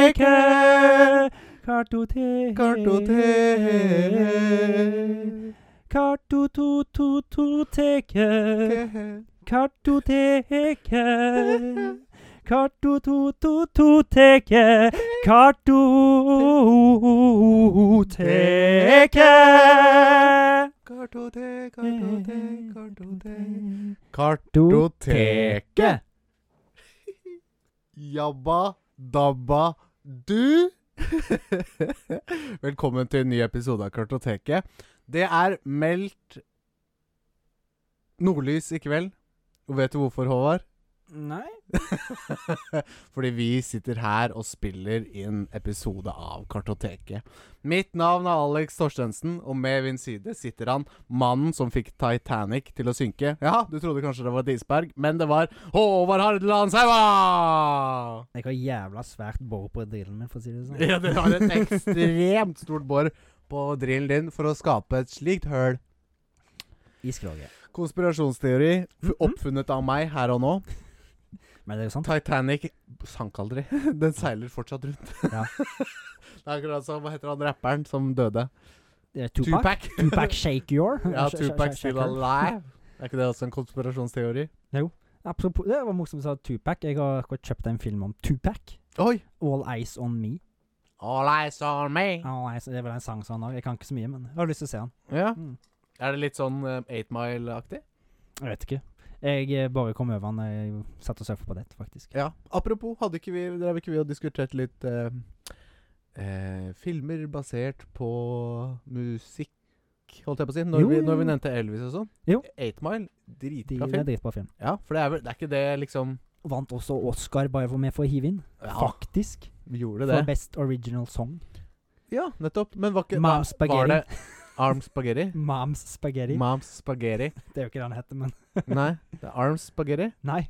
Kartoteket. Kartoteket. Kartoteket. Kartotototeket. Kartoteket. Kartotototeket. Kartoteket. Kartotek, kartotek, kartotek. Kartoteket. Jabba dabba du. Velkommen til en ny episode av Kartoteket. Det er meldt nordlys i kveld. Og vet du hvorfor, Håvard? Nei. Fordi vi sitter her og spiller inn episode av Kartoteket. Mitt navn er Alex Torstensen, og med min side sitter han, mannen som fikk Titanic til å synke. Ja, du trodde kanskje det var et isberg, men det var Håvard Hardeland Saua! Jeg har jævla svært bor på drillen min, for å si det sånn. Ja, du har et ekstremt stort bor på drillen din for å skape et slikt høl. I skroget. Konspirasjonsteori f- oppfunnet av meg her og nå. Men det er jo sant. Titanic sank aldri. Den seiler fortsatt rundt. Ja. Det er akkurat som Hva heter han rapperen som døde? Det er Tupac. Tupac Shake Your. Ja, Sh- sh- Tupac sh- Still Shaker. Alive. Er ikke det også en konspirasjonsteori? Apropos, det var morsomt du sa Tupac. Jeg har akkurat kjøpt en film om Tupac. Oi! All Eyes On Me. All eyes on me. All Eyes, det er vel en sang som han har. Jeg kan ikke så mye, men jeg har lyst til å se han. Ja. Mm. Er det litt sånn eh, Eight Mile-aktig? Jeg vet ikke. Jeg eh, bare kom over han da jeg satt og surfa på nett, faktisk. Ja. Apropos, hadde ikke vi, drev ikke vi og diskutert litt eh, eh, filmer basert på musikk, holdt jeg på å si, når, Jo, vi, jo, når vi jo. nevnte Elvis og sånn? Jo. Eight Mile, De, dritbra det er film. dritbra film. Ja, for det er vel, det er ikke det liksom Vant også Oscar bare for med for å hive inn. Ja, Faktisk. vi gjorde For det. Best Original Song. Ja, nettopp. Men var ikke Mom var- spaghetti. Var det Arm Spaghetti? Moms Spaghetti. Moms Spaghetti. det er jo ikke det han heter, men Nei, det er Arm Spaghetti. Nei.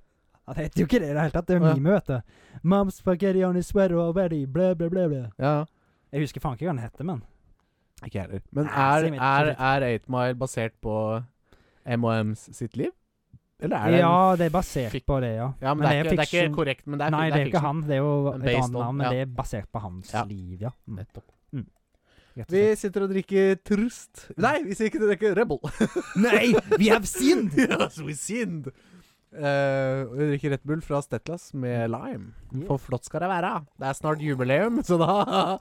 Han heter jo ikke det i det hele tatt. Det er jo Å, ja. mime, vet du. Moms Spaghetti on his sweater already. Blæ, blæ, blæ, blæ. Ja, ja. Jeg husker faen ikke hva han heter, men Ikke jeg heller. Nei, Men så er, jeg vet ikke er, helt. er Eight Mile basert på M&M's sitt liv? Eller er det en Ja, det er basert fik- på det, ja. Ja, men, Men det, er det er ikke, det er fiksjon. ikke korrekt, men det er, Nei, det er jo ikke han. Det er jo et Based annet on, navn, men ja. det er basert på hans Ja. liv, ja. Mm. Nettopp. Rett og Vi slett. sitter og drikker Trust. Nei, vi sitter ikke og drikker Rebel. altså, Nei, we have sinned! yes, we sinned. Eh, vi drikker Red Bull fra Stetlas med lime. For flott skal det være. Det er snart jubileum, så da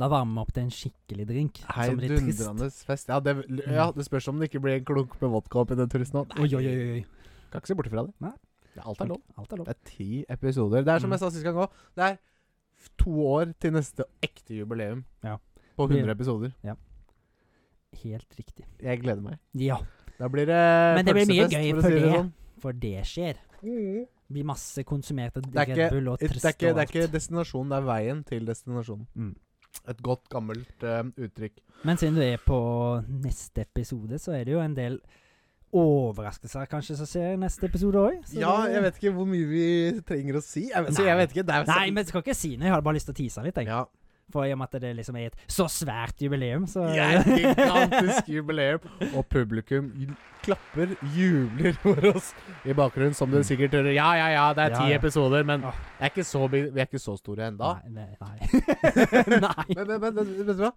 Da varmer vi opp til en skikkelig drink. som blir trist. Heidundrende fest. Ja det, ja, det spørs om det ikke blir en klunk med vodka oppi den turisten. Oi, oi, oi. oi. Kan ikke se bort ifra det. Nei. Ja, Alt er lov. Alt er lov. Det er ti episoder. Det er som Mm. jeg sa sist gang òg, det er f- to år til neste ekte jubileum Ja. på Vi- 100 episoder. Helt riktig. Jeg gleder meg. Ja, Da blir det Men det blir mye pølsefest, gøy for å for si det. det. Sånn. for det skjer. Blir masse konsumerte er Red ikke- Bull og Det trist er, ikke, og det er alt. ikke destinasjonen, det er veien til destinasjonen. Mm. Et godt, gammelt eh, uttrykk. Men siden du er på neste episode, så er det jo en del overraskelser kanskje som skjer i neste episode òg. Ja, jeg vet ikke hvor mye vi trenger å si. Jeg vet, så Nei. jeg vet ikke. Det er Nei, men jeg skal ikke si noe. Jeg hadde bare lyst til å tease litt. Jeg. ja. For i og med at det liksom er et så svært jubileum, så Det er et gigantisk jubileum. Og publikum j- klapper, jubler for oss i bakgrunnen, som dere sikkert hører. Ja, ja, ja, Ah. det er Ja, ti ja. episoder, men Åh. jeg er ikke så, bi- vi er ikke så store ennå. Nei. Nei. nei. Men, men, men, men vet du hva?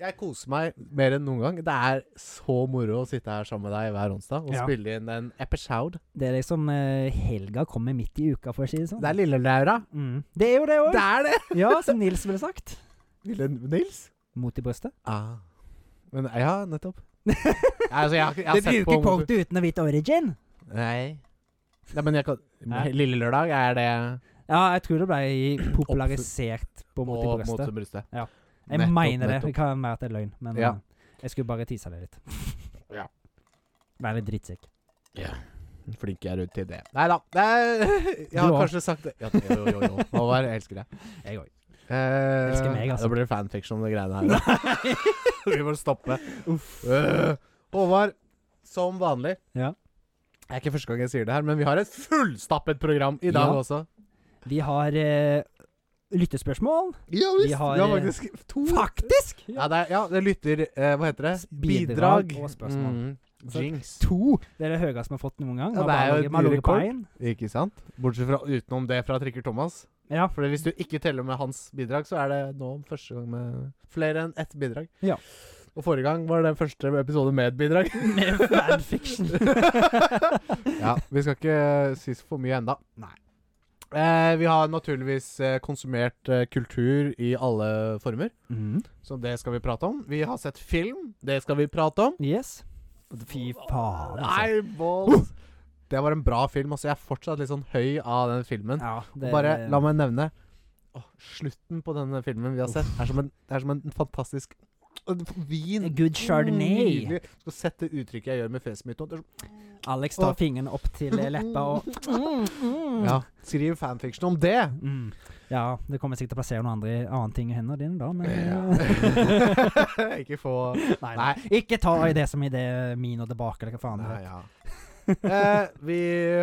Jeg koser meg mer enn noen gang. Det er så moro å sitte her sammen med deg hver onsdag og Ja. spille inn en episode. Det er liksom eh, Helga kommer midt i uka, for å si det sånn. Det er Lille-Laura. mm. det er jo det òg. Det er det! Ja, som Nils ville sagt. Lille Nils? Mot i brøstet. Ah. Men ja, nettopp. Altså, jeg, har ikke- jeg har Du sett på bruker kortet uten å vite origin. Nei. Nei, men jeg kan Nei. Lille Lørdag, er det Ja, jeg tror det ble popularisert på Mot i Og brøstet. mot brystet. Ja. Jeg Nettopp, mener det. Det nettopp. kan være at det er løgn, men Ja. eh, jeg skulle bare tise det litt. Ja. Vær litt drittsekk. Flink jeg er ut til det. Nei da. det er- Jeg har Du òg. kanskje sagt det. Ja, jo, jo, jo. Håvard, jeg elsker deg. Jeg òg. Eh, Elsker meg, altså. Da blir det fanfiction om de greiene her. Vi må stoppe. Eh, Håvard, som vanlig Ja. Det er ikke første gang jeg sier det her, men vi har et fullstappet program i dag Ja. også. Vi har eh, lyttespørsmål. Ja Vi visst! Vi har, har, eh, faktisk to Faktisk! Ja, det er, ja, det lytter eh, Hva heter det? Bidrag og spørsmål. Mm. Så Jinx. to det er det høyeste vi har fått noen gang. Ja, Vi det har er bare ligget- jo et vi har ligget på rekord. en. Ikke sant? Bortsett fra utenom det fra Trikker Thomas. Ja. For hvis du ikke teller med hans bidrag, så er det nå første gang med flere enn ett bidrag. Ja. Og forrige gang var det første episode med et bidrag. Med fanfiction. ja, vi skal ikke si så for mye enda. Nei. Eh, vi har naturligvis eh, konsumert eh, kultur i alle former, Mhm. så det skal vi prate om. Vi har sett film, det skal vi prate om. Yes. Fy faen, altså. Nei, balls! Det var en bra film. Altså, jeg er fortsatt litt sånn høy av den filmen. Ja, det, Bare la meg nevne Åh, Slutten på denne filmen vi har sett, er som en, det er som en fantastisk Vin. Mm, A good chardonnay. Nydelig. Du skal sette uttrykket jeg gjør med fjeset mitt nå. Det er så- Alex tar Åh. fingeren opp til eh, leppa og mm, mm. Ja, skriv fanfiction om det! Mm. ja, det kommer sikkert til å plassere noen andre annen ting i hendene dine da, men eh, Ja. ikke få nei, Nei. Ikke ta i det som i det min og tilbake, eller hva faen det Nei, er. ja. eh, vi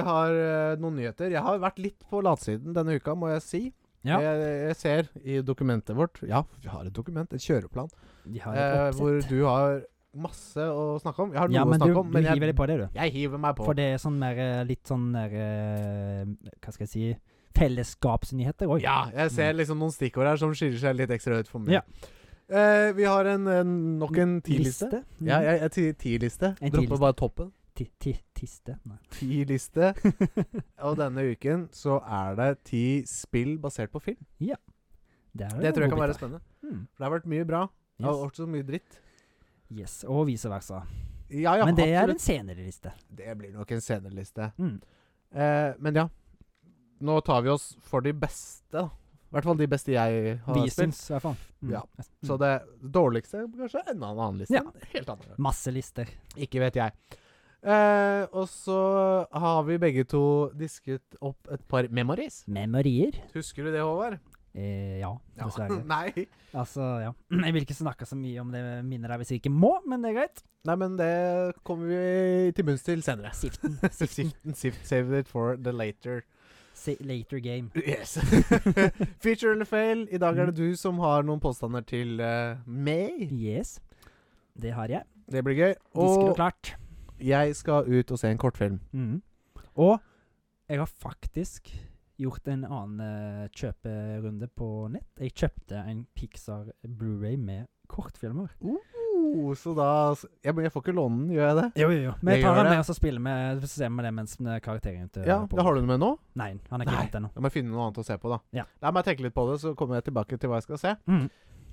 har eh, noen nyheter. Jeg har vært litt på latsiden denne uka, må jeg si. Ja. Jeg, jeg ser i dokumentet vårt Ja, vi har et dokument, en kjøreplan, De har et eh, hvor oppsett. du har masse å snakke om. Jeg har noe Ja, men å du, snakke om, du men jeg, hiver deg på det, du. jeg hiver meg på. For det er sånn mer, eh, litt sånn mer eh, Hva skal jeg si Fellesskapsnyheter òg. Ja, jeg ser liksom noen stikkord her som skiller seg litt ekstra ut for meg. Mm. Ja. Eh, vi har en, en, nok en ti-liste. Ja, jeg, jeg, ti- ti-liste. Mm. En ti-liste. Dropper bare toppen. Tiste. Nei. Ti-liste. Og denne uken så er det ti spill basert på film. Der er Det tror jeg kan godbiter. være spennende. Mm. For det har vært mye bra. Det har Yes. vært så mye dritt. yes. Og vice versa. Ja, ja, Men det er en absolutt. senere liste. Det blir nok en senere liste. Mm. Eh, men ja. Nå tar vi oss for de beste, da. I hvert fall de beste jeg har Vi spilt. syns, i hvert fall. Mm. Ja. Så det dårligste kanskje enda en annen liste. Ja. En Helt annen. Masse lister. Ikke vet jeg. Eh, og så har vi begge to disket opp et par memories. Memorier. Husker du det, Håvard? Eh, ja, dessverre. Nei. Altså, ja. Jeg vil ikke snakke så mye om det minnet der hvis jeg ikke må, men det er greit. Nei, men det kommer vi til bunns til senere. Siften. Siften. Siften, sift, save it for the later. Si- Later game. Yes. Mm. Feature eller fail? I dag er det du som har noen påstander til eh, meg. Yes. Det har jeg. Det blir gøy. Disket og Og klart. jeg skal ut og se en kortfilm. Mhm. Og jeg har faktisk gjort en annen eh, kjøperunde på nett. Jeg kjøpte en Pixar Blu-ray med kortfilmer. Uh, så da jeg, men jeg får ikke låne den, gjør jeg det? Jo, jo, jo. Vi Jeg tar gjør den det. med og så spiller vi så ser vi det mens vi karakterer ut. eh, Ja, på- det Har du den med nå? Nei, han er ikke Nei. hent ennå. Jeg må finne noe annet å se på, da. Ja. La meg tenke litt på det, så kommer jeg tilbake til hva jeg skal se. Mm.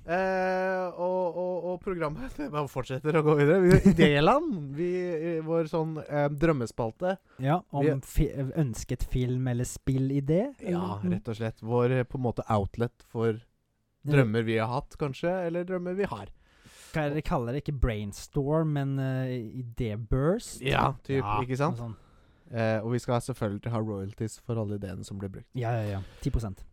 Eh, og, og, og programmet det bare fortsetter å gå videre. Vi- Idéland, vi- i vår sånn eh, drømmespalte. Ja, om Vi- fi ønsket film eller spillidé? Ja, eller- rett og slett. Vår eh, på en måte outlet for drømmer vi har hatt, kanskje. Eller drømmer vi har. Hva er det de kaller det? Ikke brainstorm, men uh, idéburst? Ja, typ, Ja, ikke sant? noe sånt. Eh, og vi skal selvfølgelig ha royalties for alle ideene som blir brukt. Ja, ja, ja. 10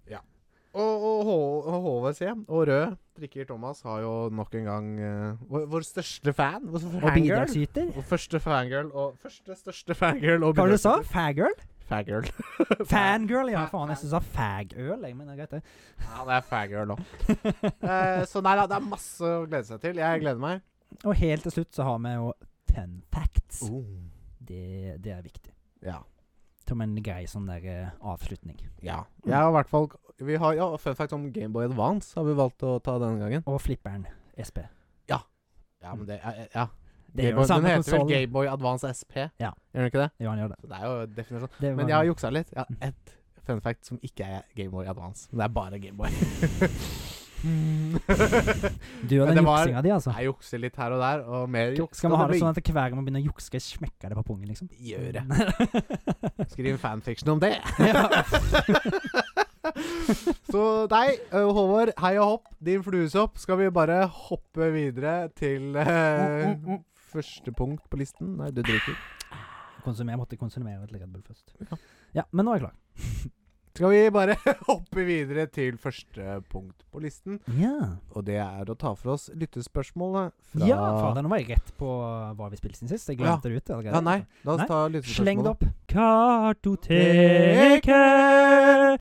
Og, og H- og HVC og Rød drikker Thomas har jo nok en gang eh, vår, vår største fan. Vår Og fangirl. bidragsyter? Og første fangirl og Første største fangirl og Hva var det du sa? bidragsyter. Fagirl? Fangirl. Fangirl, ja. Fa- Faen, jeg syns du sa fagøl, jeg, men det er greit, det. Ja, det er fangirl òg. så nei da, det er masse å glede seg til. Jeg gleder meg. Og helt til slutt så har vi jo fun facts. Det, det er viktig. Ja. Som en grei sånn der eh, avslutning. ja. Jeg har i hvert fall Vi har ja, fun fact om Gameboy Advance har vi valgt å ta denne gangen. Og flipperen SP. Ja, men det er, ja. Det er jo Gameboy- samme Den heter vel konsoll. Gameboy Advance SP? Ja. Gjør den ikke det? Jo, han gjør det. Så det er jo definisjon. det var- Men jeg har juksa litt. Jeg har ett fun fact som ikke er Gameboy Advance. Men det er bare Gameboy. Du og Men den det var- juksinga di, altså. Jeg jukser litt her og der, og mer juks. Skal vi ha kan det sånn bli. at hver gang vi begynner å jukse, skal jeg smekke det på pungen, liksom? Gjøre. Skriv fanfiction om det! Så deg, ø, Håvard, hei og hopp, din fluesopp. Skal vi bare hoppe videre til Oh, eh, første punkt på listen? Nei, du drikker. Konsumer, jeg måtte konsumere et Red Bull først. Ja, men nå er jeg klar. Skal vi bare hoppe videre til første punkt på listen? Ja. Og det er å ta for oss lyttespørsmålet fra Ja, fader, nå var jeg rett på hva vi spilte siden sist. Jeg Ja. glemte det ut. allerede. Ja, nei, la Nei. oss ta Sleng det lyttespørsmålet. opp. Kartoteket.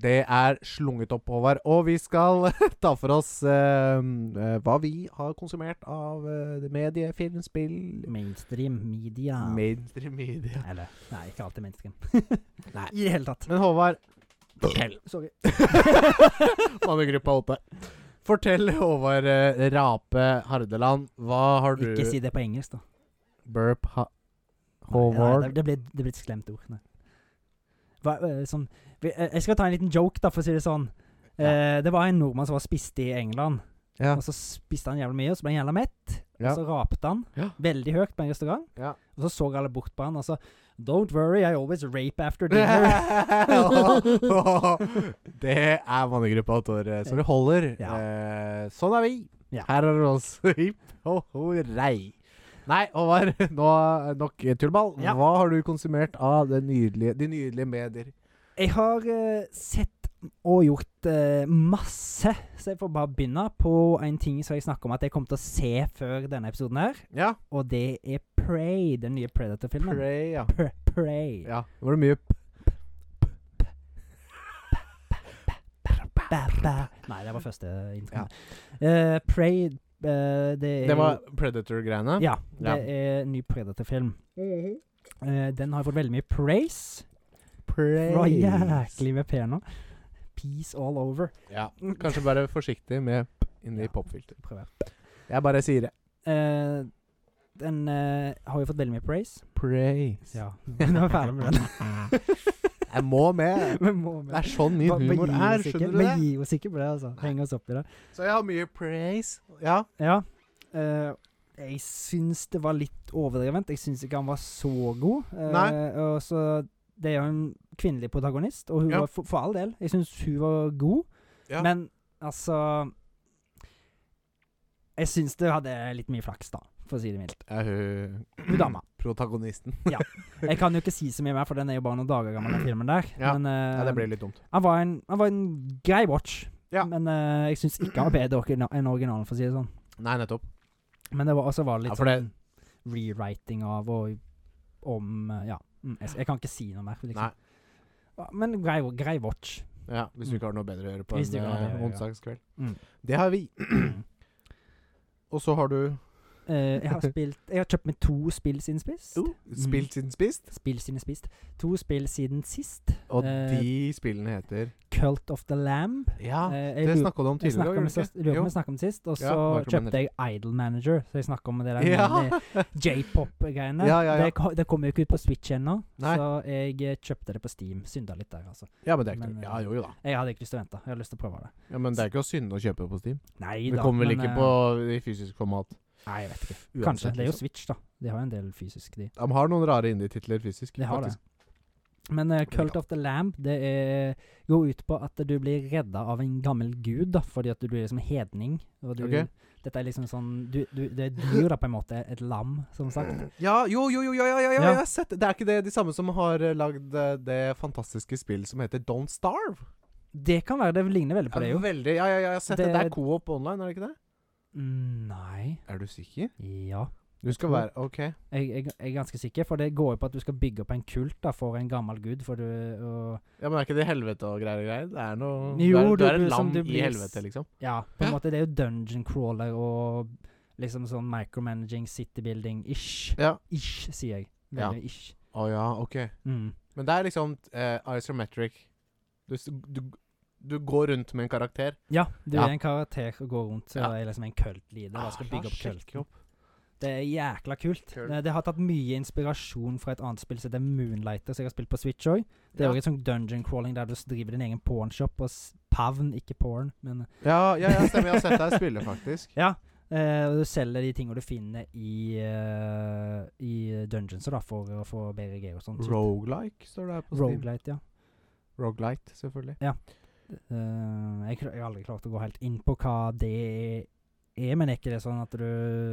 Det er slunget opp, Håvard. Og vi skal ta for oss eh, eh, hva vi har konsumert av eh, medie, film, spill Mainstream media. Mainstream media. Eller Nei, ikke alltid mainstream. Nei. I det hele tatt. Men Håvard, fortell. Sorry. Mannegruppa åtte. Fortell, Håvard eh, Rape Hardeland, hva har du Ikke si det på engelsk, da. Burp ha Nei, Håvard Nei, det, det, blir, det blir et slemt ord. Nei. Hva, eh, sånn, vi, eh, jeg skal ta en liten joke, da, for å si det sånn. Ja. Eh, det var en nordmann som var spist i England. Ja. Og så spiste han jævlig mye, og så ble han jævla mett. Ja. Og så rapte han Ja. veldig høyt på en restaurant. Ja. Og så så alle bort på han og så Don't worry, I always rape after dinner. det er mannegruppa Tor. Så det holder. Ja. Eh, sånn er vi. Ja. Her er det oss. Hipp ho ho rei. Nei, Håvard, nå er nok tullball. Ja. Hva har du konsumert av det nydelige, de nydelige medier? jeg har eh, sett og gjort eh, masse, så jeg får bare begynne på en ting som jeg snakker om at jeg kommer til å se før denne episoden her. Ja, Og det er Prey, den nye Predator-filmen. Prey, ja. Pre- Prey. ja. Var det mye p Ba, ba. Nei, det var første introen. Eh, Prey eh, det er Det var Predator-greiene? Ja. Det Ja. er en ny Predator-film. Eh, den har fått veldig mye praise Prey. fra jæklig VP nå. Peace all over. Ja. Kanskje bare forsiktig med p inni Ja. popfilter. Prøver. Jeg bare sier det. Eh, den eh, har jo fått veldig mye praise. Prey. Ja. Nå er vi ferdig med den. Jeg må med. Vi må med. Det er sånn min Bare- bare humor gi er, oss ikke- skjønner du bare det? gi oss ikke på det, altså. Heng oss opp i det. Så jeg har mye praise. Ja. Ja. eh, jeg syns det var litt overdrevent. Jeg syns ikke han var så god. Eh, Nei. og så det er jo en kvinnelig protagonist, og hun Ja. var for, for all del Jeg syns hun var god, Ja. men altså Jeg syns du hadde litt mye flaks, da, for å si det mildt. Er hun Hun dama. Protagonisten. Jeg kan jo ikke si så mye mer, for den er jo bare noen dager gammel, den filmen der. Ja. Men eh, Ja, det ble litt dumt. han, var en, han var en grei watch. Ja. Men eh, jeg syns ikke han var bedre origina- enn originalen, for å si det sånn. Nei, nettopp. Men det var, også var det litt Ja, for det- sånn rewriting av og om eh, Ja. Mm, jeg, jeg kan ikke si noe mer. Liksom. Nei. Ja, Men grei, grei watch. Ja, Hvis du ikke har noe bedre å gjøre på Hvis en du ikke har noe eh, bedre å gjøre, ja. onsdagskveld. Mm. Det har vi. Og så har du Eh, jeg har spilt Jeg har kjøpt meg to spill siden spist. Uh. spilt siden spist. Spill siden spist. To spill siden sist. Og Eh, de spillene heter Cult of the Lamb. Ja, Eh, jeg Ah, det lurer- snakka du om jeg tidligere. snakket om det gjorde sist- du lurer på om ikke? jeg snakket om det sist, og Ja, så det var ikke om kjøpte jeg Idol Manager, så jeg snakka om det der Ja. med det j-pop-greiene. Ja, ja, ja. Det, ko- det kom jo ikke ut på Switch ennå, Nei. så jeg eh, kjøpte det på Steam. Synda litt der, altså. Jo. Ja, men det er ikke Men, noe Ja, jo, jo da. Jeg hadde ikke lyst til å vente. Jeg hadde lyst til å prøve det. Ja, men det er ikke å synde å kjøpe på Steam. Nei Det da, kommer vel men, ikke eh, på i fysisk format. Nei, jeg vet ikke. uansett, Kanskje. Det er jo liksom. Switch, da. De har jo en del fysisk, de. De har noen rare indie-titler fysisk. De har det. faktisk. Men eh, Cult of the Lamb det er, går ut på at du blir redda av en gammel gud, da, fordi at du blir liksom hedning. Og du, Ok. Dette er liksom sånn du, du, Det er et dyr, da, på en måte. Et lam, som sagt. Ja, jo, jo, jo, ja, ja, ja, ja, Ja. jeg har sett det. Det er ikke det de samme som har eh, lagd eh, det fantastiske spill som heter Don't Starve? Det kan være det ligner veldig på det, Ja, jo. veldig, ja, ja, ja, jeg har sett det. Det- Det, er co-op online, er det ikke det? Mm, Nei Er du sikker? Ja. Du skal tror- være OK. Jeg, jeg, jeg er ganske sikker, for det går jo på at du skal bygge opp en kult da, for en gammel gud. For du, og Ja, Men er ikke det helvete og greier og greier? Det er noe Jo, Du er, du du- er du- et som lam du i blir s- helvete, liksom. Ja, på en Ja. måte. Det er jo dungeon crawler og liksom sånn micromanaging, city building-ish. Ja. Ish, sier jeg. Ja. Veldig ish. Å ja, OK. Mm. Men det er liksom eh, isometric. Du, s- du, du går rundt med en karakter. Ja, du Ja. er en karakter og går rundt så Ja. er liksom en kult leader. Ah, og skal bygge opp ja, sjekk kulten. Det er jækla kult. Eh, Kult. Det, det har tatt mye inspirasjon fra et annet spill som heter Moonlighter, som jeg har spilt på Switch òg. Det er Ja. også et sånt dungeon crawling der du s- driver din egen pornshop og s- pavn, ikke porn, men Ja, ja, ja, stemmer. Jeg har sett deg spille, faktisk. Ja. eh, og du selger de tingene du finner i, uh, i dungeons da, for å få bedre gear og sånt. Rogelike står det her på Steam. Roguelite, ja. Roguelite, selvfølgelig. Eh, jeg, kla- jeg har aldri klart å gå helt inn på hva det er, men er ikke det sånn at du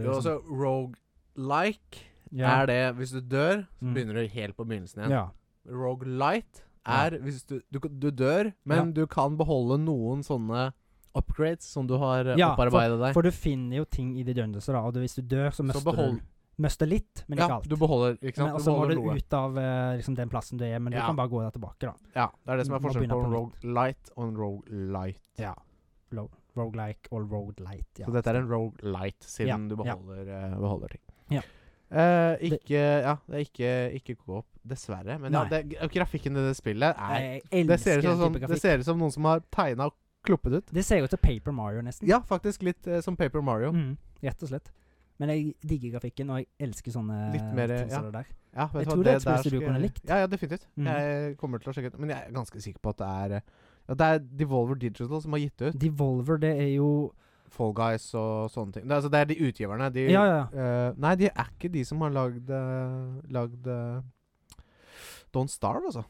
Jo, altså, roguelike ja. er det hvis du dør, så Mm. begynner du helt på begynnelsen igjen. Ja. Roguelite er hvis du, du kan- Du dør, men du kan beholde noen sånne upgrades som du har eh, Ja, opparbeidet deg. For du finner jo ting i de dungeons, da, og du, hvis du dør, så Så mister behold- du Møster litt, men ikke ja, alt. du beholder ikke Men sant? du også må beholder du noe. ut av eh, liksom, den plassen du er, men Ja. du kan bare gå der tilbake, da. Ja, det er det som er Må forskjellen begynne på en på rogue light og en rogue light. Ja. Roguelike og roadlight. Ja. Så dette er en rogue light, siden Ja, du ja. beholder, eh, beholder ting. Ja. Eh, ikke Ja, det er ikke, ikke co-op, dessverre. Men ja, Nei. det, og grafikken i det spillet er Jeg Det elsker ser ut den som, sånn, type det grafikk. ser ut som noen som har tegna og kluppet ut. Det ser jo ut som Paper Mario, nesten. Ja, faktisk litt eh, som Paper Mario. Mm, rett og slett. Men jeg digger grafikken, og jeg elsker sånne Litt mer, sånn som det ja. der. Ja, Jeg vet du hva, tror det er et der spill som du skal- kunne likt. Ja, ja, definitivt. Mhm. Jeg kommer til å sjekke ut Men jeg er ganske sikker på at det er eh, ja, Det er Devolver Digital som har gitt ut Devolver, det er jo Fall Guys og sånne ting. Det, er- altså, det er de utgiverne. De, Ja, ja. eh, nei, de er ikke de som har lagd eh, Lagd eh, Don't Starve, altså.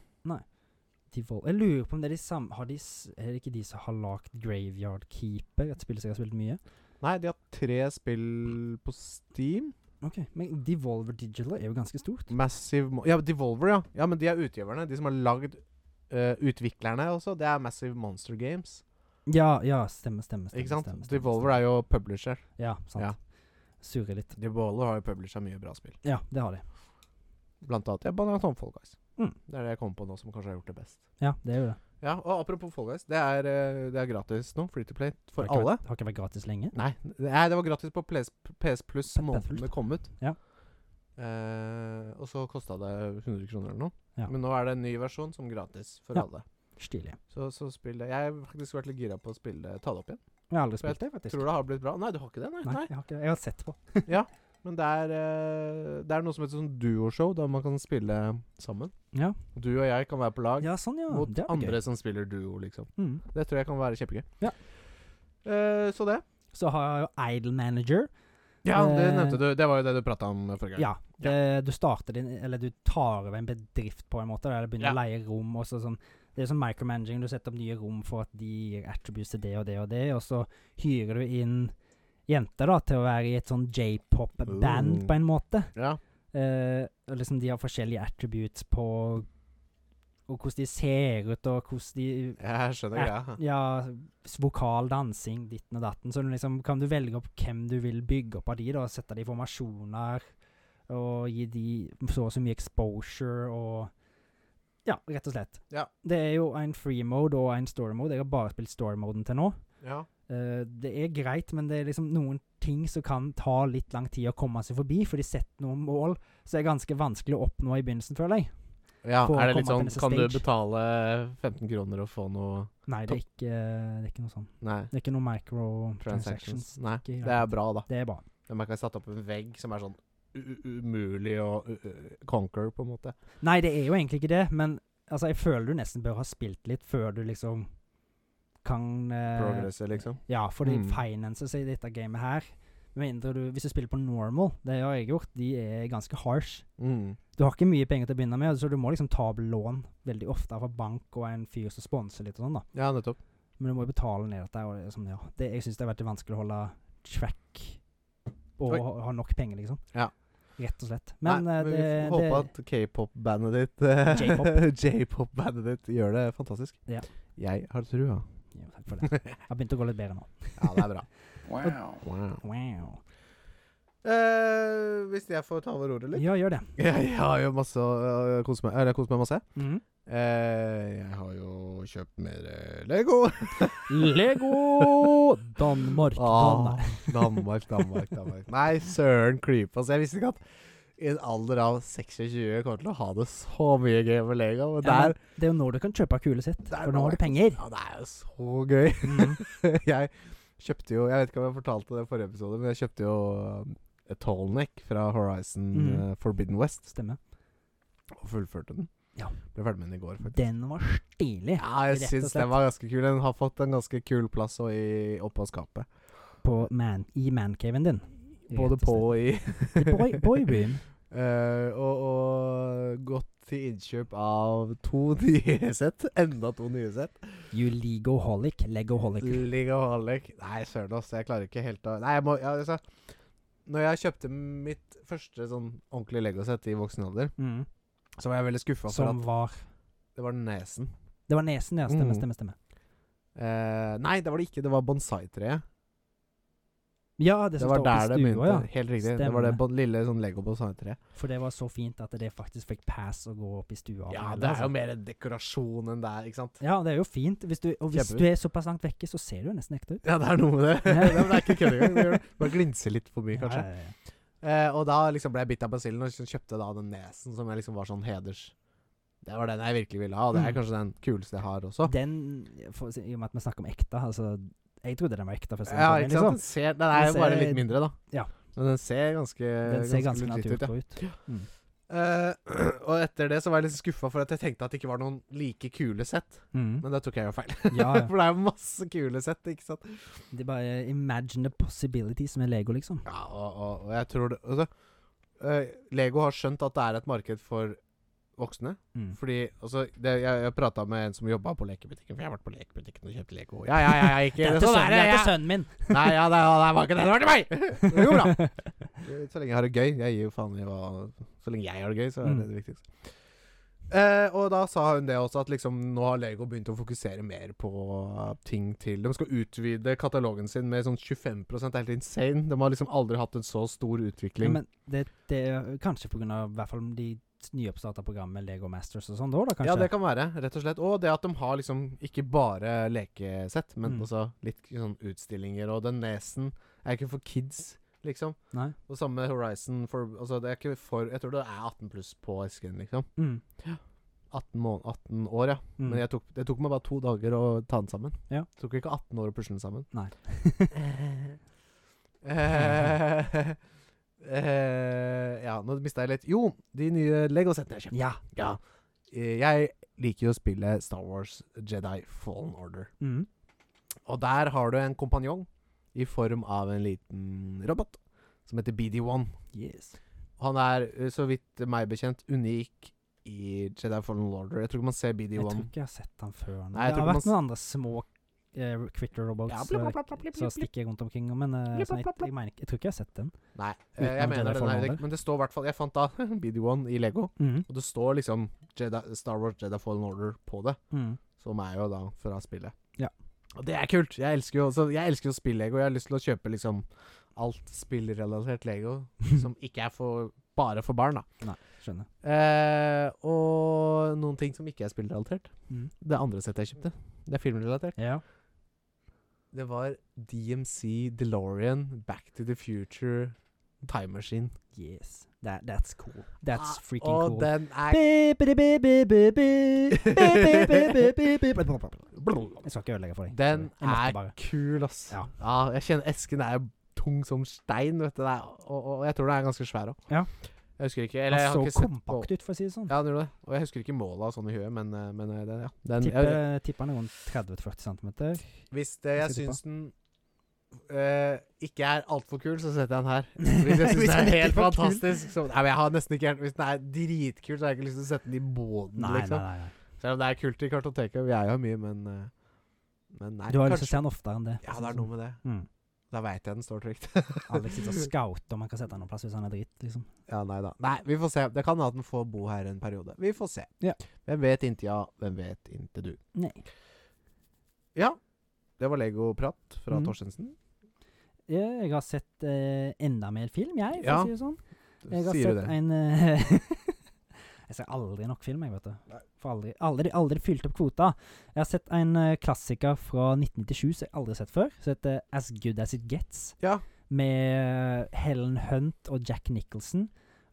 Devol Jeg lurer på om det er de samme har de, s- Er det ikke de som har lagd Graveyard Keeper? Et spill som jeg har spilt mye? Nei, de har tre spill på Steam. Ok, Men Devolver Digital er jo ganske stort. Massive Mo Ja, Devolver, ja. ja. Men de er utgiverne. De som har lagd eh, utviklerne også. Det er Massive Monster Games. Ja, ja, stemmer, stemmer. stemmer ikke sant? Stemmer, stemmer, Devolver er jo publisher. stemmer. Ja, sant. Ja. Surrer litt. Devolver har jo publisher mye bra spill. Ja, det har de. Blant annet ja, blant annet Fall Guys. Mm. Det er det jeg kommer på nå som kanskje har gjort det best. Ja, det er jo det. Ja, og apropos Fall Guys. Det er, eh, det er gratis nå. Free to play for Har ikke alle. Vært, har ikke vært gratis lenge. Nei, nei, det var gratis på PS, PS Pluss P- måneden Plus. det kom ut. Ja. Eh, og så kosta det 100 kroner eller noe. Ja. Men nå er det en ny versjon som gratis for Ja. alle. Stilig. Så, så spill det. Jeg har faktisk vært litt gira på å spille det, ta det opp igjen. Jeg har aldri For jeg spilt det, faktisk. Tror det har blitt bra. Nei, du har ikke det? Nei. Nei, nei. jeg har ikke det. Jeg har sett på. Men det er, eh, det er noe som heter sånn duoshow, der man kan spille sammen. Ja, Du og jeg kan være på lag ja sånn, ja. mot det er andre gøy. som spiller duo, liksom. Mm. Det tror jeg kan være kjempegøy. Ja. Eh, så det. Så har jeg jo Idle Manager. Ja, det Eh, nevnte du. Det var jo det du prata om forrige gang. Ja. Det, du starter din Eller du tar over en bedrift, på en måte. Der du begynner å Ja. leie rom. Og så sånn Det er sånn micromanaging. Du setter opp nye rom for at de gir attributes til det og det og det, og så hyrer du inn jenter da til å være i et sånn j-pop-band, Ooh. på en måte. ja. Eh, og liksom De har forskjellige attributes på Og hvordan de ser ut, og hvordan de Jeg skjønner Ja. greia. Ja, s- vokal, dansing, ditten og datten. Så du liksom kan du velge opp hvem du vil bygge opp av de, da, og sette de i formasjoner. Og gi de så og så mye exposure og Ja, rett og slett. Ja. Det er jo en free mode og en story mode. Jeg har bare spilt story moden til nå. Ja. Eh, det er greit, men det er liksom noen ting som kan ta litt lang tid å komme seg forbi, for de setter noen mål som er ganske vanskelig å oppnå i begynnelsen, føler jeg. ja. For å Er det litt komme til sånn neste Kan du stage. betale 15 kroner og få noe Nei, det er ikke, det er ikke noe sånn. Nei. Det er ikke noe microtransactions. Transactions. Nei. ikke i Det er verden. bra, da. Det er bra. Men man kan sette opp en vegg som er sånn u- u- umulig å u- u- conquer, på en måte. Nei, det er jo egentlig ikke det, men altså, jeg føler du nesten bør ha spilt litt før du liksom kan eh, Progresse, liksom. Ja, fordi Mm. finances i dette gamet her med mindre du, Hvis du spiller på normal, det har jeg gjort, de er ganske harsh. Mm. Du har ikke mye penger til å begynne med, så du må liksom ta opp lån veldig ofte fra bank og en fyr som sponser litt og sånn, da. Ja, nettopp. Men du må jo betale ned dette, og det, er sånn, ja. det, jeg syns det har vært vanskelig å holde track og Oi. ha, ha nok penger, liksom. Ja. Rett og slett. Men, Nei, eh, vi får det, håpe det, at k-pop-bandet ditt eh, J-pop. J-pop-bandet ditt gjør det fantastisk. Ja. Jeg har trua. jo, Takk for det. Jeg har begynt å gå litt bedre nå. Ja, det er bra. Wow. Wow. Wow. Eh, hvis jeg får ta over ordet litt? Ja, gjør det. Jeg har jo masse å kose meg Eller jeg koser meg masse. Mhm. Eh, jeg har jo kjøpt mer eh, Lego. Lego Danmark. Ah, Danmark. Danmark, Danmark, Danmark. Nei, søren klype. Altså, jeg visste ikke at i en alder av 26 kommer til å ha det så mye gøy med Lego. Men Ja, men der, det er jo nå du kan kjøpe kule sitt, Der for nå har var du jeg. penger. ja, det er jo så gøy. Mhm. jeg kjøpte jo Jeg vet ikke om jeg fortalte det i forrige episode, men jeg kjøpte jo eh, Tallneck fra Horizon Mhm. eh, Forbidden West Stemmer. og fullførte den. Ja. Ble ferdig med den i går, faktisk. Den var stilig Ja, jeg rett og syns slett. den var ganske kul. Den har fått en ganske kul plass og i, oppå skapet. på man, i mancaven din. Rett Både og slett. på og i. The Boy, boyroom. Eh, og, og gått til innkjøp av to nye sett. Enda to nye sett. You legoholic, legoholic. Ligaholic. Nei, søren også, jeg klarer ikke helt å Nei, jeg må ja, altså, Når jeg kjøpte mitt første sånn ordentlige Lego-sett i voksen alder, Mhm. så var jeg veldig skuffa for Som at var det var nesen. Det var nesen, ja. Stemmer, Mhm. stemmer, stemmer. Eh, nei, det var det ikke. Det var bonsai-treet. Ja, det Det som var står der det oppe i begynte. stua, ja. Helt riktig. Det var Stemmer. det på den lille sånn Lego på sandtre. For det var så fint at det faktisk fikk pass å gå opp i stua. Ja, med, det er altså. jo mer en dekorasjon enn det er, ikke sant? Ja, det er jo fint. Hvis du, og hvis Kjempefint. du er såpass langt vekke, så ser du jo nesten ekte ut. Ja, det er noe med det. Ja. Ja, men det er ikke kødd engang. Det gjør det. Bare glinser litt for mye, kanskje. Ja, ja, ja. Eh, og da liksom ble jeg bitt av basillen og liksom kjøpte da den nesen som jeg liksom var sånn heders... Det var den jeg virkelig ville ha, og det er Mm. kanskje den kuleste jeg har også. Den, for, å si- I og med at vi snakker om ekte, altså Jeg trodde den var ekte. først og Ja, fremst, men ikke sant? liksom, Den, ser, den er Den jo bare ser- litt mindre, da. ja. Men den ser ganske Den ser ganske legit ut, ja. naturlig ut. Mm. Eh, og etter det så var jeg litt skuffa for at jeg tenkte at det ikke var noen like kule sett. Mm. Men det tok jeg jo feil. Ja, ja. for det er jo masse kule sett, ikke sant. Det er bare eh, imagine the possibilities med Lego, liksom. Ja, og, og, og jeg tror det altså, eh, Lego har skjønt at det er et marked for voksne. Mm. Fordi altså, det, Jeg, jeg prata med en som jobba på lekebutikken, for jeg har vært på lekebutikken og kjøpt Lego. Ja, ja, ja, ja ikke Det er til sånn sønnen, er det, det er ja. til sønnen min! Nei, ja, det, ja, det var ikke det. Det var til meg! Det går bra. Så lenge jeg har det gøy. Jeg gir jo faen i hva Så lenge jeg har det gøy, så er det Mm. det viktigste. Eh, og da sa hun det også, at liksom nå har Lego begynt å fokusere mer på eh, ting til De skal utvide katalogen sin med sånn 25 Det er helt insane. De har liksom aldri hatt en så stor Ja, utvikling. men det, det er kanskje på grunn av i hvert fall de nyoppstarta programmet Lego Masters og sånn da, da Ja, kanskje? det kan være, rett og slett. Og det at de har liksom ikke bare lekesett, men Mm. også litt sånn utstillinger. Og den nesen er ikke for kids, liksom. Nei? Og samme med Horizon for Altså, det er ikke for Jeg tror det er 18 pluss på esken, liksom. Mm. 18, mån- 18 år, ja. Mm. Men jeg tok, det tok meg bare to dager å ta den sammen. Ja. Det tok ikke 18 år å pusle den sammen. Nei. Eh, eh, ja, nå mista jeg litt Jo, de nye Lego-settene jeg kjøpte. Ja. Ja. Eh, Jeg liker jo å spille Star Wars Jedi Fallen Order. Mm. Og der har du en kompanjong i form av en liten robot som heter BD1. Yes. Han er, eh, så vidt meg bekjent, unik i Jedi Fallen Order. Jeg tror ikke man ser Jeg tror BD1 ikke jeg har sett han før. nå. Nei, jeg det har tror ikke vært man noen andre små eh, Critter Ja, Robots blip, blip, eh, blip, blip, blip, som blip. stikker rundt omkring, men eh, Blip, sånn, jeg, blip, blip. jeg, mener, ikke- jeg tror ikke jeg har sett den. Nei, eh, Uten jeg at det er mener den Fallen er Order. ikke Men det står i hvert fall Jeg fant da BD1 i Lego, Mm. og det står liksom Jedi, Star Wars Jedi Fallen Order på det. Mm. Som er jo da fra spillet. Ja. Og det er kult. Jeg elsker jo også, jeg elsker jo spill-lego. Jeg har lyst til å kjøpe liksom alt spillrelatert lego som ikke er for bare for barn, da. Skjønner. Eh, og noen ting som ikke er spillrelatert. Mm. Det andre settet jeg kjøpte, det er filmrelatert. Ja. Det var DMC DeLorean Back to the Future Time Machine. Yes. That, that's cool. That's Ah, freaking og cool. den er Jeg skal ikke ødelegge for deg. Den Sorry. Jeg måtte er bare. kul, ass. Ja. Ja. jeg kjenner Esken er jo tung som stein, vet du. Det er, og, og jeg tror den er ganske svær òg. Ja. Jeg husker ikke. Eller jeg har Han ikke så sett på kompakt ut, for å si det sånn. Ja, den gjorde det. Og jeg husker ikke måla sånn i huet, men, eh, men eh, den, ja. Den, jeg, Tipper tipper han er rundt 30-40 cm. hvis det, jeg skal tippe. syns den eh, ikke er altfor kul, så setter jeg den her. Hvis jeg syns Hvis den den er ikke helt var kul. fantastisk, så Nei, men jeg har nesten ikke helt Hvis den er dritkul, så har jeg ikke lyst til å sette den i båten, Nei, nei, liksom. nei. nei. Selv om det er kult i kartoteket, vi er jo mye, men eh, Men nei. Du har lyst til å se han oftere enn det. Ja, det er noe med det. Mm. Da veit jeg den står trygt. Alex sitter og scouter om han kan sette han noen plass hvis han er dritt, liksom. Ja, nei da. Nei, vi får se. Det kan hende at den får bo her en periode. Vi får se. Ja. Hvem vet inntil ja, hvem vet inntil du. Nei. Ja. Det var Lego-prat fra Mhm. Torstensen. Jeg, jeg har sett eh, enda mer film, jeg, for Ja. å si det sånn. Jeg har Sier sett du det? en eh, Jeg ser aldri nok film, jeg, vet du. For aldri, aldri, aldri fylt opp kvota. Jeg har sett en eh, klassiker fra 1997 som jeg aldri har sett før, som heter As Good As It Gets. Ja. Med eh, Helen Hunt og Jack Nicholson.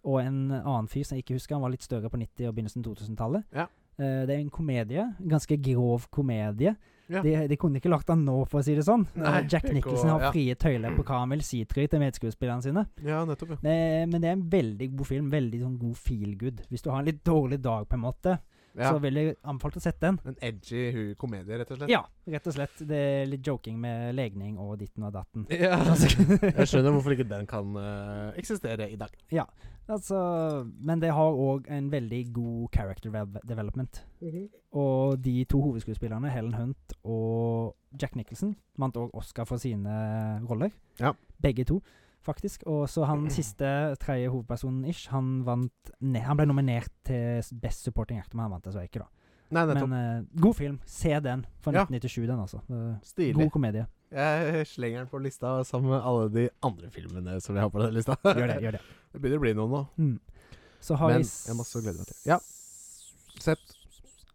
Og en annen fyr som jeg ikke husker, han var litt større på 90- og begynnelsen av 2000-tallet. Ja. Eh, det er en komedie. En ganske grov komedie. Ja. De, de kunne ikke lagt den nå, for å si det sånn. Eh, Nei, Jack det går- Nicholson har ja. frie tøyler på hva han vil si til medskuespillerne sine. Ja, nettopp, ja. Eh, Men det er en veldig god film. Veldig sånn god feel good. Hvis du har en litt dårlig dag, på en måte, ja. så vil jeg anbefale å sette den. En edgy hu- komedie, rett og slett. Ja, rett og slett. Det er litt joking med legning og ditten og datten. Ja. jeg skjønner hvorfor ikke den kan eh, eksistere i dag. Altså, men det har òg en veldig god character dev- development. Og de to hovedskuespillerne, Helen Hunt og Jack Nicholson, vant òg Oscar for sine roller. Ja. Begge to, faktisk. Og så han siste, tredje hovedpersonen ish, han vant ne Han ble nominert til Best Supporting Actor, men han vant dessverre ikke, da. Nei, nettopp. Men eh, god film. Se den. Fra Ja. 1997, den altså. Eh, Stilig. god komedie. Jeg slenger den på lista sammen med alle de andre filmene som vi har på den lista. Gjør det, gjør det. Det begynner å bli noen nå. Mm. Så har Men jeg, s- jeg har masse å glede meg til. Ja. Sett.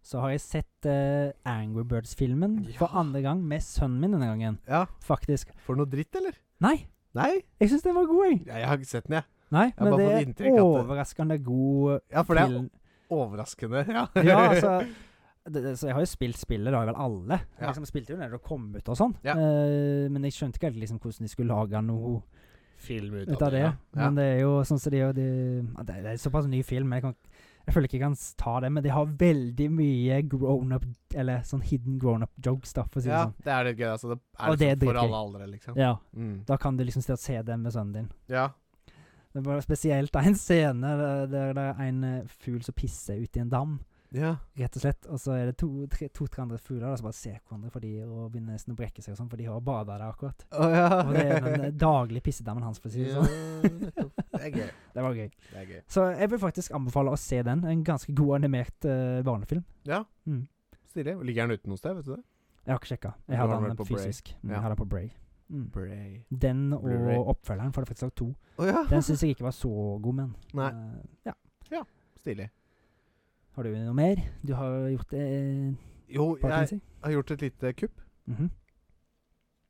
Så har jeg sett eh, Angry Birds-filmen for Ja. andre gang med sønnen min denne gangen, Ja. faktisk. For noe dritt, eller? Nei, Nei, jeg syns den var god, jeg. jeg har ikke sett den, jeg. Nei, har men bare det fått er inntrykk at det- overraskende god Ja, for det er film. overraskende. Ja, Ja, altså det, det, så Jeg har jo spilt spillet, det har jo vel alle. Jeg Ja. liksom spilte jo når det kom ut og sånn. Ja. Eh, men jeg skjønte ikke helt liksom hvordan de skulle lage noe Film ut ut av det. ja. Ja. Men det er jo sånn som de gjør det, ja, det, det er såpass ny film, men jeg, kan, jeg føler ikke jeg kan s- ta det. Men de har veldig mye grown up, eller sånn hidden grown up jokes, da, for å si det ja, sånn. det er litt gøy. Altså, det er Og det er liksom for dritgøy. alle aldre, liksom. Ja, Mm. da kan du liksom stå og se det med sønnen din. Ja. Det var spesielt da, en scene der der det er en eh, fugl som pisser ut i en dam, ja. rett og slett. Og så er det to-tre to, tre andre fugler da, som bare ser hverandre for de og begynner nesten å brekke seg og sånn, for de har bada der akkurat. Å, ja. Og det er den eh, daglige pissedammen hans, for å si det Ja, sånn. nettopp. Det er gøy. Det var gøy. Det er gøy. Så jeg vil faktisk anbefale å se den. En ganske god animert eh, barnefilm. Ja. Mm. Stilig. Ligger den ute noe sted, vet du det? Jeg har ikke sjekka. Du Jeg hadde har den den vel på Bray. fysisk. Mm, Ja. Jeg hadde den på Bray. Mm. Bray. Den Blu-ray. og oppfølgeren, for det er faktisk lagd to. Å ja. Den syns jeg ikke var så god, men Nei. eh, ja. Stilig. Har du noe mer? Du har gjort eh, Jo, hva kan jeg jeg si? har gjort et lite kupp. Mhm.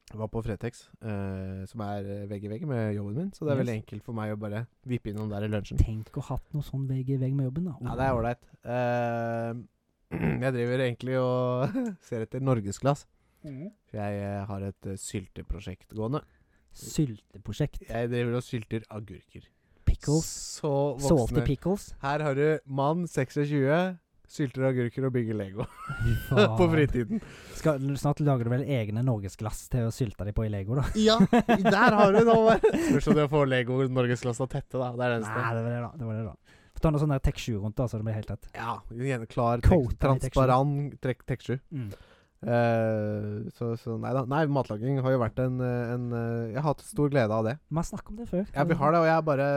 Jeg var på Fretex, eh, som er eh, vegg i vegg med jobben min. Så det er veldig enkelt for meg å bare vippe innom der i lunsjen. Tenk å ha hatt noe sånn vegg i vegg med jobben, da. Ja, det er ålreit. Eh, jeg driver egentlig og ser etter norgesglass. Mhm. For jeg eh, har et eh, sylteprosjekt gående. Sylteprosjekt. Jeg driver og sylter agurker. Pickles. Så Salty voksne. pickles. Her har du mann 26, sylter agurker og bygger Lego på Faen. fritiden. Skal, snart lager du vel egne norgesglass til å sylte de på i Lego, da? Ja, der har du det. Håvard. Spørs om du får Lego norgesglassa tette, da. Det er det Nei, det eneste. var det, da. Det var det da. Få ta noe sånn der Tek7 rundt, da, så det blir helt tett. Ja, igjen, klar, Coat den tek, i transparent tek- Tek7. Mm. Eh, så, så nei da. Nei, matlaging har jo vært en, eh, en eh, Jeg har hatt stor glede av det. Vi har snakket om det før. Ja, vi har det, og jeg bare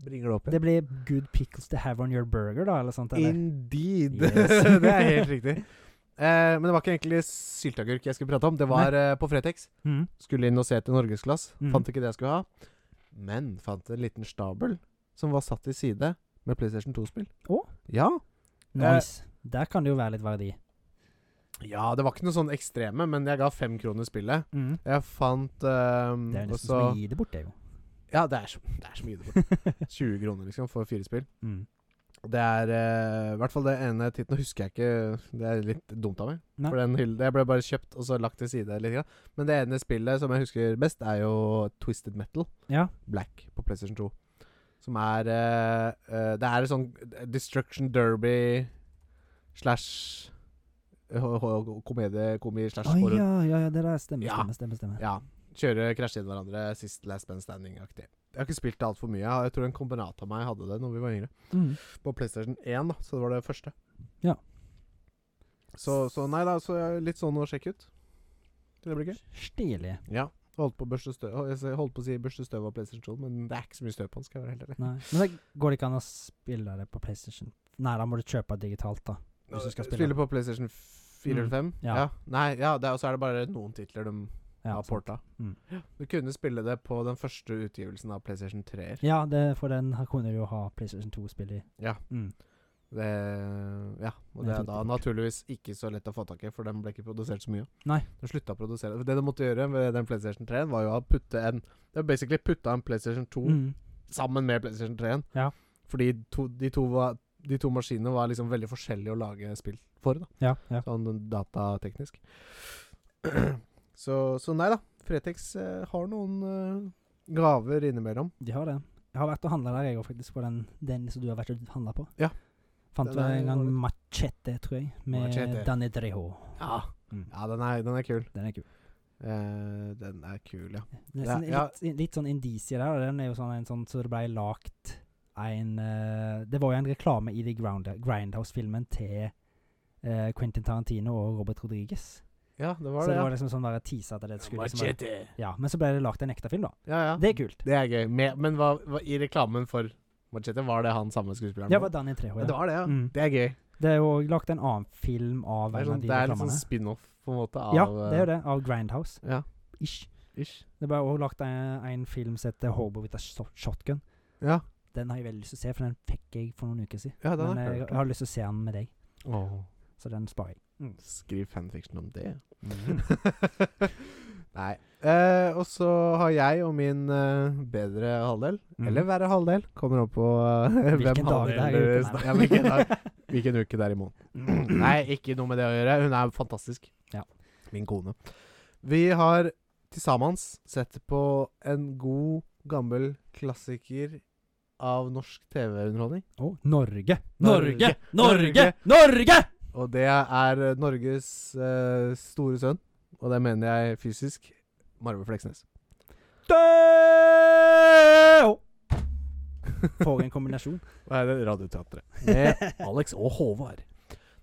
bringer det opp Det blir good pickles to have on your burger, da, eller sånt? Eller? Indeed! Yes. det er helt riktig. Eh, men det var ikke egentlig sylteagurk jeg skulle prate om. Det var eh, på Fretex. Mm. Skulle inn og se etter norgesglass. Mhm. Fant ikke det jeg skulle ha. Men fant en liten stabel som var satt til side med PlayStation 2-spill. Å? Ja. Eh. Nice. Der kan det jo være litt verdi. ja, det var ikke noe sånn ekstreme, men jeg ga fem kroner spillet. Mm. Jeg fant eh, Det er jo og nesten så, som å gi det bort, det, jo. Ja, det er, så, det er så mye. det var. 20 kroner, liksom, for fire spill. Mm. Det er eh, i hvert fall det ene tittelen. Nå husker jeg ikke Det er litt dumt av meg. Nei. For den hylle, Jeg ble bare kjøpt og så lagt til side litt. grann. Men det ene spillet som jeg husker best, er jo Twisted Metal Ja. Black på PlayStation 2. Som er eh, eh, Det er et sånn Destruction Derby slash h- h- Komedie komi slash Å horror. ja, ja, ja, det der stemmer, Ja. stemmer, stemmer. stemmer. Ja. Kjøre, krasje inn hverandre, sist last band standing-aktig. Jeg har ikke spilt det altfor mye. Jeg har- Jeg tror en kombinat av meg hadde det når vi var yngre. Mm. På PlayStation 1, da, så det var det første. Ja. Så, så nei da, så jeg er litt sånn å sjekke ut. Det blir gøy. Stilig. Ja. Holdt på, å børste støv, å, jeg s- holdt på å si børste støv av PlayStation, men det er ikke så mye støv på den, skal jeg være helt ærlig. Nei. Men det går det ikke an å spille det på PlayStation? Nei, da må du kjøpe det digitalt, da. Hvis du skal spille. på PlayStation 4 eller Mm, 5? ja. Nei, ja, det er- og så er det bare noen titler de Ja, har sant. porta. Mm. Du kunne spille det på den første utgivelsen av PlayStation 3-er. ja det, for den her kunne du jo ha PlayStation 2-spill i. Ja. Mm. Det, ja, og Men det jeg er tok da det bort. naturligvis ikke så lett å få tak i, for den ble ikke produsert så mye. Nei. Den slutta å produsere. Det de måtte gjøre ved den PlayStation 3-en, var jo å putte en Det var basically putta en PlayStation 2 Mm. sammen med PlayStation 3-en. Ja. Fordi to, de, to var, de to maskinene var liksom veldig forskjellige å lage spill for, da. Ja, ja. Sånn datateknisk. så, så nei da. Fretex eh, har noen eh, gaver innimellom. De har det. Jeg har vært og handla der, jeg òg, faktisk. På den, den som du har vært og handla på. Ja. Fant Den du er en gang dårlig. Machete, tror jeg, med Machete. Danny Trejo. Ja. Mm. Ja, den er, den er kul. Den er kul. Eh, den er kul, ja. Det er sånn, ja. Litt, litt sånn indisier der, og den er jo sånn en sånn så det blei lagt en eh, Det var jo en reklame i The Ground, Grindhouse-filmen til eh, Quentin Tarantino og Robert Rodriguez. Ja, det Så var det det. ja. var liksom sånn bare teaser at det skulle liksom være- Machete. Ja, men så ble det lagt en ekte film, da. Ja, ja. Det er kult. Det er gøy. Med, men hva, hva, i reklamen for Machete, var det han samme skuespilleren? Det var Danny Trejo. ja, det Ja. var det, ja. Mm. Det er gøy. Det er jo lagt en annen film av Det en er, av sånn, de det er litt sånn reklamene. spin-off, på en måte, av eh, Ja, det er jo det. Av Grindhouse. Ja. ish. Ish. Det ble også lagt en, en film som heter Hobo with a Shot- Shotgun. Ja, Den har jeg veldig lyst til å se, for den fikk jeg for noen uker siden. ja den Men har jeg, jeg jeg hørt. har lyst til å se den med deg, Åh. så den sparer jeg. Mm. Skriv fanfiction om det. Mm. Nei. Eh, og så har jeg og min eh, bedre halvdel, Mm. eller verre halvdel, kommer opp på eh, hvem Hvilken dag det er i halvdel dere uken, nei. snakker- ja, hvilken, dag, hvilken uke det er i måneden. Mm. Nei, ikke noe med det å gjøre. Hun er fantastisk. Ja. Min kone. Vi har til sammen sett på en god, gammel klassiker av norsk TV-underholdning. Å, Norge. Norge! Norge! Norge! Norge! Norge! Og det er eh, Norges eh, store sønn, og det mener jeg fysisk, Marve Fleksnes. Dø! For en kombinasjon. Nei, det er Radioteatret. Med Alex og Håvard.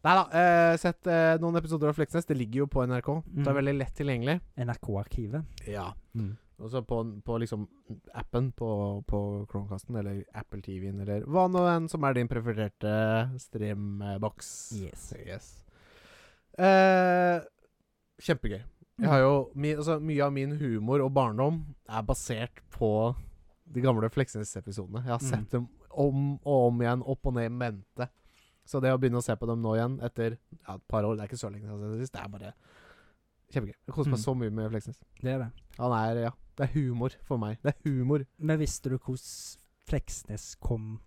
Nei da. Eh, sett eh, noen episoder av Fleksnes. Det ligger jo på NRK. Det er Mm. veldig lett tilgjengelig. NRK-arkivet. Ja. Mm. Og så på, på liksom appen på, på Chromecasten eller Apple TV-en eller hva nå enn som er din prefererte streamboks. Yes. yes. Eh, kjempegøy. Jeg Mm. har jo, mi, altså, mye av min humor og barndom er basert på de gamle Fleksnes-episodene. Jeg har Mm. sett dem om og om igjen, opp og ned i mente. Så det å begynne å se på dem nå igjen, etter ja, et par år Det er ikke så lenge siden jeg har sett det sist. Det er bare kjempegøy. Jeg koser meg Mm. så mye med Fleksnes. Det er det. Han er Ja. Det er humor for meg. Det er humor. Men visste du hvordan Fleksnes kom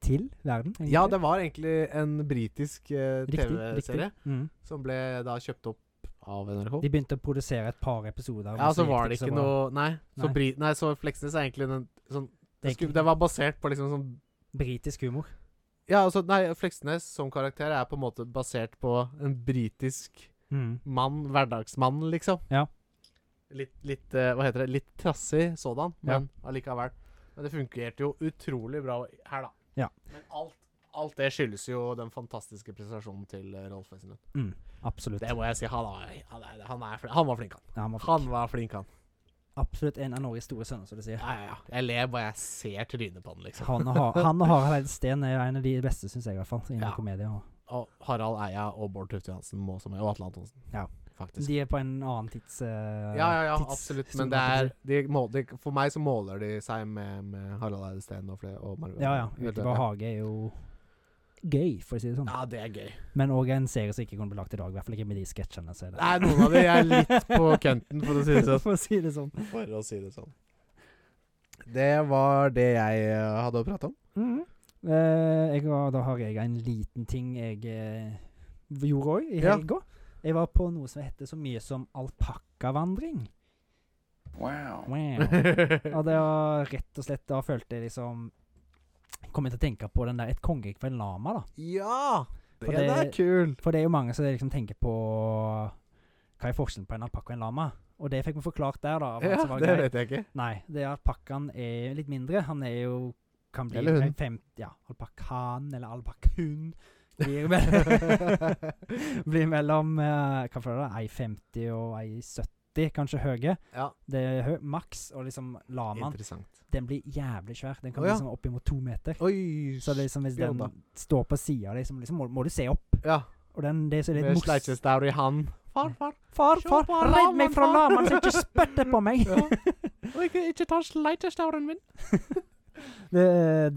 til verden? egentlig? Ja, det var egentlig en britisk eh, Riktig, TV-serie riktig. Mm. som ble da kjøpt opp av NRK. De begynte å produsere et par episoder. Ja, så var det ikke noe noe Nei. Så, Nei. Bri nei, så Fleksnes er egentlig den sånn det, Det er skulle, ikke- det var basert på liksom sånn Britisk humor. Ja, altså, nei, Fleksnes som karakter er på en måte basert på en britisk Mm. mann, hverdagsmann, liksom. Ja. Litt, litt eh, Hva heter det? Litt trassig sådan, Ja. men allikevel. Men det funkerte jo utrolig bra her, da. Ja. Men alt, alt det skyldes jo den fantastiske prestasjonen til eh, Rolf Wesenlund. Mm. Absolutt. Det må jeg si. Han, er, han, er, han, er, flink- han var flink, han. Ja, han var Han var flink, han. absolutt en av Norges store sønner, som du sier. Ja, ja, ja. Jeg ler bare jeg ser trynet på han, liksom. Han og, Har- han og Harald Eide Steen er en av de beste, syns jeg, i hvert fall. Innen Ja. komedie. og- Og Harald Eia og Bård Tufte Johansen må også med. Og Atle Antonsen. Ja. Faktisk. De er på en annen tids... eh, ja, ja, ja, tids- absolutt. sone, Men det holdt jeg er, på å de må, de, for meg så måler de seg med, med Harald Eide Steen og flere. Og Marve. si. Ja, ja. Vet du, Utenfor hage er jo gøy, for å si det sånn. ja, det er gøy. Men òg en serie som ikke kunne blitt lagt i dag. I hvert fall ikke med de sketsjene. så er det- Nei, noen av de er litt på kønten, for å si det sånn. For å si det sånn. For å si det sånn. Det var det jeg eh, hadde å prate om. Mhm. Eh, jeg har, da har jeg en liten ting jeg eh, gjorde òg i Ja. helga. Jeg var på noe som heter så mye som alpakkavandring. Wow. Wow. Og det var rett og slett Da følte jeg liksom Kom jeg til å tenke på den der Et kongerike for en lama, da. ja! For Den er det- kul. For det er jo mange som liksom tenker på Hva er forskjellen på en alpakka og en lama? Og det fikk vi forklart der, da. av han Ja, som var det guide. vet jeg ikke. Nei, det er alpakkaen er litt mindre. Han er jo kan bli Eller hunden. Fem, ja, alpakkan eller alpakkahund. Blir, mell- blir mellom eh, hva for det, 1,50 og 1,70 kanskje høye. Ja, Det er hø maks, og liksom lamaen interessant. Den blir jævlig svær. Den kan Å, ja. bli sånn oppimot to meter. Oi, Så det er liksom hvis den spjønn da. står på sida av deg, så liksom må, må du se opp. Ja, Og den, det er så litt med mos- sleikjestaur i hand. Far, far. Far, Se far, på han, redd meg lamaen, fra far. lamaen som ikke spytter på meg! Ja. Og ikke, ikke ta sleikjestauren min. Det,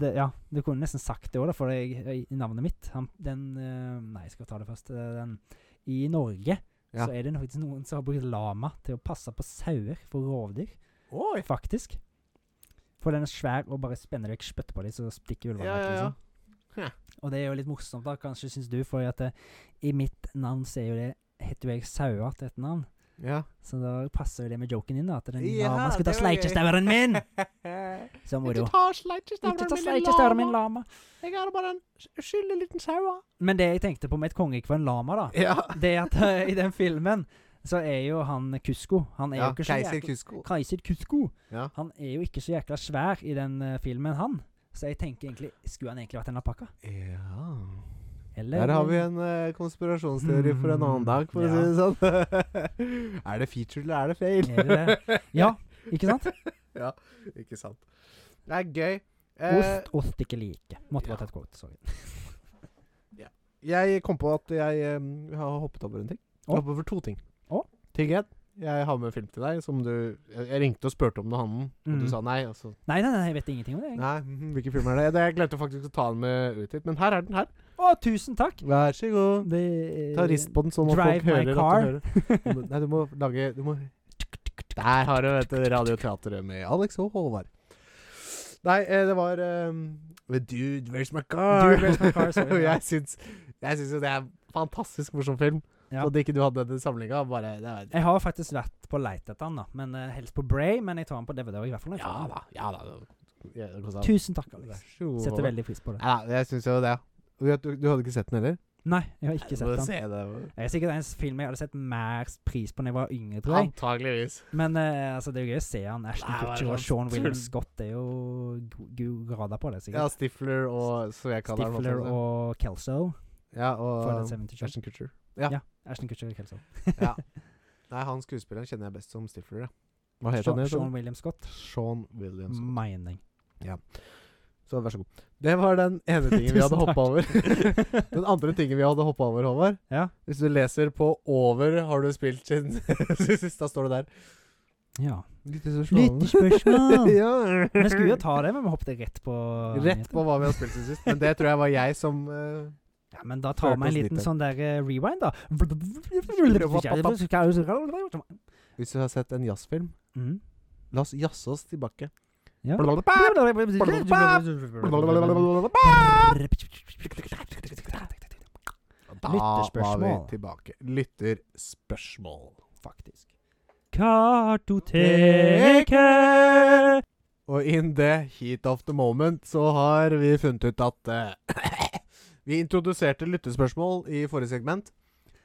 det, ja, du kunne nesten sagt det òg, for jeg, jeg- navnet mitt han, Den eh, Nei, jeg skal ta det først. eh, Den, I Norge Ja. så er det faktisk noen som har brukt lama til å passe på sauer for rovdyr, Oi. faktisk. For den er svær, og bare spenner du ikke spytt på dem, så stikker ulvene Ja, vekk. ja, liksom. ja. Og det er jo litt morsomt, da, kanskje, syns du, for at eh, i mitt navn så er jo det Heter jo jeg Saua til et navn, Ja. så da passer jo det med joken din, da. At den Ja, lama skal ta det var gøy. sleikjestauren min! Ikke Så moro. ta Ikke sleikjestauren ta min, sleikjestauren min, lama. Jeg er bare en skyldig liten saua. Men det jeg tenkte på med et kongerike for en lama, da, Ja. det er at eh, i den filmen så er jo han Kusko Han er ja. jo ikke så Keiser jækla Kusko. Keiser Kusko. Ja. Han er jo ikke så jækla svær i den eh, filmen, han. Så jeg tenker egentlig Skulle han egentlig vært en alpakka? Ja. Eller Der har vi en eh, konspirasjonsteori for en annen dag, for Ja. å si det sånn. er det feature eller er det fail? Er det Ja, ikke sant? Ikke sant. Det er gøy. Eh, Ost, ost ikke like. Måtte ja. bare ta et quote. Sorry. Jeg kom på at jeg eh, har hoppet over en ting. Jeg Å. hoppet over to ting. Å. Ting én Jeg har med film til deg som du Jeg jeg ringte og spurte om den handelen, og Mm. du sa nei. Og så Nei, nei, nei, jeg vet ingenting om det. jeg. Nei, mhm, hvilken film er det? det? Jeg glemte faktisk å ta den med ut hit, men her er den her. Å, tusen takk! Vær så god. Det, eh, Ta rist på den sånn at Drive folk my hører car. at du hører. Du må- Nei, du må lage du må Der har du vet du, Radioteatret med Alex og Håvard. Nei, eh, det var ehm, Dude, where's my car? Dude, Where's My Car, sorry, Og ja. jeg syns jeg syns jo det er en fantastisk morsom film. Ja. Så at ikke du hadde den samlinga, bare det er, Jeg har faktisk vært på leit etter den, da. Men eh, helst på Bray, men jeg tar den på DVD også, i hvert fall. når jeg Ja får den. da. Ja da. Ja, det kostet- Tusen takk, Vær Alex. så god, Setter Håvard. veldig pris på det. Ja, da, jeg syns jo det. Du, vet, du, du hadde ikke sett den heller? Nei, jeg har ikke Du må sett den. se det. Det er sikkert en film jeg hadde sett mer pris på da jeg var yngre, tror jeg. Antageligvis. Men eh, altså, det er jo gøy å se han. Ashton Nei, hva er det Kutcher og for Sean noe William tull? Scott det er jo go- gode grader på det, Ja, sikkert. Stifler og så jeg kaller han Stifler også. og Kelso. Ja, For og den 70 Ashton Kutcher. Ashton Kutcher og Kelso. Ja. Nei, han skuespilleren kjenner jeg best som Stifler, ja. Hva heter Sean, han? Sean igjen, William Scott. sånn? Sean Williams. Mining. Så vær så god. Det var den ene tingen vi hadde Tusen hoppa over. den andre tingen vi hadde hoppa over, Håvard Ja. Hvis du leser på 'over har du spilt siden sist', da står det der. ja. Lyttespørsmål. Lyttespørsmål! ja. Vi skulle jo ta det, men vi hoppet rett på Rett på hva vi har spilt siden sist. Men det tror jeg var jeg som eh, Ja, men da tar Førte vi en oss dit liten hen. sånn der eh, rewind, da. Hvis du har sett en jazzfilm, Mm. la oss jazze oss tilbake. Ja. Blablabla. Da var vi Lytterspørsmål. tilbake. Lytterspørsmål. Faktisk. Kartoteket Og in the heat of the moment så har vi funnet ut at eh, Vi introduserte lytterspørsmål i forrige segment.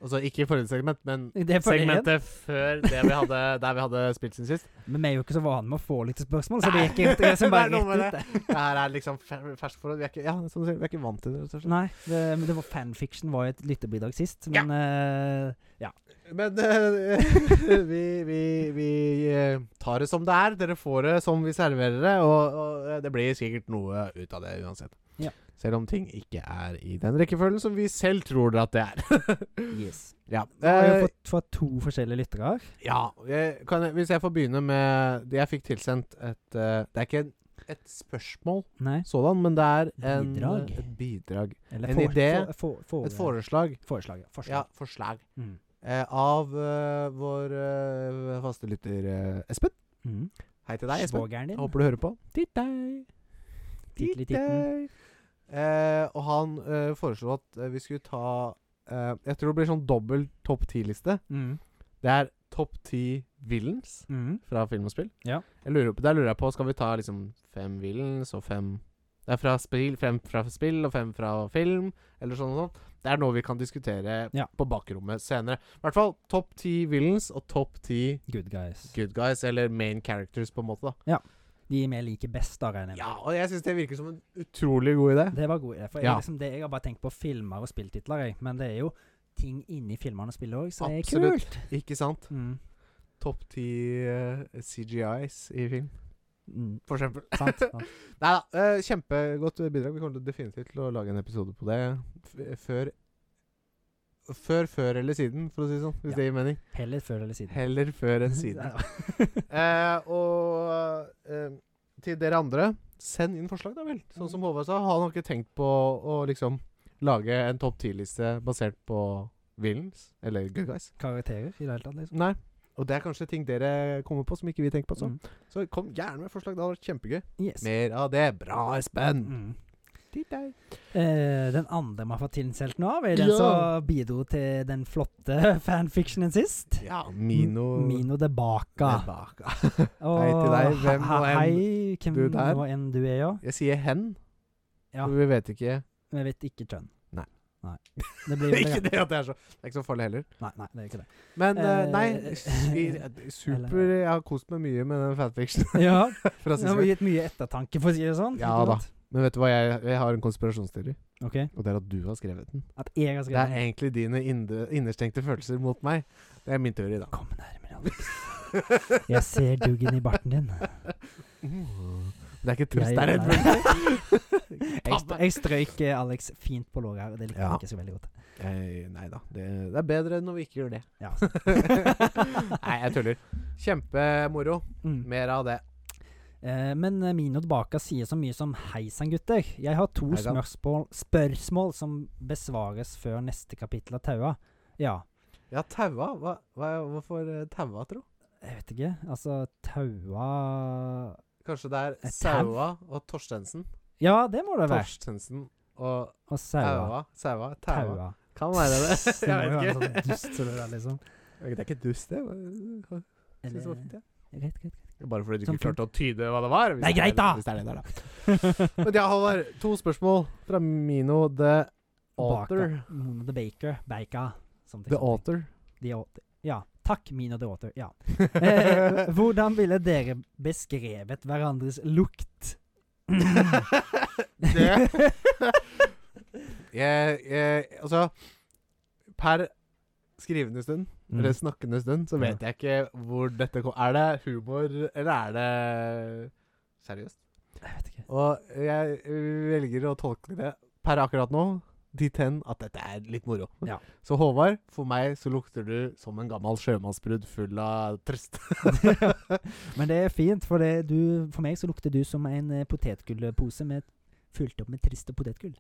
Altså ikke i forrige segment, men Det er for en. segmentet før det vi hadde, der vi hadde spilt sin sist. Men vi er jo ikke så vane med å få litt spørsmål, så det gikk ikke det som bare Det er noe med rett ut. Det her er liksom fer- ferskt for oss. Vi er ikke, ja, som du sier, vi er ikke vant til det. rett og slett. Nei, det, men det var fanfiction var jo et lytterbidrag sist, Ja. men eh, Men eh, vi, vi, vi eh, tar det som det er. Dere får det som vi serverer det, og, og eh, det blir sikkert noe ut av det uansett. Ja. Selv om ting ikke er i den rekkefølgen som vi selv tror at det er. yes. ja. Vi har jo Eh, fått fra to forskjellige lyttere. ja jeg, kan jeg, hvis jeg får begynne med det jeg fikk tilsendt et eh, Det er ikke en, et spørsmål Nei. sådan, men det er en, Bidrag. et bidrag. Eller En for, idé, For, for, for, Et foreslag. foreslag. ja. Forslag. Ja, forslag. Mm. Eh, av eh, vår eh, faste lytter eh, Espen. Mm. Hei til deg, Espen. Svogeren din. Jeg håper du hører på. Titt deg. Titteli Titt titten. deg. Eh, og han eh, foreslo at eh, vi skulle ta eh, Jeg tror det blir sånn dobbel topp ti-liste. Mm. Det er topp ti villains Mm. fra film og spill. Ja. Jeg lurer på, der lurer jeg på Skal vi ta liksom fem villains og fem Det er fra spill, fem fra spill og fem fra film, eller sånn og sånn. Det er noe vi kan diskutere Ja. på bakrommet senere. I hvert fall topp ti villains og topp ti Good guys. good guys, eller main characters, på en måte. da De vi liker best, da, regner jeg med. Ja, og jeg syns det virker som en utrolig god idé. Det var god idé. For jeg, Ja. liksom, det, jeg har bare tenkt på filmer og spilltitler, jeg. Men det er jo ting inni filmene og spillet òg, så det er Absolutt. kult. Ikke sant? Mm. Topp ti eh, CGIs i film, Mm. for eksempel. Sant. sant. Nei da, eh, kjempegodt bidrag. Vi kommer til definitivt til å lage en episode på det f før Før før eller siden, for å si det sånn. Hvis Ja. det gir mening. Heller før eller siden. Heller før enn siden. Eh, og eh, til dere andre, send inn forslag, da vel. Sånn som Håvard sa, han har ikke tenkt på å liksom lage en topp ti-liste basert på villains, eller good guys. Karakterer i det hele tatt, liksom. Nei. Og det er kanskje ting dere kommer på som ikke vi tenker på. Mm. sånn. Så, så kom gjerne med forslag. Det hadde vært kjempegøy. Yes. Mer av det. Bra, Espen! Mm. Titt deg. Eh, den andre vi har fått tilsendt nå, er den Ja. som bidro til den flotte fanfictionen sist. Ja, Mino Mino de Baca. Nebaka. Og Hei til deg, hvem he- og en Hei, hvem du der? og en du er, ja. Jeg sier hen, Ja. for vi vet ikke Vi vet ikke kjønn. Nei. Nei. Det blir Ikke det at det er så Det er ikke så farlig heller. Nei, nei, det er ikke det. Men eh, Eh, nei, vi- super Jeg har kost meg mye med den fanfiction Ja, fra det sist har gang. gitt mye ettertanke, for å si det sånn. Ja ikke da. sant? Men vet du hva, jeg, jeg har en konspirasjonsteori, Ok, og det er at du har skrevet den. At jeg har Det er skrevet den. egentlig dine indre- innerstengte følelser mot meg. Det er min teori, da. Kom nærmere, Alex. Jeg ser duggen i barten din. Det er ikke trøst, Jeg- det er nei. Jeg, et st jeg strøyk eh, Alex fint på låret her, og det likte Ja. jeg ikke så veldig godt. Nei da. Det, det er bedre enn når vi ikke gjør det. Ja. Nei, jeg tuller. Kjempemoro. Mm. Mer av det. Eh, men eh, Mino tilbake sier så mye som 'Hei sann, gutter'. Jeg har to Heisann. smørspål, spørsmål som besvares før neste kapittel av Taua. Ja, Ja, taua. Hva, hva, hvorfor eh, taua, tro? jeg vet ikke. Altså, Taua Kanskje det Eh, tau? er Saua og Torstensen? Ja, det må det være. Torstensen og Og Saua. Taua. Saua. Taua. Taua. Kan være det. Det må jo være Jeg vet sånn ikke. dust som det der, liksom. Det er ikke dust, det. Jeg synes det var fint, Eller, jeg. greit, greit, greit. Det er Bare fordi du Som ikke klarte å tyde hva det var. hvis Nei, det er- greit da! Hvis det er det der, da. Men ja, Halvard. To spørsmål fra Mino the Author. Baka. Mono the Baker. Baka. Som The Author. The Author. Ja. Takk, Mino the Author. Ja. Eh, hvordan ville dere beskrevet hverandres lukt? det Mm. jeg, jeg, Altså, per skrivende stund, Mm. eller snakkende stund, så vet jeg ikke hvor dette kom Er det humor, eller er det seriøst? Jeg vet ikke. Og jeg velger å tolke det per akkurat nå dit hen at dette er litt moro. Ja. Så Håvard, for meg så lukter du som en gammel sjømannsbrudd full av trist. Men det er fint, for, det du, for meg så lukter du som en eh, potetgullpose med, fylt opp med triste potetgull.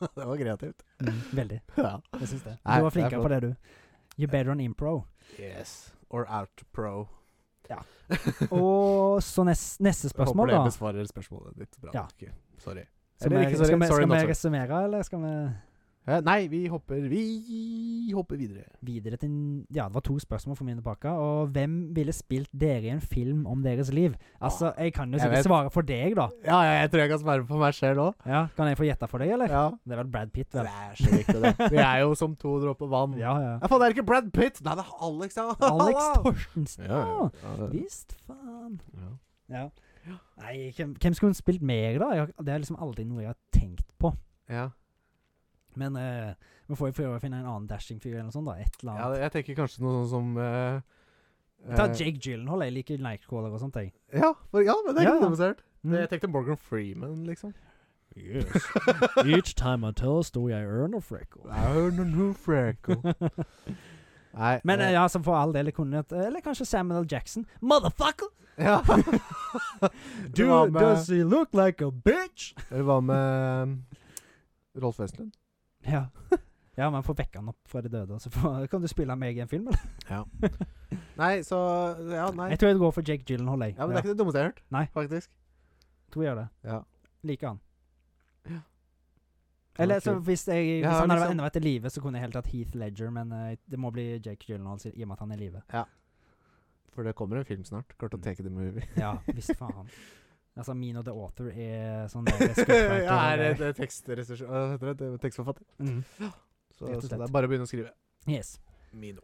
det var kreativt. Mm, veldig. Ja. Jeg syns det. Nei, Du var det er flinkere på det, du. You're better on impro. Yes. Or out pro. Ja. Og så nest, neste spørsmål, Håper da. det besvarer spørsmålet ditt bra. Ja. Ikke. Sorry. Skal Eller vi, ikke, sorry. skal vi, Sorry, skal not vi sorry. resumere, eller skal vi Eh, Nei, vi hopper Vi hopper videre. videre til n- Ja, det var to spørsmål for mine pakker. Og hvem ville spilt dere i en film om deres liv? Altså, jeg kan jo Jeg vet. sikkert svare for deg, da. Ja, ja, jeg tror jeg kan svare på meg selv òg. Ja, Kan jeg få gjette for deg, eller? Ja. Det er vel Brad Pitt, Det vel? er så viktig, det. Vi er jo som to dråper vann. Ja, ja. Ja, faen, det er ikke Brad Pitt! Nei, det er Alex, ja. Alex Ah, Hallo! Torstensen. Ja, Ja, ja, ja. visst faen. Ja. Ja. Nei, hvem, hvem skulle hun spilt mer, da? Jeg, har- det er liksom aldri noe jeg har tenkt på. Ja. Men eh, vi får jo prøve å finne en annen dashing-fyr eller noe sånt, da. Et eller ja, annet. jeg tenker kanskje noe sånn som eh, Ta eh, Jake Gyllenhaal, jeg liker Nightcrawler og sånt, jeg. Ja, for, ja, men det er Ja. ikke komplisert. Mm. Jeg tenkte Morgan Freeman, liksom. Each time I tell a story, I earn a freckle. Nei, Men eh, eh, ja, som for all del jeg kunne et, Eller kanskje Samuel L. Jackson. Motherfucker! ja. Det var med- he look like a bitch? Eller hva med eh, Rolf Westlund? Ja. Ja, man får vekke han opp fra de døde, og så får, kan du spille meg i en film, eller? Nei, så Ja, nei. Jeg tror jeg går for Jake Gyllenhaal, jeg. Ja, men Det er ikke det dummeste jeg har hørt, Nei. faktisk. Tror jeg gjør det. Ja. Liker han. Ja. Eller Ja, så kult. hvis, jeg, hvis Ja, han hadde liksom. ennå vært i live, så kunne jeg helt tatt Heath Ledger, men eh, det må bli Jake Gyllenhaal i og med at han er i live. For det kommer en film snart. Kartoteket the Movie. Ja, visst faen. Altså, Mino the Author er sånn der scriptwriter, ja, er eller- det det er tekstregissør Hva heter det? det? er Tekstforfatter. Mm. Så, Rett og så slett. det er bare å begynne å skrive. Yes. Mino.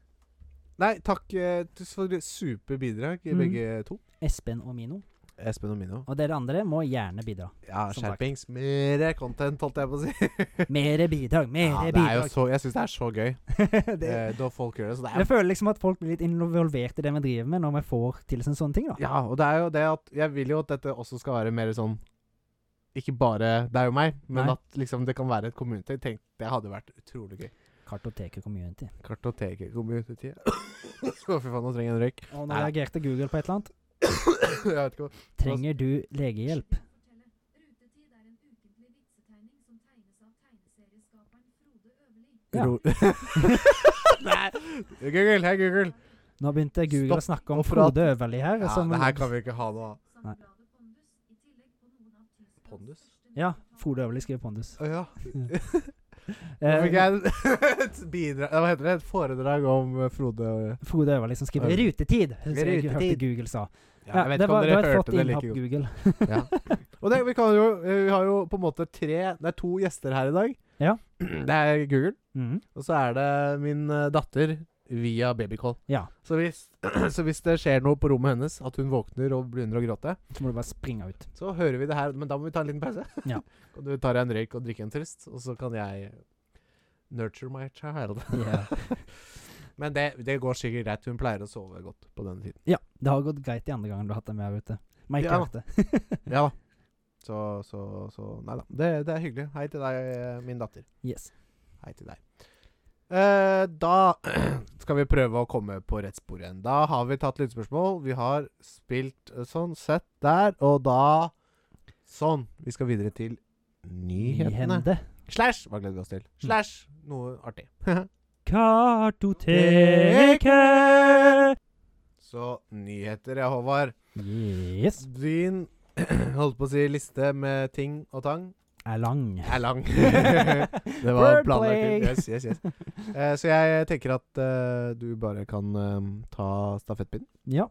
Nei, takk eh, tusen for super bidrag, Mhm. begge to. Espen og Mino. Espen og Mino. Og dere andre må gjerne bidra. Ja, Som sagt. skjerpings. Mere content, holdt jeg på å si. Mere bidrag, Ja, mere det er jo Eh, bidrag. så, jeg syns det er så gøy det, eh, da folk gjør det. Så det jeg er, føler liksom at folk blir litt involvert i det vi driver med, når vi får til sånne, sånne ting, da. ja, og det er jo det at Jeg vil jo at dette også skal være mer sånn Ikke bare deg og meg, men Nei. at liksom det kan være et community. Tenk, det hadde vært utrolig gøy. Kartoteket community. Kartoteket-community. Å, fy faen, nå trenger jeg en røyk. Og nå Nei. reagerte Google på et eller annet. jeg vet ikke hva Trenger du legehjelp? Ja. Ro- Nei, Google, hei, Google. Nå begynte Google Stopp å snakke om og prat. Frode Øverli her. Ja, som- det her kan vi ikke ha noe av. Pondus? ja, Frode Øverli skriver Pondus. Å ja. Nå fikk Eh, jeg et bidrag Hva heter det? Et foredrag om eh, Frode og Frode Øverli som skriver Øverli. Rutetid! Som jeg Rutetid. hørte Google sa. Ja, jeg vet det ikke om var, det dere var et flott hørte det like innhopp, godt. Google. Og det, vi, kan jo, eh, vi har jo på en måte tre Det er to gjester her i dag. Ja. Det er Google, Mhm. og så er det min eh, datter via babycall. Ja. Så hvis, så hvis det skjer noe på rommet hennes, at hun våkner og begynner å gråte, Så må du bare springe ut. så hører vi det her. Men da må vi ta en liten pause. Ja. Kan du ta deg en røyk og drikke en trist, og så kan jeg nurture my child. Ja. Men det, det går sikkert greit. Hun pleier å sove godt på denne tiden. ja, det har gått greit de andre gangen du har hatt dem med her ute. Mike Ja. har hørt det. Ja da. Så, så, så Nei da. Det, det er hyggelig. Hei til deg, eh, min datter. Yes. Hei til deg. Eh, da skal vi prøve å komme på rett spor igjen. Da har vi tatt lyttespørsmål. Vi har spilt eh, sånn, sett der, og da Sånn. Vi skal videre til nyhetene. Nyhende. Mm. Slash. Hva gleder vi oss til? Slash. Noe artig. Kartoteket. Så nyheter, ja, Håvard. Yes. Din holdt på å si liste med ting og tang Er lang. er lang. det var Wordplay. planlagt. Yes, yes, yes. Eh, så jeg tenker at eh, du bare kan eh, ta stafettpinnen. Ja.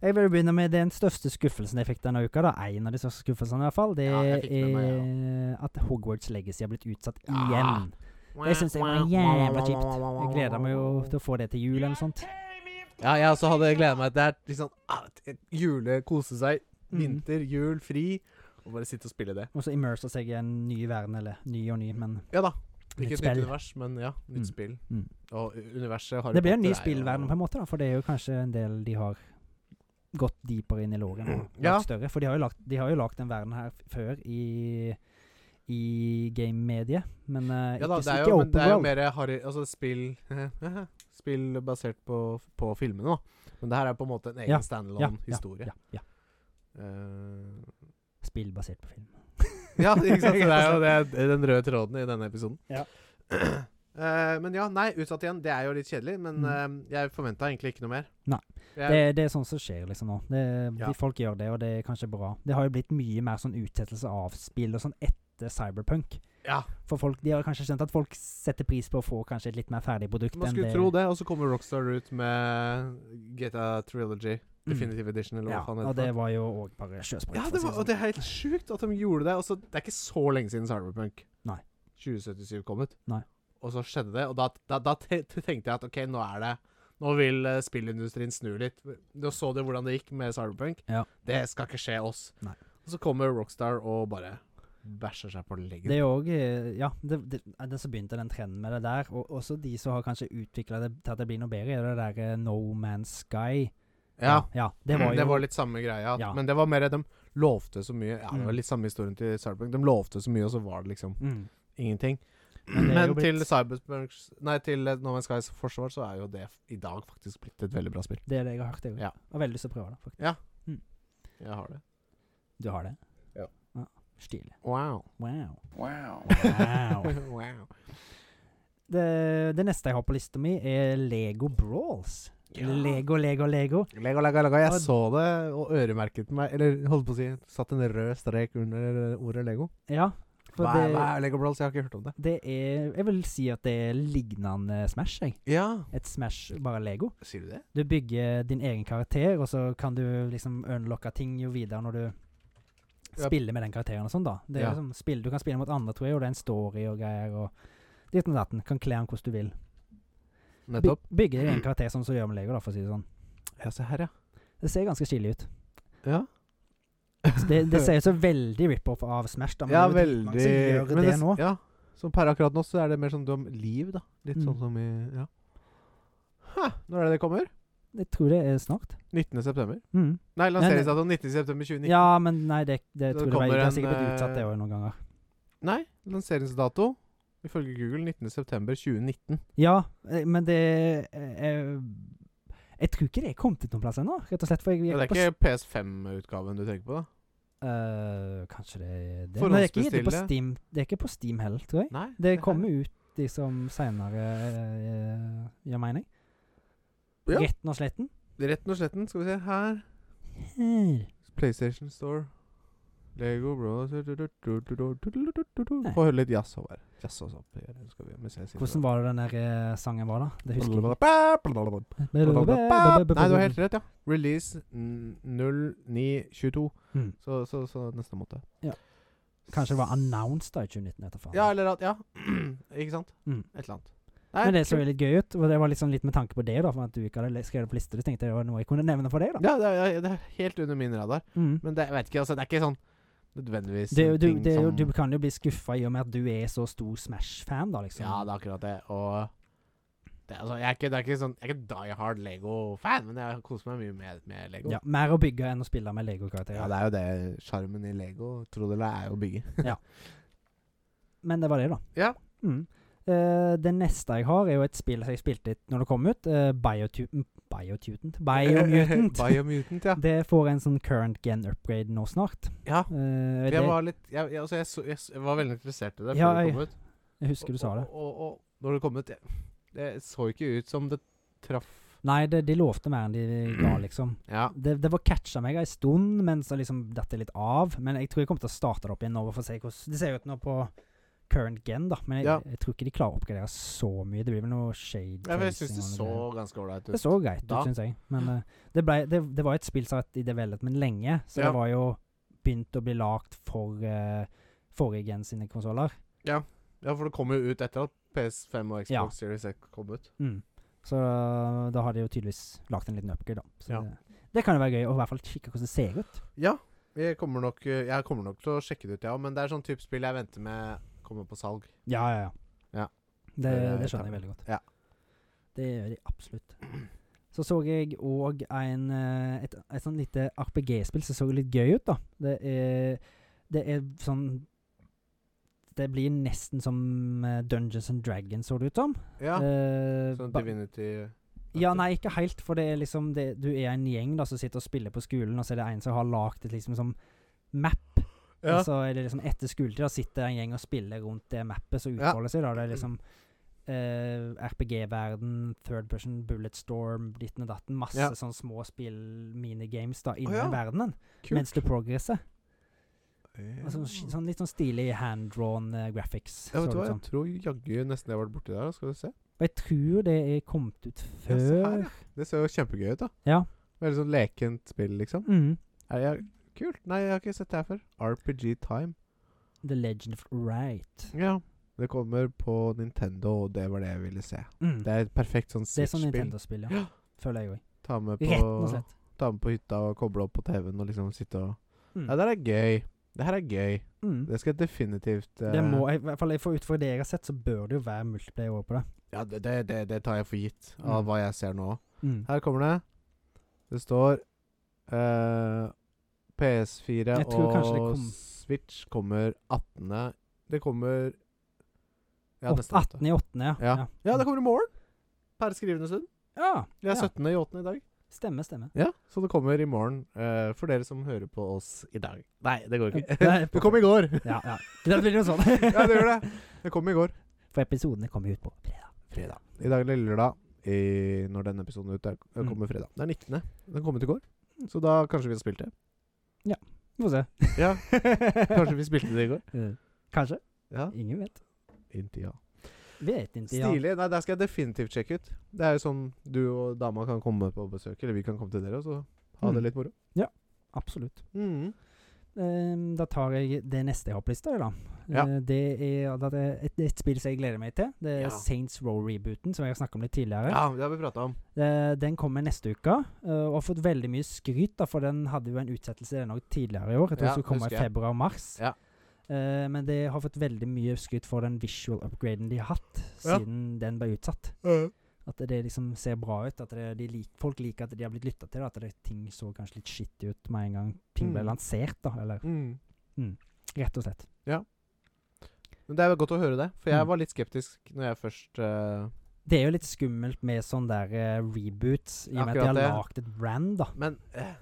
Jeg vil begynne med den største skuffelsen jeg fikk denne uka. da, En av de største skuffelsene, i hvert fall. Det Ja, jeg fikk Ah. med meg, er at Hogwarts Legacy har blitt utsatt Ja. igjen. Det syns jeg var jævla kjipt. Jeg gleder meg jo til å få det til jul eller noe sånt. Ja, jeg også hadde gleda meg til det er liksom ah, et jule, kose seg, Mm. vinter, jul, fri. Og bare sitte og spille det. Og så immerser seg i en ny verden, eller ny og ny, men Ja da. Nytt Ikke et nytt spill. univers, men ja, Mm. nytt spill. Mm. Og u- universet Harry Det blir en ny Potter er jo- spillverden på en måte, da, for det er jo kanskje en del de har gått dypere inn i låren og lagt Ja. større. For de har jo lagt, de har jo lagt den verden her f- før i, i game-mediet, men eh, Ja ikke, da, det er ikke jo, men open det er jo world. mer Harry Altså spill Spill basert på, på filmene, da. Men det her er på en måte en egen Ja, ja, standalone-historie. ja, ja. Eh, Spill basert på film. Ja, ikke sant? Så Det er jo det, det er den røde tråden i denne episoden. Sånn. Ja. Eh, men ja, nei, utsatt igjen. Det er jo litt kjedelig, men Mm. eh, jeg forventa egentlig ikke noe mer. Nei. Jeg, Det, det er sånn som skjer liksom nå. Det, Ja. de Folk gjør det, og det er kanskje bra. Det har jo blitt mye mer sånn utsettelse av spill og sånn etter Cyberpunk. ja, For folk, De har kanskje skjønt at folk setter pris på å få kanskje et litt mer ferdig produkt. man enn skulle det- tro det, og så kommer Rockstar ut med GTA Trilogy Mm. Definitive Edition, eller Ja, hva faen og heter det det. var jo òg bare sjøsprøyt. Ja, for å det, si sånn. var, og det er helt sjukt at de gjorde det. Og så, det er ikke så lenge siden Cyberpunk Nei. 2077 kom ut. Nei. Og så skjedde det, og da, da, da te- tenkte jeg at OK, nå er det Nå vil eh, spillindustrien snu litt. Nå så du hvordan det gikk med Cyberpunk. Ja. Det skal ikke skje oss. Nei. Og så kommer Rockstar og bare bæsjer seg på leggen. Det er òg Ja, det, det, er den som begynte den trenden med det der, og også de som har kanskje utvikla det til at det blir noe bedre, er det der eh, No Man's Sky. ja. Mm, ja det var jo litt samme greia. Ja. Men det var mer De lovte så mye. Ja, det Mm. var litt samme historien til Cyberpunk. De lovte så mye, og så var det liksom mm. ingenting. Men Men, det er jo til blitt- Cyberpunks Nei, til eh, No Man's Skies forsvar så er jo det f- i dag faktisk blitt et veldig bra spill. Det er det jeg har hørt. Jeg Ja. ja. har veldig lyst til å prøve det. faktisk. Jeg har det. Du har det? Ja. Stilig. Wow. Wow. Wow. wow. wow. Det, det neste jeg har på lista mi, er Lego Brawls. Lego, Lego, Lego. Lego, Lego, Lego. Jeg Og- så det og øremerket meg Eller holdt på å si satt en rød strek under ordet Lego. Ja. For Hva er, det, hva er Lego Brawls? Jeg har ikke hørt om det. det er Jeg vil si at det er lignende Smash, jeg. Ja. Et Smash, bare Lego. Sier du det? Du bygger din egen karakter, og så kan du liksom unlocke ting jo videre når du Ja. spiller med den karakteren og sånn, da. Det er Ja. liksom spill, du kan spille mot andre, tror jeg, og det er en story og greier. og Ditt og datten. Kan kle den hvordan du vil. By Nettopp. bygge din egen karakter sånn som du gjør med Lego, da, for å si det sånn. Ja, se her, ja. Det ser ganske stilig ut. Ja, Så Det, det ser jo så veldig rip-off av Smash, da. Men ja det er jo dritmange veldig Som gjør det, s- nå. Ja. Som per akkurat nå, så er det mer sånn du om liv, da. Litt Mm. sånn som i Ja. Ha, når er det det kommer? Jeg tror det er snart. 19. september. Mm. Nei, Nei, lanseringsdato 19. september 2019. Ja, men nei, det, det, Så tror det jeg det var kommer Det en, har sikkert blitt utsatt, det eh, òg, noen ganger. Nei, lanseringsdato ifølge Google 19. september 2019. Ja, eh, men det eh, Jeg tror ikke det er kommet ut noen plass ennå, rett og slett. For jeg, jeg Ja, det gikk på er ikke PS5-utgaven du tenker på, da? Eh, kanskje det er det. Men det er, ikke, det, er på Forhåndsbestille. Steam, det er ikke på Steam heller, tror jeg. Nei. Det her- kommer ut liksom seinere, uh, gjør mening. Ja. Retten og sletten. Retten og sletten, skal vi se her. Her. PlayStation Store. Lego Bros Nei. Få høre litt jazz over. Jazz også opp her, skal vi, mens jeg sitter Hvordan var det den der eh, sangen var, da? Det husker jeg ikke. Blablabla. Nei, Nei, du har helt rett, ja. Release mm, 0922. Mm. Så, så, så neste måte. Kanskje det var announced da i 2019, etter faen. Ja, eller at Ja. Ikke sant? Mm. Et eller annet. Men det så kult. jo litt gøy ut, og det var liksom litt med tanke på det, da, for at du ikke hadde le- skrevet på liste. Så tenkte jeg det var noe jeg kunne nevne for deg, da. ja, det, er, det er helt under min radar. Mm. Men det, jeg vet ikke, altså, det er ikke sånn nødvendigvis Det, er jo- en du, ting det, er jo- som- du kan jo bli skuffa i og med at du er så stor Smash-fan, da, liksom. Ja, det er akkurat det. Og det, er altså, jeg, er ikke, det er ikke sånn, jeg er ikke die hard Lego-fan, men jeg koser meg mye med, med Lego. Ja, mer å bygge enn å spille med Ja, Lego-karakterer. det er jo det sjarmen i Lego, tro det eller ei, er å bygge. Men det var det, da. Ja. Mm. Eh, det neste jeg har, er jo et spill som jeg spilte litt når det kom ut. eh, Biotu- Biotutant? Biomutant. Biomutant, ja. Det får en sånn current gen upgrade nå snart. ja. Eh, For det, Jeg var litt jeg, jeg, altså jeg, så, jeg, s- jeg var veldig interessert i det før Ja, det jeg- kom ut. jeg husker du sa det. Og, og, og, og når det kom ut det, det så ikke ut som det traff Nei, det, de lovte mer enn de ga, liksom. Ja. Det, det var catcha meg ei stund, men så liksom datt det litt av. Men jeg tror jeg kommer til å starte det opp igjen nå. For å se hvordan, det ser jo ut nå på current gen, da. Men jeg, Ja. jeg tror ikke de klarer å oppgradere så mye. Det blir vel noe shade ja for jeg tracing syns det og noe så greier. ganske ålreit Det ut. så greit ut, Da. syns jeg. Men eh, det, ble, det, det var et spill som var i development lenge, så Ja. det var jo begynt å bli lagd for eh, forrige gen sine konsoller. Ja, for det kom jo ut etter at PS5 og Xbox Ja. Series X kom ut. Mm. Så eh, da har de jo tydeligvis lagd en liten upgrade, da. Så Ja. det, det kan jo være gøy å i hvert fall kikke hvordan det ser ut. Ja. Jeg kommer nok, eh, jeg kommer nok til å sjekke det ut, jeg òg. Men det er sånn type spill jeg venter med kommer på salg. Ja, ja, ja. Ja. Det, Det- det skjønner jeg veldig godt. Ja. Det gjør de absolutt. Så så jeg òg en eh, et, et sånn lite RPG-spill som så litt gøy ut, da. Det er, det er sånn Det blir nesten som eh, Dungeons and Dragons, så det ut som. Ja. Eh, Sånn ba- Divinity ja, nei, ikke helt, for det er liksom det, Du er en gjeng da som sitter og spiller på skolen, og så er det en som har lagd et liksom som map. Ja. Og så er det liksom etter skoletid da sitter en gjeng og spiller rundt det mappet som Ja. utfolder seg. da Det er liksom eh, RPG-verden, third person, bullet storm, ditten og datten. Masse Ja. sånn små spill, minigames, da innen ja. verdenen. Kult. Mens du progresser. Og Sånn, Ja. sånn litt sånn stilig hand-drawn eh, graphics. Ja, vet så du det sånn- hva, ut jeg som. tror jaggu nesten jeg har vært borti der. da. Skal vi se. Og jeg tror det er kommet ut Ja, før. se her, ja. Det ser jo kjempegøy ut, da. Ja. Veldig sånn lekent spill, liksom. Mm. Er jeg, kult. Nei, jeg har ikke sett det her før. RPG Time. The Legend of Right. Ja. Det kommer på Nintendo, og det var det jeg ville se. Mm. Det er et perfekt sånn Det er sånn Switch-spill. Nintendo-spill, ja. Ja. Føler jeg òg. Ta, med Rett og på- slett. ta med på hytta og koble opp på TV-en og liksom sitte og Mm. Ja, det her er gøy. Det her er gøy. Mm. Det skal jeg definitivt eh, Det må, i hvert fall for ut fra det jeg har sett, så bør det jo være multiplayer over på det. Ja, det, det, det, det tar jeg for gitt av Mm. hva jeg ser nå. Mm. Her kommer det. Det står eh, PS4 Jeg tror kanskje det og kom- Switch kommer 18. Det kommer Ja, Åt- neste måned. 18 i 8. Ja. Ja. Ja, det kommer i morgen. Per skrivende stund. ja. Det er ja. 17. i 8. i dag. Stemmer, stemmer. Ja, Så det kommer i morgen eh, for dere som hører på oss i dag. Nei, det går ikke. Nei, det kom i går! Ja, ja. Det blir jo sånn. ja, det gjør det. Det kom i går. For episodene kommer jo ut på fredag. Fredag. I dag er det lørdag. I, når denne episoden er ute, er- Mm. kommer fredag. Det er 19. Den kom ut i går. Så da kanskje vi har spilt det. Vi får se. Ja, Kanskje vi spilte det i går. Eh, Kanskje. Ja. Ingen vet. Inntil ja. Vet ikke. Ja. Stilig. Nei, der skal jeg definitivt sjekke ut. Det er jo sånn du og dama kan komme på besøk, eller vi kan komme til dere, og så ha Mm. det litt moro. Absolutt. Mm. Ehm, da tar jeg det neste jeg har på lista, jeg, da. Ja. Eh, det er, da det er et, et spill som jeg gleder meg til. Det er Ja. Saints Row-rebooten, som jeg har snakka om litt tidligere. Ja, det har vi prata om. Eh, Den kommer neste uke, eh, og har fått veldig mye skryt, da, for den hadde jo en utsettelse den også tidligere i år. Jeg tror den Ja, skulle komme i husker jeg. februar-mars. Ja. men det har fått veldig mye skryt for den visual upgraden de har hatt Ja. siden den ble utsatt. At det liksom ser bra ut, at det, de lik, folk liker at de har blitt lytta til. da, At det, ting så kanskje litt skittig ut med en gang ting ble Mm. lansert, da. Eller Mm. rett og slett. Men det er jo godt å høre det, for Mm. jeg var litt skeptisk når jeg først eh, Det er jo litt skummelt med sånn der eh, reboots, i og med at de Akkurat har det. lagd et brand, da. Men eh,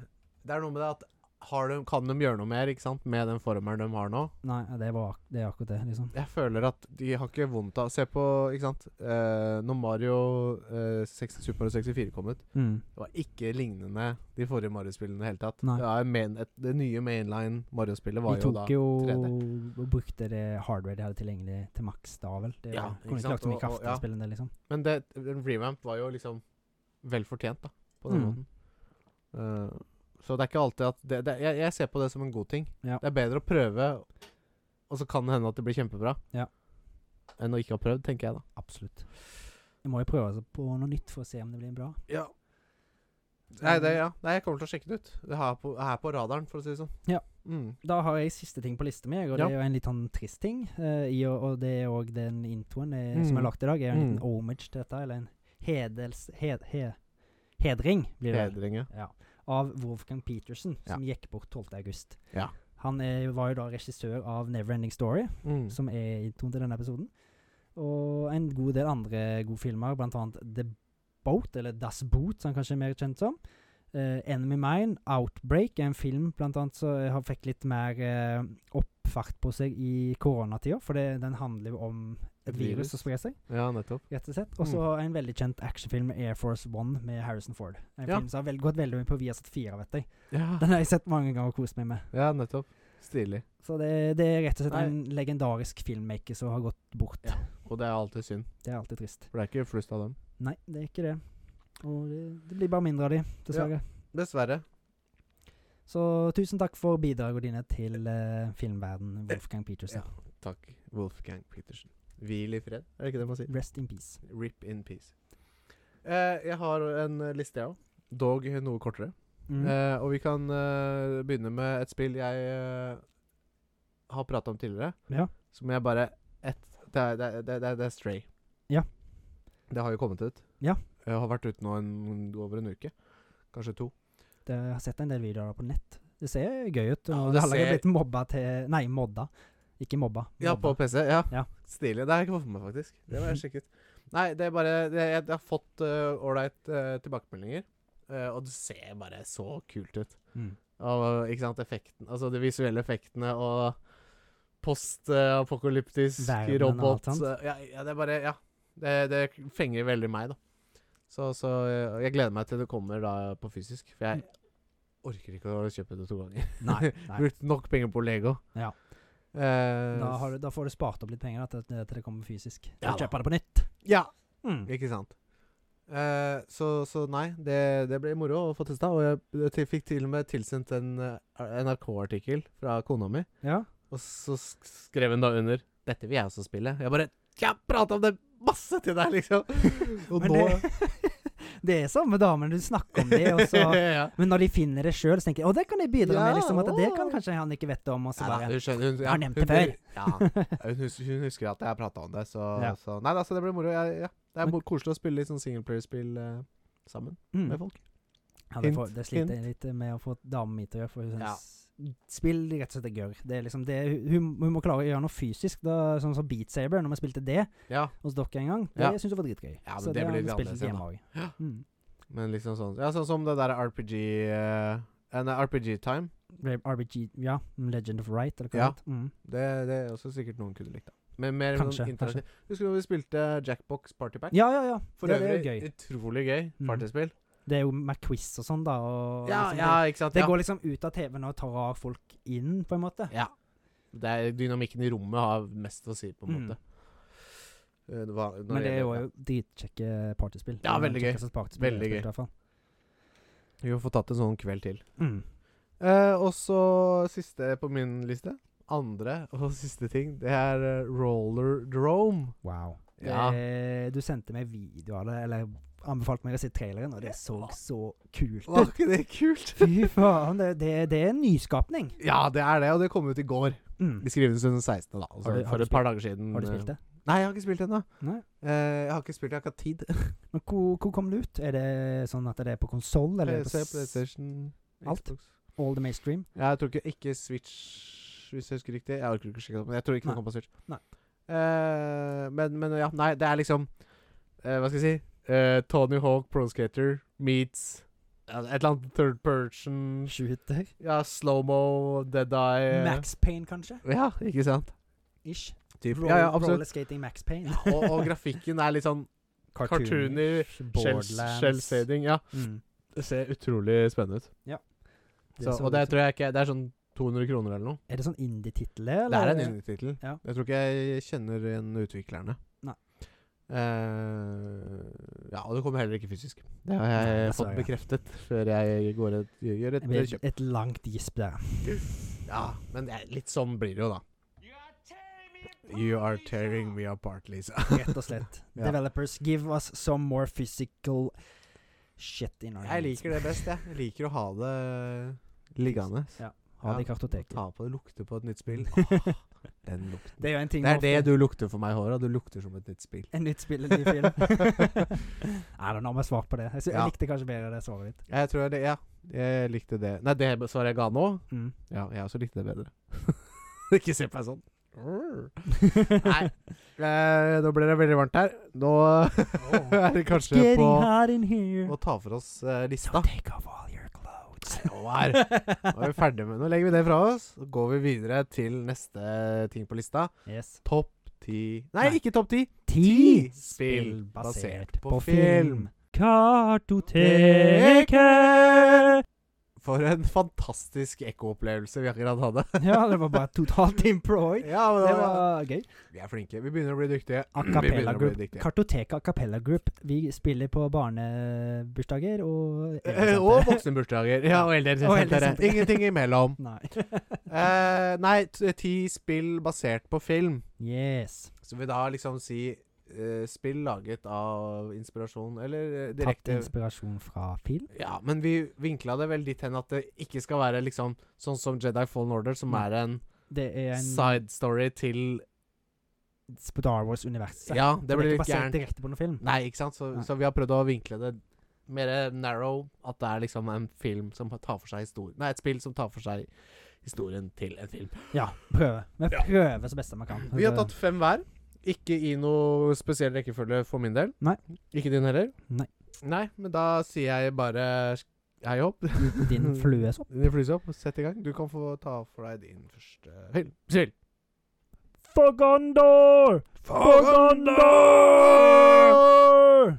det er noe med det at har de, kan de gjøre noe mer, ikke sant, med den formelen de har nå? Nei, det, var, ak- det er akkurat det, liksom. Jeg føler at de har ikke vondt av Se på, ikke sant, eh, når Mario eh, 60, Super Mario 64 kom ut, Mm. Det var ikke lignende de forrige Mario-spillene i det hele tatt. Nei. Det, er main, et, det nye mainline Mario-spillet De var jo tok da jo 3D. og brukte det hardware de hadde tilgjengelig til maks da, vel. Det Ja, kunne ikke ikke lagt så sant, mye og- kraft og- til ja. å spille det, liksom. Men det, en revamp var jo liksom vel fortjent, da, på den Mm. måten. Eh, så det er ikke alltid at det, det, jeg, jeg ser på det som en god ting. Ja. Det er bedre å prøve, og så kan det hende at det blir kjempebra, Ja. enn å ikke ha prøvd, tenker jeg da. Absolutt. Jeg må jo prøve altså på noe nytt for å se om det blir bra. Nei, det, ja. Nei, jeg kommer til å sjekke det ut. Det er på, er på radaren, for å si det sånn. Ja. Mm. Da har jeg siste ting på lista mi, og Ja. det er jo en litt sånn trist ting. eh, i, og, og det er òg den introen eh, som Mm. er lagt i dag, er jo en Mm. liten homage til dette, eller en hedels... Hed, he, hedring, blir det. vel. Hedring, ja. Ja. Av Wolfgang Petersen, som gikk bort 12. august. Ja. Han eh, var jo da regissør av Neverending Story. Mm. som er introen til denne episoden. Og en god del andre gode filmer, blant annet The Boat, eller Das Boot, som han kanskje er mer kjent som. Eh, Enemy Mine, Outbreak, er en film blant annet som har fikk litt mer eh, oppfart på seg i koronatida, for det, den handler jo om et Et virus virus. Mm. som sprer seg, Ja, nettopp. rett og slett. Og så en veldig kjent actionfilm, Air Force One, med Harrison Ford. En Ja. film som har vel, gått veldig mye på Viasat 4, vet jeg. Ja, Den har jeg sett mange ganger og kost meg med. ja nettopp. Stilig. Så det, det er rett og slett Nei. en legendarisk filmmaker som har gått bort. Ja. Og det er alltid synd, Det er alltid trist. for det er ikke flust av dem. Nei, det er ikke det. Og det, det blir bare mindre av de, dessverre. Dessverre. Så tusen takk for bidragene dine til eh, filmverden, Wolfgang Peterson. Takk, Wolfgang Petersen. Hvil i fred, er det ikke det man sier? Rest in peace. Rip in peace. Eh, jeg har en eh, liste, jeg òg. Dog noe kortere. Mm. Eh, og vi kan eh, begynne med et spill jeg eh, har prata om tidligere. Ja. Som jeg bare et, det, er, det, er- det, er- det er Stray. Ja. Det har jo kommet ut. Ja. Jeg har vært ute nå en, over en uke. Kanskje to. Det, jeg har sett en del videoer på nett. Det ser gøy ut. Ja, Og det det har allerede ser- blitt mobba til Nei, modda. Ikke mobba. Ja, på modda. PC. Ja. Ja. Stilig. Det har jeg ikke fått med meg, faktisk. Det var jeg sjekket. Nei, det er bare det, Jeg jeg har fått eh, ålreit eh, tilbakemeldinger, eh, og det ser bare så kult ut. Mm. Og ikke sant, effekten Altså de visuelle effektene og post-apokalyptisk Verden og robot alt sånt. eh, ja, ja, det er bare Ja. Det, det fenger veldig meg, da. Så, så eh, jeg gleder meg til det kommer da på fysisk, for jeg orker ikke å kjøpe det to ganger. Nei. nei. Brukt nok penger på Lego. Ja. Eh, Da, har du, da får du spart opp litt penger da, til, til det kommer fysisk. Ja Ja, da. Kjøper det på nytt. Ja, Mm. ikke sant. Eh, så, så nei, det, det ble moro å få testa. Og jeg, jeg fikk til og med tilsendt en eh, NRK-artikkel fra kona mi. Ja. Og så sk- skrev hun da under 'Dette vil jeg også spille'. Jeg bare 'Jeg har prata om det masse til deg', liksom. Og Men nå det, det er samme damen du snakker om det, og så ja. Men når de finner det sjøl, tenker de å, det kan jeg bidra Ja, med. liksom, At det kan å. kanskje han ikke vet om. Og så Altså, Nei, da, bare, hun skjønner hun, ja, har nevnt det hun- før. Ja, hun, hus- hun husker at jeg har prata om det, så, Ja. så Nei da, så det blir moro. Jeg, ja. Det er Men- mo- koselig å spille litt sånn singleplayerspill eh, sammen mm. med folk. ja, det, hint, får, det sliter jeg litt med å få damen min til å gjøre, for hun Ja. syns Spill rett og slett er gørr. Det er liksom det, hun, hun må klare å gjøre noe fysisk, da, sånn som Beat Saber, når vi spilte det Ja, hos dere en gang. Det Ja. syns hun var dritgøy. Ja, men så det det har vi blir litt spilt annerledes litt igjen, hjemme òg. Mm. men liksom sånn Ja, sånn som det der RPG eh, En RPG-time. Re- RBG, ja. Legend of Right, eller hva Ja. det heter. Mm. Det, det er også sikkert noen kunne likt. da. Men mer Kanskje, sånn interaktiv. Husker du når vi spilte Jackbox Party Pack? Ja, ja, ja. For det, det er øvrig, jo gøy. utrolig gøy Mm. partyspill. Det er jo med quiz og sånn, da. Og Ja, liksom, ja, det, ikke sant? det ja. går liksom ut av TV-en og tar folk inn, på en måte. ja. Det er dynamikken i rommet har mest å si, på en Mm. måte. Eh, det var- når Men det er gjelder- jo dritkjekke partyspill. Det Ja, er veldig den gøy. kjekkeste partyspillet jeg Veldig har gøy. spilt, i hvert fall. Vi får tatt en sånn kveld til. Mm. Eh, og så siste på min liste. Andre og siste ting, det er eh, Roller Drome. Wow. Ja. Eh, du sendte meg video av det, eller anbefalte meg å se traileren, og det så så kult Var ut. ikke det kult? Fy faen, det, det, det er en nyskapning. Ja, det er det, og det kom ut i går. Mm. Vi skriver den den 16., da. Altså, Har du- har for du et par dager siden. Har du spilt det? eh, Nei, jeg har ikke spilt det ennå. Nei. Eh, jeg har ikke spilt, jeg har ikke hatt tid. Men hvor, hvor kom det ut? Er det sånn at det er på konsoll, eller er det PC, på s- PlayStation, Alt? Xbox. All the mainstream? Ja, Jeg tror ikke, ikke Switch, hvis jeg husker riktig. Jeg orker ikke å sjekke det, opp, men jeg tror ikke Nei. det kommer på Switch. Nei. Eh, men, men ja, nei, det er liksom eh, Hva skal jeg si? Eh, Tony Hawk Pro Skater meets ja, et eller annet third person Shooter? Ja, slow-mo, dead eye eh. Max Payne, kanskje? Ja, ikke sant? Ish. Typ. Roll, Ja, ja, absolutt. Rollerskating Max Payne. Og, og grafikken er litt sånn cartoony, Borderlands. shell-shading. Ja, Mm. det ser utrolig spennende ut. Det Så, så og ut det som- tror jeg ikke Det er sånn 200 kroner eller noe. Er det sånn indie-tittel, eller? Det er en indie-tittel. Ja. Jeg tror ikke jeg kjenner igjen utviklerne. Nei. Eh, ja, og det kommer heller ikke fysisk. Det har jeg Nei, fått dessverre. bekreftet før jeg går et, gjør et, Et, kjøp. et langt gisp der. Ja, men det er litt sånn blir det jo, da. You are tearing me apart, Lisa. Rett og slett. Ja. Developers, give us some more physical shit in our Jeg liker det best, jeg. Jeg liker å ha det liggende. Ja, Ha det i kartoteket. Ta på det, lukte på et nytt spill. Den lukten. Det er jo en ting Det er det med ofte- du lukter for meg i håret. Du lukter som et nytt spill. En nytt spill, en ny film. Nei, da har vi svart på det. Jeg, sy- Ja. jeg likte kanskje bedre det svaret ditt. Jeg tror det, ja. Jeg likte det. Nei, det svaret jeg ga nå, Mm. Ja, jeg også likte det bedre. ikke se på meg sånn. Nei. Eh, nå ble det veldig varmt her. Nå er det kanskje på Getting hot in here. å ta for oss eh, lista. Don't take off all your clothes. Nå er, nå er vi ferdige med Nå legger vi det fra oss. Så går vi videre til neste ting på lista. Yes. Topp ti Nei, Nei. ikke topp ti. Ti spill basert på film. Kartoteket. For en fantastisk ekkoopplevelse vi akkurat hadde. Ja, det var bare totalt improy. Ja, men Det det var, var gøy. vi er flinke. Vi begynner å bli dyktige. A Vi cappella begynner å bli group. dyktige. Kartoteket A cappella group. Vi spiller på barnebursdager og Eh, Og voksenbursdager. Ja, og eldre. eldre- Ingenting imellom. Nei. Eh, nei, t- ti spill basert på film. Yes. Så vi da liksom si eh, spill laget av inspirasjon, eller eh, Tatt direkte inspirasjon fra film. Ja, men vi vinkla det vel dit hen at det ikke skal være liksom sånn som Jedi Fallen Order, som Nei. Mm. er en, Det er en side story til Star Wars-universet. Ja, Så det er blir ikke litt basert gærent. direkte på noen film. Nei, ikke sant? Så, Nei. så vi har prøvd å vinkle det mer narrow, at det er liksom en film som tar for seg historien Nei, et spill som tar for seg historien til en film. Ja, prøve. Vi prøver så best man kan. Vi har tatt fem hver. Ikke i noe spesiell rekkefølge for min del. Nei. Ikke din heller? Nei. Nei, men da sier jeg bare hei hopp. Din fluesopp. Din flysopp, sett i gang. Du kan få ta for deg din første film. Spill. For Gondor! For Gondor!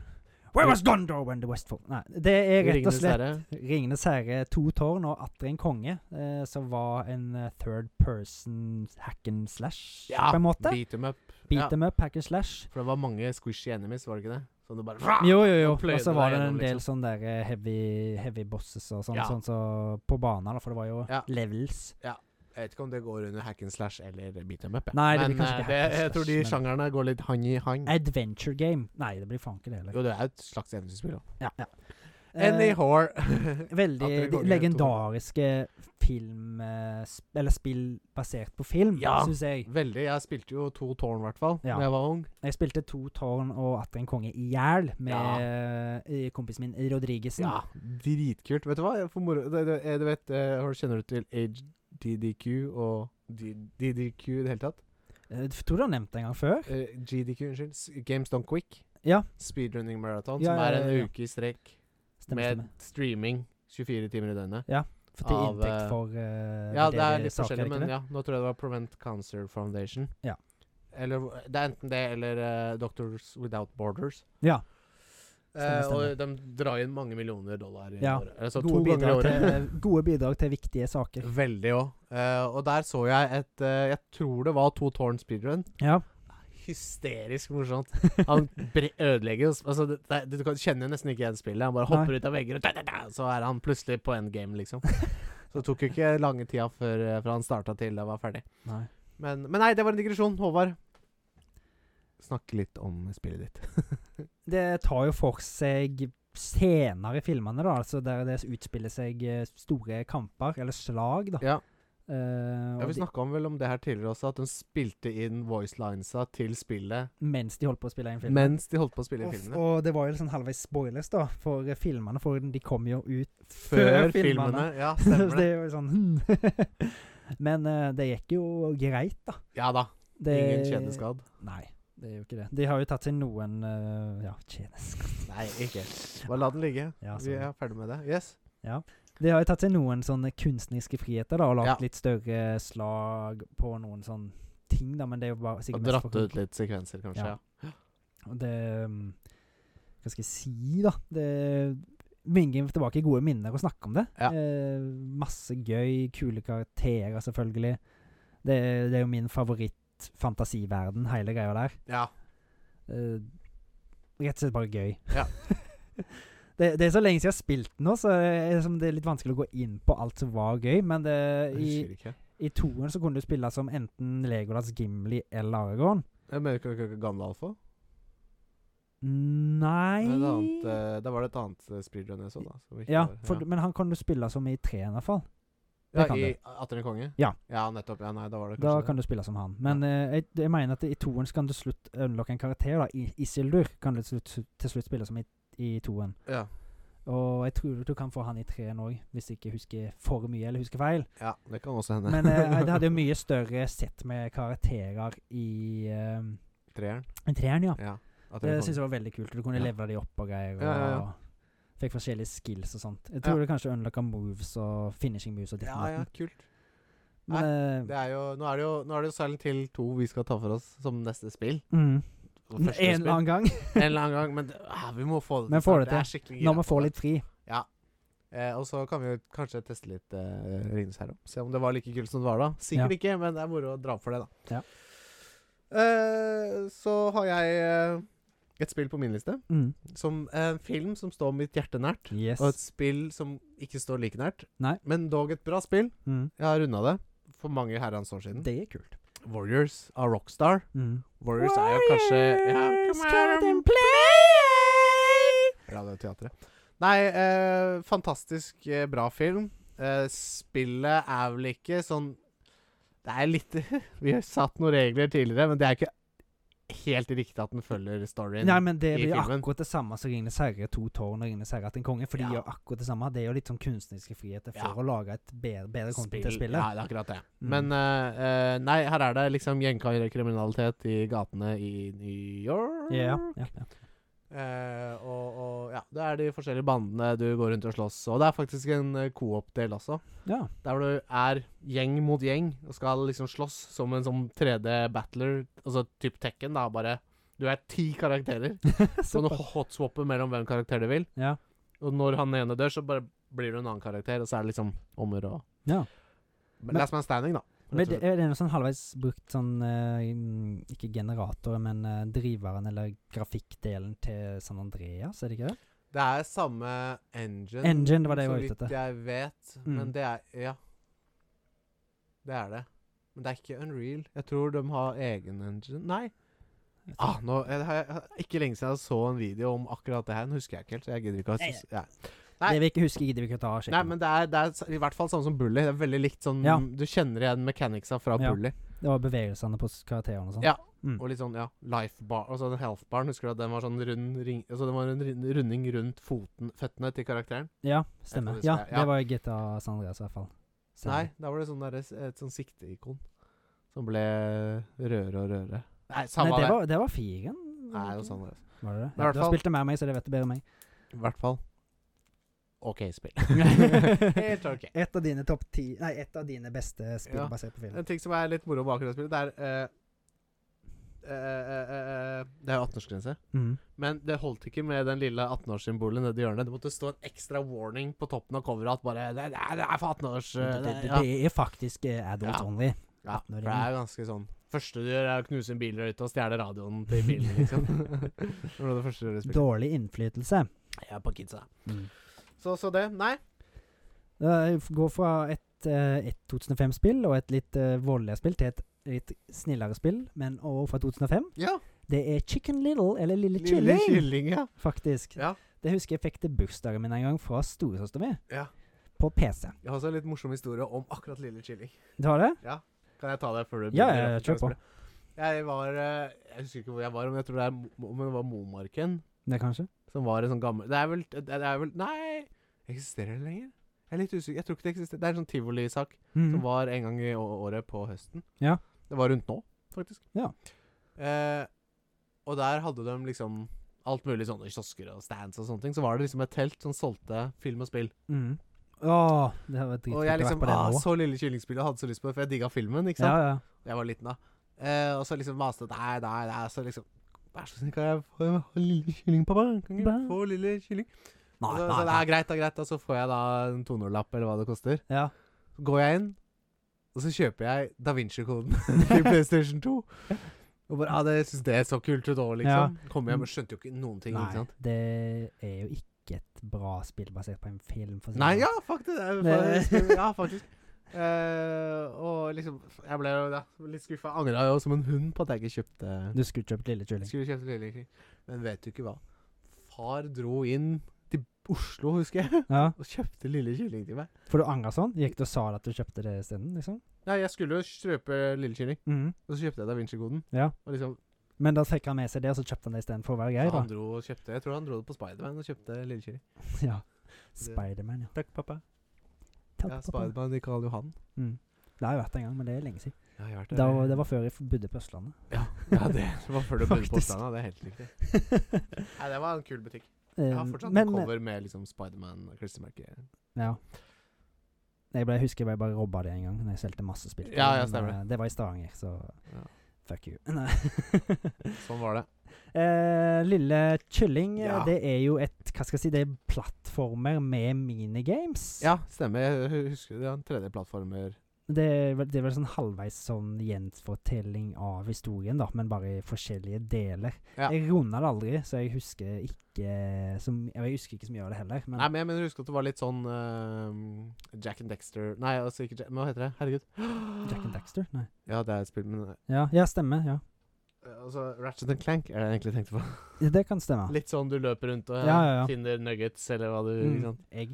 Where was Gondor when the West fall? Nei, det er rett og Ringenes slett herre. Ringenes herre, to tårn og atter en konge, eh, som var en eh, third person hack and slash, Ja, på en måte. Beat them up. Beat ja. them up, hack and slash. For det var mange squishy enemies, var det ikke det? Som du bare Jo, jo, jo. Og Ah, pløyde Og så deg var det en gjennom, liksom. del sånn der eh, heavy, heavy bosses og sånn, Ja. sånn så på banen, da, for det var jo Ja. levels. Jeg vet ikke om det går under hack and slash eller beat them up. jeg. Nei, det men blir kanskje eh, ikke det, hack and jeg tror de slash, sjangerne går litt hand i hand. Adventure game. Nei, det blir faen ikke det heller. Jo, det er jo et slags eventyrspill. da. Ja, ja. Eh, Anyhow. veldig Atter en de konge, legendariske film... eh, sp- Eller spill basert på film, Ja. syns jeg. Veldig. Jeg spilte jo to tårn, i hvert fall, Ja. da jeg var ung. Jeg spilte To tårn og Atter en konge i hjel med eh, kompisen min Rodrigesen. Ja, dritkult. Vet du hva? For moro, det, det, eh, du vet, eh, har du- Kjenner du til HDDQ og D- DDQ i det hele tatt? Jeg Eh, tror du har nevnt det en gang før. Eh, GDQ, unnskyld. S- Games Done Quick. Ja. Speedrunning Marathon, Ja, som ja, er ja, en ja. uke i strekk Stemmer, med stemmer. streaming 24 timer i døgnet. For til av, eh, inntekt for eh, Ja, det er litt saker, forskjellig, ikke men det? ja. Nå tror jeg det var Prevent Cancer Foundation. Ja. Eller det er enten det eller eh, Doctors Without Borders. Ja. Eh, Stemmer, og de drar inn mange millioner dollar i Ja. året. Altså to Gode ganger i bidrag, året. til, gode bidrag til viktige saker. Veldig òg. og der så jeg et eh, Jeg tror det var to tårn speedrun. Ja. Hysterisk morsomt. Han bre ødelegger oss. altså, det, det, Du kan kjenner nesten ikke igjen spillet. Han bare hopper ut av vegger, og da, da, da, så er han plutselig på endgame, liksom. Så det tok jo ikke lange tida før, eh, fra han starta til det var ferdig. Nei. Men, men nei, det var en digresjon. Håvard, snakk litt om spillet ditt. det tar jo for seg senere i filmene, da, altså der det utspiller seg eh, store kamper, eller slag, da. Ja. Eh, Ja, og Vi de, snakka vel om det her tidligere også, at de spilte inn voicelinesa til spillet mens de holdt på å spille inn filmen. mens de holdt på å spille og, inn f- filmene. og det var jo sånn halvveis spoilers, da, for eh, filmene, for de kom jo ut Før filmene. Ja, Så det stemmer det. er jo sånn hmm. Men eh, det gikk jo greit, da. Ja da. Det, Ingen kjedeskadd. Nei, det er jo ikke det. De har jo tatt seg noen eh, Ja, kjedeskader. Nei, ikke. Bare la den ligge. Ja, Vi sorry. er ferdig med det. Yes. De har jo tatt seg noen sånne kunstneriske friheter da, og lagt Ja. litt større slag på noen sånne ting, da, men det er jo bare Og sikkert mest dratt for- ut litt sekvenser, kanskje. Ja. Ja. Og Det um, Hva skal jeg si, da? Det bringer tilbake gode minner å snakke om det. Ja. Eh, masse gøy, kule karakterer, selvfølgelig. Det, det er jo min favoritt-fantasiverden, hele greia der. ja. Eh, rett og slett bare gøy. Ja. det, det er så lenge siden jeg har spilt den nå, så det er, som det er litt vanskelig å gå inn på alt som var gøy, men det, Jeg i, husker ikke. i toeren så kunne du spille som enten Legolas, Gimli eller Aragorn. Jeg mener ikke ikke Gandalf òg? Nei Da var det et annet eh, speedrun jeg så, da. Som ikke Ja, var, for, men han kan du spille som i treen i hvert fall. ja. kan ja I du. Atter en konge? Ja. ja, nettopp. Ja, nei, da var det kanskje Da kan du spille som han. Men eh, jeg, jeg mener at i toeren så kan du slutt unlocke en karakter. da I- Isildur kan du til slutt, til slutt spille som i, i toeren. det. Ja. Og jeg tror du kan få han i treen òg, hvis jeg ikke husker for mye eller husker feil. Ja, det kan også hende. Men eh, det hadde jo mye større sett med karakterer i eh, Treeren. i treeren, ja. Ja. At Det det syns jeg var veldig kult. Du kunne Ja. levele de opp og greier. Og Ja, ja, ja. Fikk forskjellige skills og sånt. Jeg tror det kanskje unlocka moves og finishing moves og ditt ja, og ja, datt. kult. Men eh, mm, Det er jo, nå er det jo Nå er det jo Silent Hill 2 vi skal ta for oss som neste spill. eh, mm, Og en første spill. eller annen gang, en eller annen gang. Men det, ah, vi må få det Men får det snart. Jeg er skikkelig gira når vi på får det. litt fri. Eh, og så kan vi jo kanskje teste litt eh, Ringenes herre. Se om det var like kult som det var da. Sikkert Ja. ikke, men det er moro å dra opp for det, da. Ja. Eh, så har jeg eh, et spill på min liste. Mm. Som eh, En film som står mitt hjerte nært. Yes. Og et spill som ikke står like nært. Nei. Men dog et bra spill. Mm. Jeg har runda det for mange herrens år siden. Det er kult. Warriors av Rockstar. Mm. Warriors, er jo kanskje ja, Warriors, Come on come and play! Radioteatret. Nei, eh, fantastisk eh, bra film. Eh, spillet er vel ikke sånn Det er litt Vi har satt noen regler tidligere, men det er ikke helt riktig at den følger storyen. Nei, men det i blir jo filmen. akkurat det samme som 'Ringenes herre', 'To tårn' og 'Ringenes herre' til en konge. For de Ja. gjør akkurat det samme. Det er jo litt sånn kunstneriske friheter for Ja. å lage et bedre, bedre content til spillet. Ja, det er akkurat det. Mm. Men eh, eh, nei, her er det liksom gjengkriminalitet i gatene i New York. Ja, ja, ja. Eh, og, og ja, det er de forskjellige bandene du går rundt og slåss. Og det er faktisk en eh, co-op-del også. ja. Der hvor du er gjeng mot gjeng og skal liksom slåss som en sånn 3D-battler. Altså typ Tekken, da. Bare Du er ti karakterer. Så du Såpass. hotswapper mellom hvem karakter du vil. Ja. Og når han ene dør, så bare blir du en annen karakter, og så er det liksom om å gjøre å ja. Men- Men Last man standing, da. Men rett det, og slett. er det noe sånn halvveis brukt sånn eh, mm, Ikke generator, men eh, driveren eller grafikkdelen til San Andreas, er det ikke det? Det er samme engine, Engine, det var det jeg var ute så etter. vidt jeg vet. Mm. Men det er Ja. Det er det. Men det er ikke Unreal. Jeg tror de har egen engine. Nei. Ah, nå, jeg, jeg, jeg- ikke lenge siden jeg så en video om akkurat det her. Nå husker jeg ikke helt. så Jeg gidder ikke å Nei, synes, ja. Nei. Det vi ikke husker, gidder vi ikke ta og sjekke. Nei, men det er, det er s- i hvert fall samme som Bully. Det er veldig likt sånn Ja. Du kjenner igjen mechanicsa fra Ja. Bully. det var bevegelsene på s- karakterene og sånn. Ja. Mm. Og litt sånn, ja, life bar Altså den health baren, husker du at den var sånn rund ring Altså den var en rund- runding rundt foten, føttene til karakteren? Ja, stemmer. Jeg tror det Ja, skal- ja. det var i GTA San Andreas i hvert fall. Så- Nei, da var det sånn der, et sånn sikteikon som ble rødere og rødere. Nei, Nei, samme det det. var, det var firen. Nei, det var samme det. Var det det? Men i Ja, hvert du har fall- spilt det mer enn meg, så det vet du bedre enn meg. altså. I hvert fall. OK spill. Helt ok. Et av dine topp ti Nei, et av dine beste spill Ja. basert på film. En ting som er litt moro bak det spillet, det er eh, eh, eh, eh, Det er jo 18-årsgrense. Mm. Men det holdt ikke med den lille 18-årssymbolet nedi hjørnet. Det måtte stå en ekstra warning på toppen av coveret at bare Det, det, er- det er for 18-års... Det, eh, det, det- det, ja. det er faktisk eh, adults Ja. only. Ja, for 18-åringen. det er jo ganske sånn Første du gjør, er å knuse en bilrøyte og stjele radioen til bilen, liksom. det var det første du spilte. Dårlig innflytelse. Jeg er på kidsa. Mm. Så, så det. Nei. Det går fra et, eh, et 2005-spill og et litt eh, voldeligere spill til et litt snillere spill, men også fra 2005. Ja. Det er Chicken Little, eller Lille, Lille Kylling, kylling, ja. faktisk. Ja. Det husker jeg fikk til bursdagen min en gang fra storesøsteren min, Ja. på PC. Jeg har også en litt morsom historie om akkurat Lille kylling. Du har det? Kan jeg ta det før du Ja, begynner? ja, ja, kjør på. Jeg var eh, Jeg husker ikke hvor jeg var, men jeg tror det er Mo- om det var Momarken. Det kanskje? Som var en sånn gammel Det er vel, det er vel Nei! Eksisterer det lenger? Jeg er litt usikker. Jeg tror ikke det eksisterer. Det er en sånn tivolisak. Mm. som var en gang i å- året på høsten. Ja. Det var rundt nå, faktisk. Ja. Eh, og der hadde de liksom alt mulig sånne kiosker og stands og sånne ting. Så var det liksom et telt som solgte film og spill. Mm. Åh, det har vært dritkult Og å jeg være liksom på det ah, nå. Så lille kyllingspillet hadde så lyst på det, for jeg digga filmen. ikke Ja, sant? ja. Jeg var liten da. Eh, og så liksom maste jeg, Nei, nei, nei. Så liksom Vær så snill, kan jeg få en lille kylling, pappa? Kan jeg Ba- få lille kylling? Nei, Og så, nei, så det er greit, det er greit. Og så får jeg da en 200-lapp, eller hva det koster. nei. Ja. Så går jeg inn, og så kjøper jeg Da Vinci-koden til PlayStation 2. Og bare, ja, det synes det er så kult ut òg, liksom. Kommer hjem og skjønte jo ikke noen ting. Nei, ikke sant? det er jo ikke et bra spill basert på en film. For å si det Nei, sånn. ja, faktisk. Det Nei. er, faktisk- ja, faktisk. Eh, og liksom Jeg ble jo da, litt skuffa. Angra jo som en hund på at jeg ikke kjøpte Du skulle kjøpt Lille Kylling. Skulle kjøpt Lille Kring. Men vet du ikke hva? Far dro inn til Oslo, husker jeg, Ja. og kjøpte Lille Kylling til meg. For du angrer sånn? Gikk du og sa at du kjøpte det isteden? Liksom? Nei, jeg skulle jo strøpe Lille Kylling, Mhm. og så kjøpte jeg Da Vinci-koden. Ja. Og liksom Men da fikk han med seg det, og så kjøpte han det istedenfor å være grei, Så da. han dro og kjøpte Jeg tror han dro det på Spiderman og kjøpte Lille Kylling. Ja. Spiderman, ja. Takk, pappa. Takk, Ja, pappa. Spiderman de kaller Johan. Mm. Det har jeg vært en gang, men det er lenge siden. Ja, jeg har vært Da, var- det var før jeg f- bodde på Østlandet. Ja, ja det var før du begynte på Faktisk. Østlandet. Det er helt riktig. Nei, det var en kul butikk. Jeg har Um, fortsatt men- en cover med liksom Spiderman-klistremerke. Ja. Jeg, ble, jeg husker jeg ble bare robba det en gang Når jeg solgte masse spill. Ja, ja, Men, stemmer eh, Det var i Stavanger, så Ja. fuck you. Nei. Sånn var det. Eh, lille kylling, eh, Ja. det er jo et Hva skal jeg si, det er plattformer med minigames. Ja, stemmer. Jeg husker det. var en 3D-plattformer. Det, er, vel- det er vel sånn halvveis sånn gjenfortelling av historien, da, men bare i forskjellige deler. Ja. Jeg runda det aldri, så jeg husker ikke så, m- Jeg husker ikke så mye av det heller. Men Nei, men jeg mener jeg husker at det var litt sånn eh, Jack and Dexter Nei, altså ikke Jack Men hva heter det? Herregud. Jack and Daxter? Nei. Ja, det er et spill, men eh, Ja, ja stemmer. Ja. Altså, Ratchet and Clank er det jeg egentlig tenkte på. Ja, Det kan stemme. Litt sånn du løper rundt og eh, Ja, ja, ja. finner nuggets, eller hva du Mm, ikke sant? egg.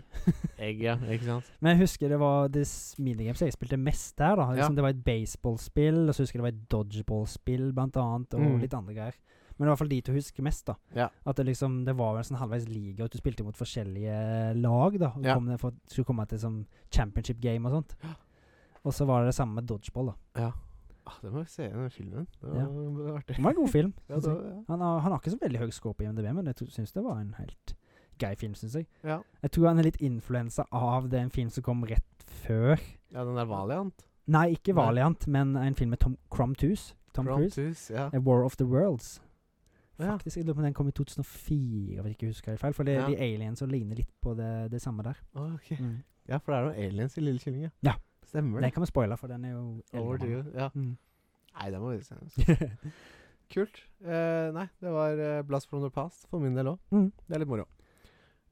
Egg, ja. Ikke sant? Men jeg husker det var det s- minigames jeg spilte mest der. da liksom, Ja. Det var et baseballspill, og så husker jeg det var et dodgeballspill, blant annet, og Mm. litt andre greier. Men det var i hvert fall de to husker mest. da Ja. At det liksom Det var vel sånn halvveis liga, og du spilte mot forskjellige lag. da Og Ja. kom ned for, skulle komme til sånn championship game og sånt. Og så var det det samme med dodgeball. da Ja. Ah, det må vi se i den filmen. Det var, Ja. det var artig. Det var en god film. Ja, synes det jeg. var, ja. han, har, han har ikke så veldig høy score på IMDb, men jeg tro- syns det var en helt grei film. Synes jeg Ja. Jeg tror han er litt influensa av den film som kom rett før. ja, den der Valiant. Nei, ikke Nei. Valiant, men en film med Tom Crumtooth. Tom Cruise. Promptus, ja. A War of the Worlds. Ja. Faktisk, jeg lurer på om den kom i 2004, hvis jeg ikke husker helt feil. For det er Ja. de aliens som ligner litt på det, det samme der. Ok. Mm. Ja, for det er noen aliens i Lille Kylling, ja. Ja. Stemmer Den det. kan vi spoile, for den er jo Over eldre. to, ja. Mm. Nei, det må vi se. altså. Kult. Eh, nei, det var eh, Blast from the Past for min del òg. Mm. Det er litt moro.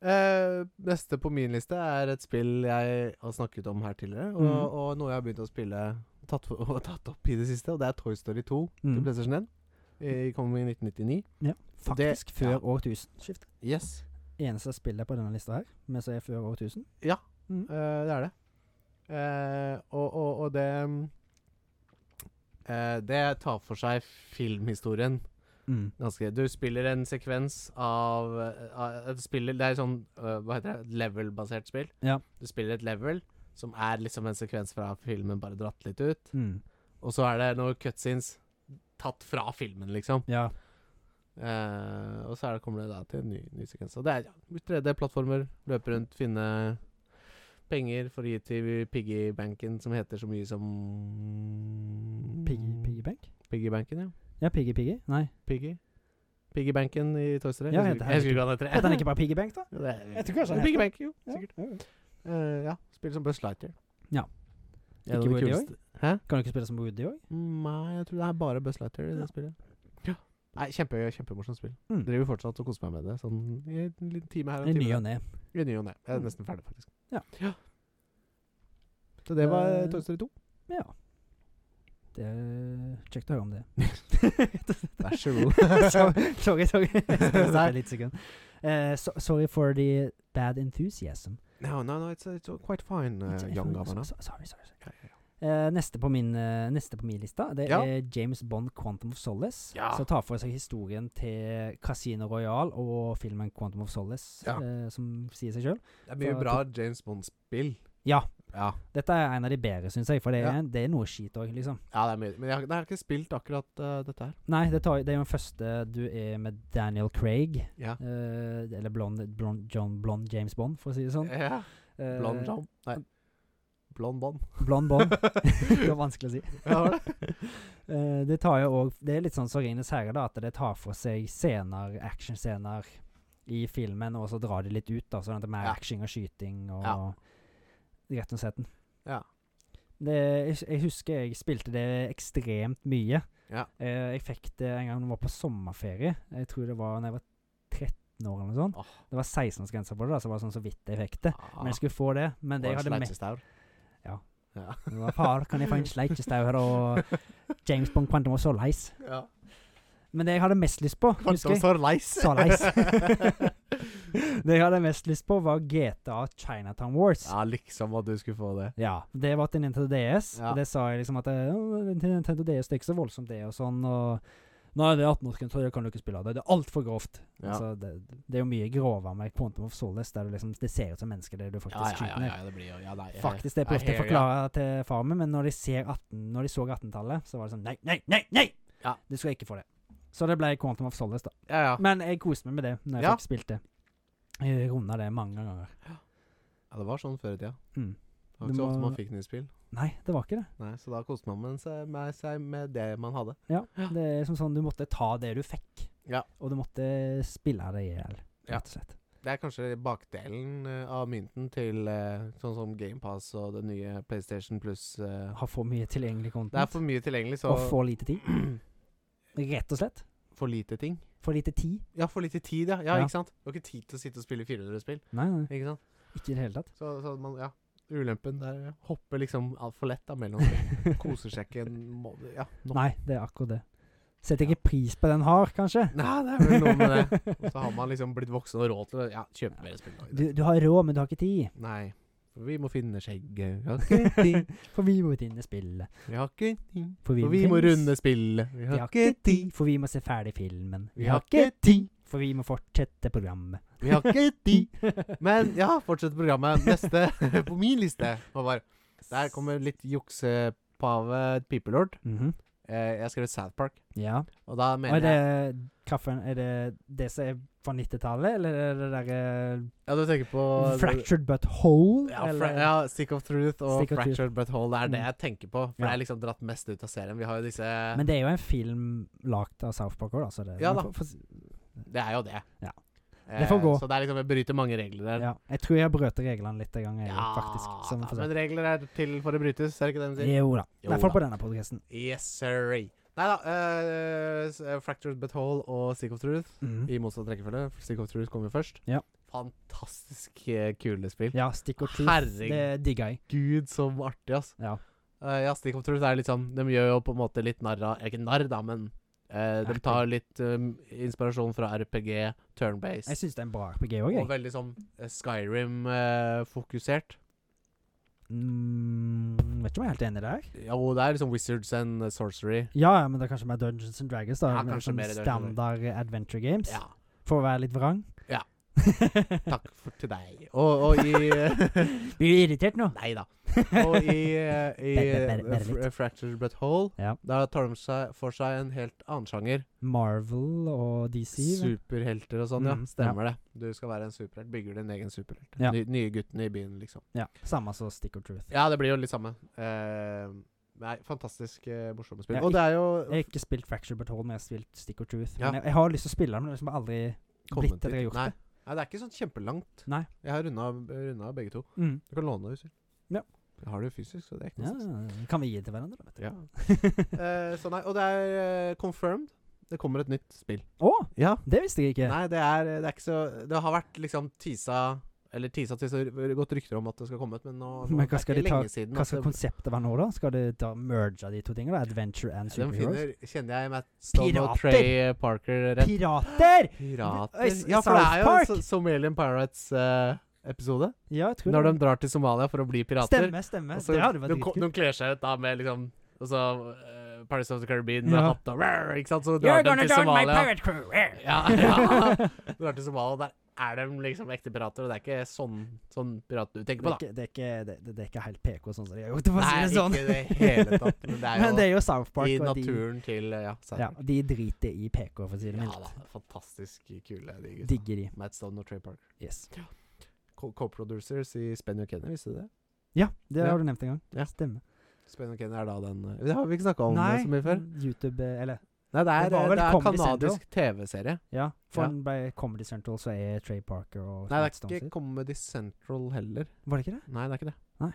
Eh, neste på min liste er et spill jeg har snakket om her tidligere, og, Mhm. og noe jeg har begynt å spille tatt, for- og tatt opp i det siste, og det er Toy Story 2 til Mm. PlayStation 1. Eh, Kom i 1999. Ja. Og det- Faktisk før ja. årtusenskiftet. Yes. Eneste spillet på denne lista her, men som er før Mm. årtusen. Eh, det er det. Eh, og, og, og det mm, eh, Det tar for seg filmhistorien Mm. ganske Du spiller en sekvens av, eh, av et spill, Det er sånn eh, Hva heter det? Et Level-basert spill. Ja. Du spiller et level som er liksom en sekvens fra filmen, bare dratt litt ut. Mm. Og så er det noen cutscenes tatt fra filmen, liksom. Ja. Eh, og så er det, kommer det da til en ny, ny sekvens. Og det er ja, 3D-plattformer, løpe rundt, finne penger for å gi til Piggy-banken, som heter så mye som Mm. Piggy, piggy Bank? Piggy-banken, ja. Ja, Piggy Piggy. Nei. Piggy. Piggy-banken i Toy Story. Ja, jeg heter- husker jeg husker ikke hva den heter. Heter den ikke bare Piggy Bank, da? Jo, det er- Jeg tror kanskje han Piggy Bank, jo. Ja. Sikkert. Ja, ja. Eh, ja. Spiller som Buzz Lightyear. Ja. En Ikke av de Woody kuleste- Hæ? Kan du ikke spille som Woody òg? Nei, jeg tror det er bare Buzz Lightyear i det Ja. spillet. Ja. Nei, kjempe, Kjempemorsomt spill. Mm. Driver fortsatt og koser meg med det. Sånn i en liten time her og I en time ny der. og ne. I ny og ne. Jeg er Mm. nesten ferdig, faktisk. Ja. Så det var Eh, Toy Story 2. Ja. Det er kjekt å høre om det. Vær så god. sorry, sorry. sorry. Jeg skal Nei. sitte litt sekund. Eh, so, sorry for the bad enthusiasm. No, no, no, it's, it's quite fine, uh, young governor. So- sorry, sorry. sorry. Ja, ja, Eh, neste, på min, eh, neste på min lista Det Ja. er James Bond Quantum of Solace. Ja. Som tar for seg historien til Casino Royal og filmen Quantum of Solace, Ja. eh, som sier seg sjøl. Det er mye Så- bra James Bond-spill. Ja. Ja. Dette er en av de bedre, syns jeg, for det er, Ja. det er noe skit òg, liksom. ja, det er mye. Men jeg har, jeg har ikke spilt akkurat eh, dette her. Nei, det, tar, det er jo den første du er med Daniel Craig. Ja. eh, eller blond, blond, John, blond James Bond, for å si det sånn. ja. Eh, Blond John. Nei. Blond Bond. Blond Bond. det var vanskelig å si. Ja, var det? Eh, det tar jo òg Det er litt sånn som Ringenes herre, da, at det tar for seg scener, actionscener i filmen, og så drar de litt ut, da, sånn at det er mer Ja. action og skyting og Ja. rett og slett. Ja. Det, jeg, hus- jeg husker jeg spilte det ekstremt mye. Ja. Eh, jeg fikk det en gang jeg var på sommerferie. Jeg tror det var da jeg var 13 år eller noe sånt. Åh. Ah. Det var 16-årsgrense på det, da, så det var sånn så vidt jeg fikk det. Ah, Men jeg skulle få det. Men det jeg hadde med Sleipsestaur. Ja. Ja. Det var Far, kan jeg få en sleikjestau her og James Bond Quantum of Solace? ja. Men det jeg hadde mest lyst på, husker jeg Kvartdomsår leis. Solace. det jeg hadde mest lyst på, var GTA Chinatown Wars. Ja. Ja, liksom at du skulle få det. Det var til Nintendo DS, Ja. og det sa jeg liksom at eh, «Å, Nintendo DS det er ikke så voldsomt, det og sånn. Og Nei, det er 18-årsgrense, så det kan du ikke spille av. Det det er altfor grovt. Ja. Altså, det, det er jo mye grovere med Quantum of Solace, der du liksom, det ser ut som mennesker, det du faktisk Ja, ja, skyter ja, ned. ja, det blir jo ja, nei, jeg- Faktisk, det jeg prøvde jeg å hear forklare til far min, men når de, ser 18, når de så 18-tallet, så var det sånn Nei, nei, nei! nei! Ja. Du skal ikke få det. Så det ble Quantum of Solace, da. you. Ja, ja. Men jeg koste meg med det når jeg Ja. fikk spilt det. Jeg runda det mange ganger. ja, det var sånn før i tida. Mm. Det var Du ikke så ofte må- man fikk nye spill. Nei, det var ikke det. Nei, Så da koste man med seg, med seg med det man hadde. Ja, Det er som sånn du måtte ta det du fikk, Ja. og du måtte spille det i hjel, Ja. rett og slett. Det er kanskje bakdelen eh, av mynten til eh, sånn som GamePass og det nye PlayStation Plus. eh, Ha for mye tilgjengelig det er content for mye tilgjengelig, så og for lite tid. Rett og slett. for lite ting. For lite tid. Ja, for lite tid, ja. ja, Ja. Ikke sant? Du har ikke tid til å sitte og spille 400 spill. Nei, nei, Ikke sant? ikke i det hele tatt. Så, så man, ja. Ulempen der ja. hopper liksom altfor lett da mellom spill. Koser seg ikke en måte. Ja, nå. Nei, det er akkurat det. Setter ikke pris på den har, kanskje. Nei, det er vel noe med det. Og så har man liksom blitt voksen og råd til å ja, kjøpe mer spill. nå. Du, du har råd, men du har ikke tid. Nei. For vi må finne skjegget. Vi har ikke tid. For vi må ut inn i spillet. Vi har ikke tid. For For vi må finnes. runde spillet. Vi har ikke tid. For vi må se ferdig filmen. Vi har ikke tid. For vi må fortsette programmet. Vi har ikke tid. Men ja, fortsett programmet. Neste på min liste var bare Der kommer litt juksepave pipelort. Mhm. Eh, jeg skrev South Park, Ja. og da Og er mener jeg det kaffen Er det det som er fra 90-tallet, eller er det det derre Ja, du tenker på Fractured but whole? ja, fra, eller? ja, Stick of Truth og Stick of Truth. Fractured But Whole. Det er det Mm. jeg tenker på. For Ja. det er liksom dratt mest ut av serien. Vi har jo disse Men det er jo en film lagd av South Park òg, da. Så det, Ja man da. får- får- Det er jo det. Ja. Eh, Det får gå. Så det er liksom Jeg bryter mange regler der. ja. Jeg tror jeg brøt reglene litt en gang, jeg, faktisk. Som da, for sånn. men regler er til for å brytes, er det ikke det de sier? jo da. I Jo hvert fall da. på denne podkasten. Yes, sir. Nei da. eh, s- eh, Fractured But Whole og Stick of Truth Mhm. i motsatt rekkefølge. Stick of Truth kommer først. Ja. Fantastisk eh, kule spill. Ja, Stick og Truth. Herregud. Det digger jeg. Gud, så artig, ass. Ja. Eh, ja, Stick of Truth er litt sånn De gjør jo på en måte litt narr av Ikke narr, da, men eh, de Erting. tar litt um, inspirasjon fra RPG, turn-based. Jeg syns det er en bra RPG òg, jeg. Og veldig sånn eh, Skyrim-fokusert. Mm, vet ikke om jeg er helt enig der. jo, det er liksom Wizards and Sorcery. Ja, ja, men det er kanskje mer Dungeons and Dragons, da. Ja, med kanskje sånn mer Dungeons and standard adventure games. Ja. For å være litt vrang. Ja. Takk for, til deg. Og, og i eh, Blir du irritert nå? Nei da. Og i, eh, i Bare- bare- bare eh, Fr- Fractured But Whole Ja. Da tar de seg for seg en helt annen sjanger. Marvel og DC. vel? Superhelter og sånn, ja. Mm, Stemmer det. Du skal være en superhelt. Bygger din egen superhelt. Ja. Ny, nye guttene i byen, liksom. Ja. Samme som Stick or Truth. Ja, det blir jo litt samme. Eh, nei, fantastisk eh, morsomme spill. Ja, og det er jo Jeg har ikke spilt Fracture But Hold, men jeg har spilt Stick or Truth. Ja. Men jeg, jeg har lyst til å spille det, men det har liksom aldri kommet blitt at jeg har dit. gjort nei. nei, det er ikke sånn kjempelangt. Nei. Jeg har runda, runda begge to. det. Mm. Du kan låne det hvis du vil. Ja. Jeg har det jo fysisk, så det er ikke Ja, noe stress. kan vi gi det til hverandre, da, Ja. vet du. Eh, så nei, og det er eh, confirmed. Det kommer et nytt spill. Å! Ja. Det visste jeg ikke. Nei, det er, det er ikke så Det har vært liksom tisa Eller tisa til så gått rykter om at det skal komme ut, men nå, nå Men hva det er skal de ikke ta- lenge siden Hva at skal det- konseptet være nå, da? Skal du da merge de to tingene? da? Adventure and de Superheroes? finner, kjenner jeg Matt Stone og Pirater! Trey Parker rett. Pirater! Øy, Pirater s- Ja, for det er jo en South Park! so- Somalian Pirates-episode. Ja, jeg tror eh, når de det. drar til Somalia for å bli pirater. Stemme, stemme. Og så- det hadde vært de, ko- dritkult. de kler seg ut da med liksom og så, eh, Pirates of the Caribbean med Ja. hatt og rar, ikke sant? Så drar de til Somalia. pirate crew! Ja, ja. Drar til Somalia, og der er de liksom ekte pirater, og det er ikke sånn, sånn pirat du tenker Det på, er, da. ikke, det, er ikke, det, det- det er ikke helt PK sånn som de har gjort, for å si Nei, det sånn. ikke i det hele tatt. Men det er jo, Men det er jo South Park. i og de- naturen til Ja, South Ja, Park. de driter i PK, for å si det ja mildt. da. Fantastisk kule, de gutta. Digger de. Matt Stone og Trey Parker. Yes. Co- Co-producers i Spenny og Kenny, visste du det? Ja, det Ja. har du nevnt en gang. Ja. Stemmer. Spenny og Kenny er da den eh, Det har vi ikke snakka om eh, så mye før. YouTube eh, Eller Nei, det Det er, var eh, vel det er Comedy kanadisk TV-serie. Ja, for Ja. en by Comedy Central så er Trey Parker og Nei, Matt det Stone er ikke sitt. Comedy Central heller. Var det ikke det? Nei, det er ikke det. Nei.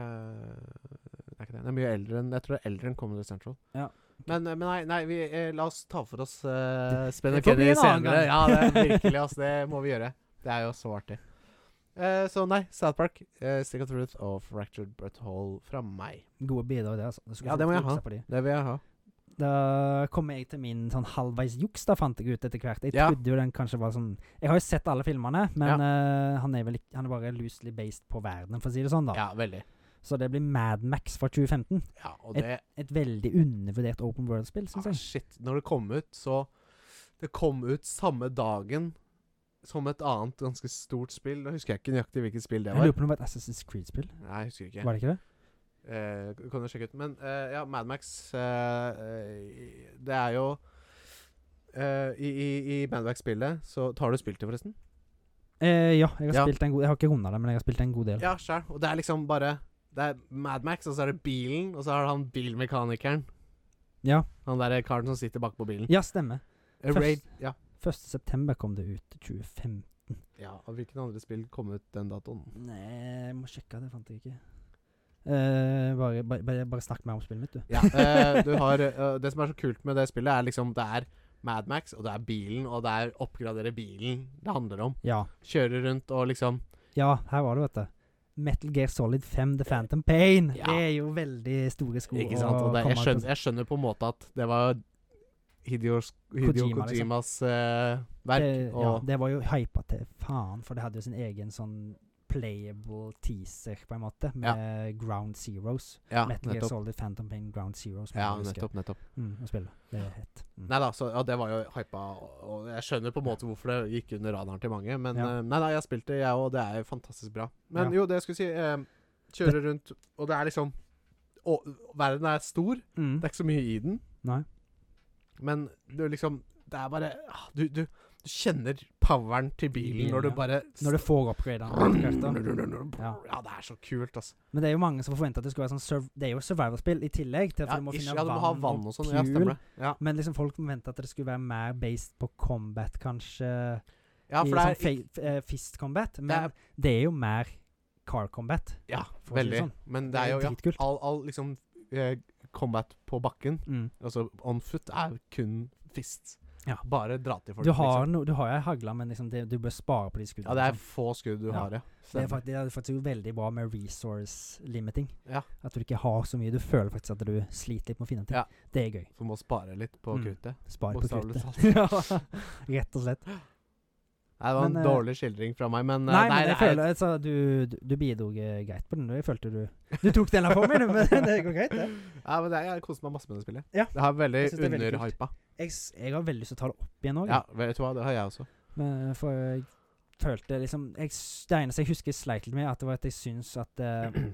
Eh, det er ikke det. Det er mye eldre enn Jeg tror det er eldre enn Comedy Central. Ja. Men, eh, men nei, nei vi, eh, la oss ta for oss uh, Spenn det og får bli Kenny en annen senere. Ja, gang. det er virkelig, ass. Det må vi gjøre. Det er jo så artig. Eh, så nei, South Park, eh, Stick of Truth og Fractured But Whole fra meg. Gode bidrag, det, altså. Du skulle Ja, fått det må jeg juksa ha. på de. Det vil jeg ha. Da kom jeg til min sånn halvveis juks, da fant jeg ut etter hvert. Jeg Ja. trodde jo den kanskje var sånn Jeg har jo sett alle filmene, men eh, han er vel ikke Han er bare loosely based på verden, for å si det sånn, da. Ja, veldig. Så det blir Mad Max fra 2015. Ja, og det Et veldig undervurdert open world-spill, syns ah, jeg. Shit. Når det kom ut, så Det kom ut samme dagen som et annet ganske stort spill. Da husker jeg ikke nøyaktig hvilket spill det Jeg var. lurer på om det var et Assassin's Creed-spill. Nei, jeg husker ikke. Var det ikke det? Eh, kan du sjekke ut. Men eh, ja, Madmax Det er jo eh, I, i, i Madmax-spillet så Tar du spilt det, forresten? Eh, ja, jeg har Ja. spilt en god Jeg har ikke runda det, men jeg har spilt en god del. Ja, sjæl. Og det er liksom bare Det er Madmax, og så er det bilen, og så er det han bilmekanikeren. Ja. Han derre karen som sitter bakpå bilen. Ja, stemmer. Eh, først- Raid, ja. 1. september kom det ut 2015. ja. Og hvilken andre spill kom ut den datoen? Nei, jeg må sjekke, det fant jeg ikke. Eh, bare, bare, bare, bare snakk mer om spillet mitt, du. Ja, eh, du har eh, Det som er så kult med det spillet, er liksom det er Madmax, og det er bilen, og det er oppgradere bilen det handler om. Ja. Kjøre rundt og liksom ja, her var det, vet du. Metal Gear Solid 5, The Phantom Pain. Ja. Det er jo veldig store sko. Ikke sant? å Og det, jeg, komme ut skjønner, jeg skjønner på en måte at det var Hideo, Hideo Kojima, liksom. Kojimas eh, og- verk. det, ja, og, det var jo hypa til faen, for det hadde jo sin egen sånn playable teaser, på en måte, med Ground Zeros. ja, Metal Gear nettopp. Solid, Phantom Pain, Ground Zeros. Ja, nettopp, nettopp. Mm, å spille. Det er hett. Mm. Nei da, så ja, det var jo hypa, og- og jeg skjønner på en måte hvorfor det gikk under radaren til mange. Men Ja. eh, nei da, jeg har spilt det, jeg òg, og det er jo fantastisk bra. Men Ja. jo, det jeg skulle si eh, Kjøre rundt, og det er liksom og, Verden er stor, Mm. det er ikke så mye i den, Nei. men du liksom Det er bare ah, Du, du, du kjenner poweren til bilen Bilen, når du ja. bare Når du får oppgradert den. etter hvert, da. ja. det er så kult, altså. Men det er jo mange som forventer at det skulle være sånn surv Det er jo survival-spill i tillegg. Til at Ja, du må ish, finne ja, du må ha vann og sånn. Ja, stemmer det. Ja, Men liksom folk forventa at det skulle være mer based på combat, kanskje. I ja for det sånn er fe- f- eh, fist combat. Men det er- er, jo mer car combat. Ja, for å si det veldig. sånn. Men det er jo ja, dritkult. all, all liksom eh, combat på bakken, Mm. altså on foot, er kun fist. Ja. Bare dra til folk. Du har, liksom. no, du har jo ei hagle, men liksom det, du bør spare på de skuddene. Ja, det er liksom. få skudd du Ja. har, ja. det er Stemmer. faktisk, det er faktisk veldig bra med resource limiting. Ja. At du ikke har så mye. Du føler faktisk at du sliter litt med å finne ting. Ja. Det er gøy. Så du må spare litt på Mm. kruttet. Spar på Bokstavelig kruttet. ja, rett og slett. Nei, det var Men, en eh, dårlig skildring fra meg, men eh, Nei, men det jeg er- føler altså, du, du, du bidro eh, greit på den. Jeg følte du Du tok den der på meg, du, men det går greit, det. Ja, men det, jeg koser meg masse med det spillet. Ja. Det er veldig Jeg synes det er veldig kult. underhypa. Jeg, s- jeg har veldig lyst til å ta det opp igjen òg. Ja, vet du hva, det har jeg også. For jeg følte liksom jeg, s- Det eneste jeg husker jeg sleit litt med, at det var at jeg syns at eh,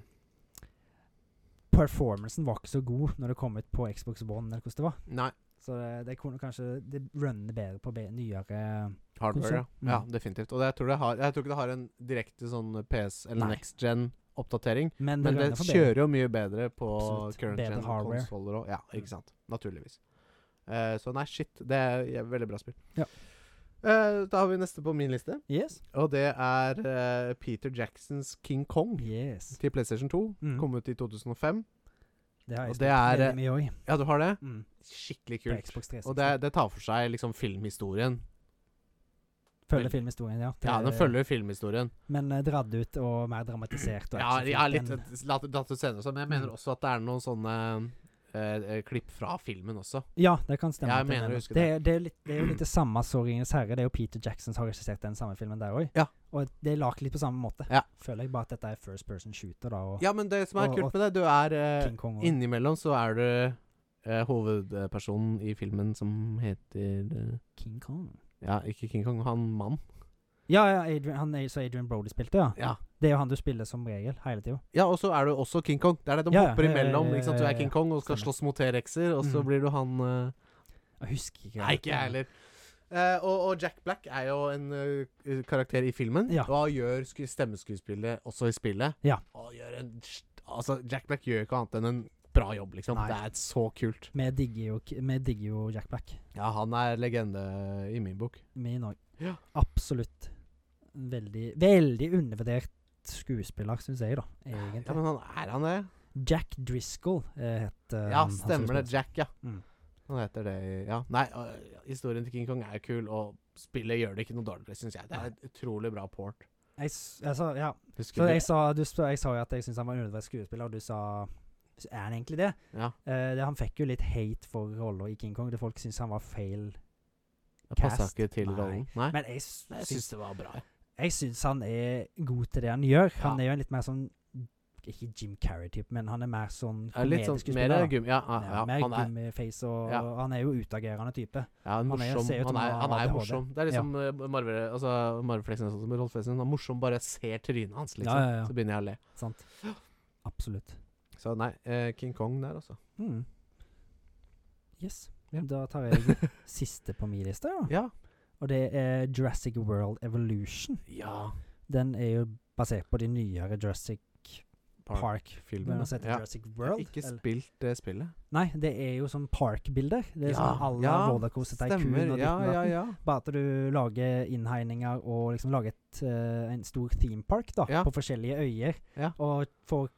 Performancen var ikke så god når det kom ut på Xbox One, eller hvordan det var. Nei. Så det, det kunne kanskje Det runner bedre på be, nyere Hardware, ja. Konsol. Mm. ja. Definitivt. Og det, jeg, tror det har, jeg tror ikke det har en direkte sånn PS eller Nei. next gen-oppdatering. Men det, Men det rønner for bedre. kjører jo mye bedre på Absolutt. current Bedre gen hardware. konsoller òg. Ja, ikke sant. Naturligvis. Eh, så nei, shit. Det er et veldig bra spill. Ja. Eh, da har vi neste på min liste, Yes. og det er eh, Peter Jacksons King Kong yes. til PlayStation 2. Mm. Kom ut i 2005. Det har og jeg det spilt er, veldig mye òg. Ja, du har det? Mm. Skikkelig På kult. Xbox 360. Og det, det tar for seg liksom filmhistorien. Følger filmhistorien, ja. Ja, den Det- følger filmhistorien. Men eh, dratt ut og mer dramatisert. Og Ja, ja litt actionfylt enn- datt ut senere og sånn, men jeg mener Mm. også at det er noen sånne eh, eh, klipp fra filmen også. ja, det kan stemme. Jeg at det er mener å den. huske det. er- Det, er litt, det er jo litt det samme som 'Ringenes herre'. Det er jo Peter Jackson som har regissert den samme filmen der òg. Ja. Og det er lagd litt på samme måte. Ja. Føler jeg bare at dette er first person shooter, da, og Ja, men det som er Og- kult med det, du er eh, King Kong og Innimellom så er du eh, hovedpersonen i filmen som heter eh, King Kong. Ja, ikke King Kong, han mann. Ja, ja, Adrian, han er, så Adrian Brody spilte, ja. Ja. Det er jo han du spiller som regel, hele tida. Ja, og så er du også King Kong. Det er det de Ja, ja, hopper ja, ja, imellom. ja, ikke sant? Du ja, er ja, King Kong og skal stemmer. slåss mot T-rexer, og så Mm. blir du han eh, Jeg husker ikke. Nei, ikke jeg heller. Eh, og, og Jack Black er jo en eh, karakter i filmen, Ja. og han gjør sku- stemmeskuespillet også i spillet. Ja. Og gjør en Altså, Jack Black gjør ikke annet enn en bra jobb, liksom. Nei. Det er så kult. Vi digger jo, vi digger jo Jack Black. Ja, han er legende i min bok. Min òg. Ja. Absolutt. Veldig, veldig undervurdert skuespiller, syns jeg, da. Egentlig. Ja, men han er han det? Jack Driscoll eh, het eh, Ja, han som stemmer det. spilte. Jack, ja. Mm. Han heter det i- Ja. Nei, øh, historien til King Kong er kul, og spillet gjør det ikke noe dårligere, syns jeg. Det er et utrolig bra port. Jeg, s- jeg sa, ja. Husker Så du? jeg sa, du, sp- jeg sa jo at jeg syntes han var en undervurdert skuespiller, og du sa "S- Er han egentlig det? Ja. Eh, det? Han fikk jo litt hate for rolla i King Kong. Det folk syntes han var feil. Det passa Cast? ikke til Nei. rollen. Nei. Men jeg, s- jeg syns syns, det var bra. jeg. jeg syns han er god til det han gjør. Han Ja. er jo en litt mer sånn Ikke Jim Carrey-type, men han er mer sånn Ja, litt sånn komedieskuespiller. mer da. gym... Ja, ja, Ja, ja, mer han er, gummiface, og, Ja. og han er jo utagerende type. ja, en han er- morsom. ser ut som Han er, han har han er ADHD. morsom. Det er liksom ja. Marvel, altså, Marvel Flexen er sånn som Rolf Flexen. Han er morsom, bare jeg ser trynet hans, liksom. Ja, ja, ja. Så begynner jeg å le. Sant? Absolutt. Så nei, eh, King Kong der, altså. Mm. Yes. Ja. Da tar jeg siste på min liste, ja. Ja. og det er Jurassic World Evolution. ja. Den er jo basert på de nyere Jurassic Park-filmen. Men å sette Mm. ja. Jurassic Jeg har World ikke eller- spilt det spillet. Nei, det er jo sånn parkbilder. Det er Ja, sånn à la ja, rollercoaster tycoon Stemmer. og Ja, ditten og ja, datten. ja. Bare at du lager innhegninger og liksom lager et, eh, en stor themepark da, Ja. på forskjellige øyer. Ja. Og får,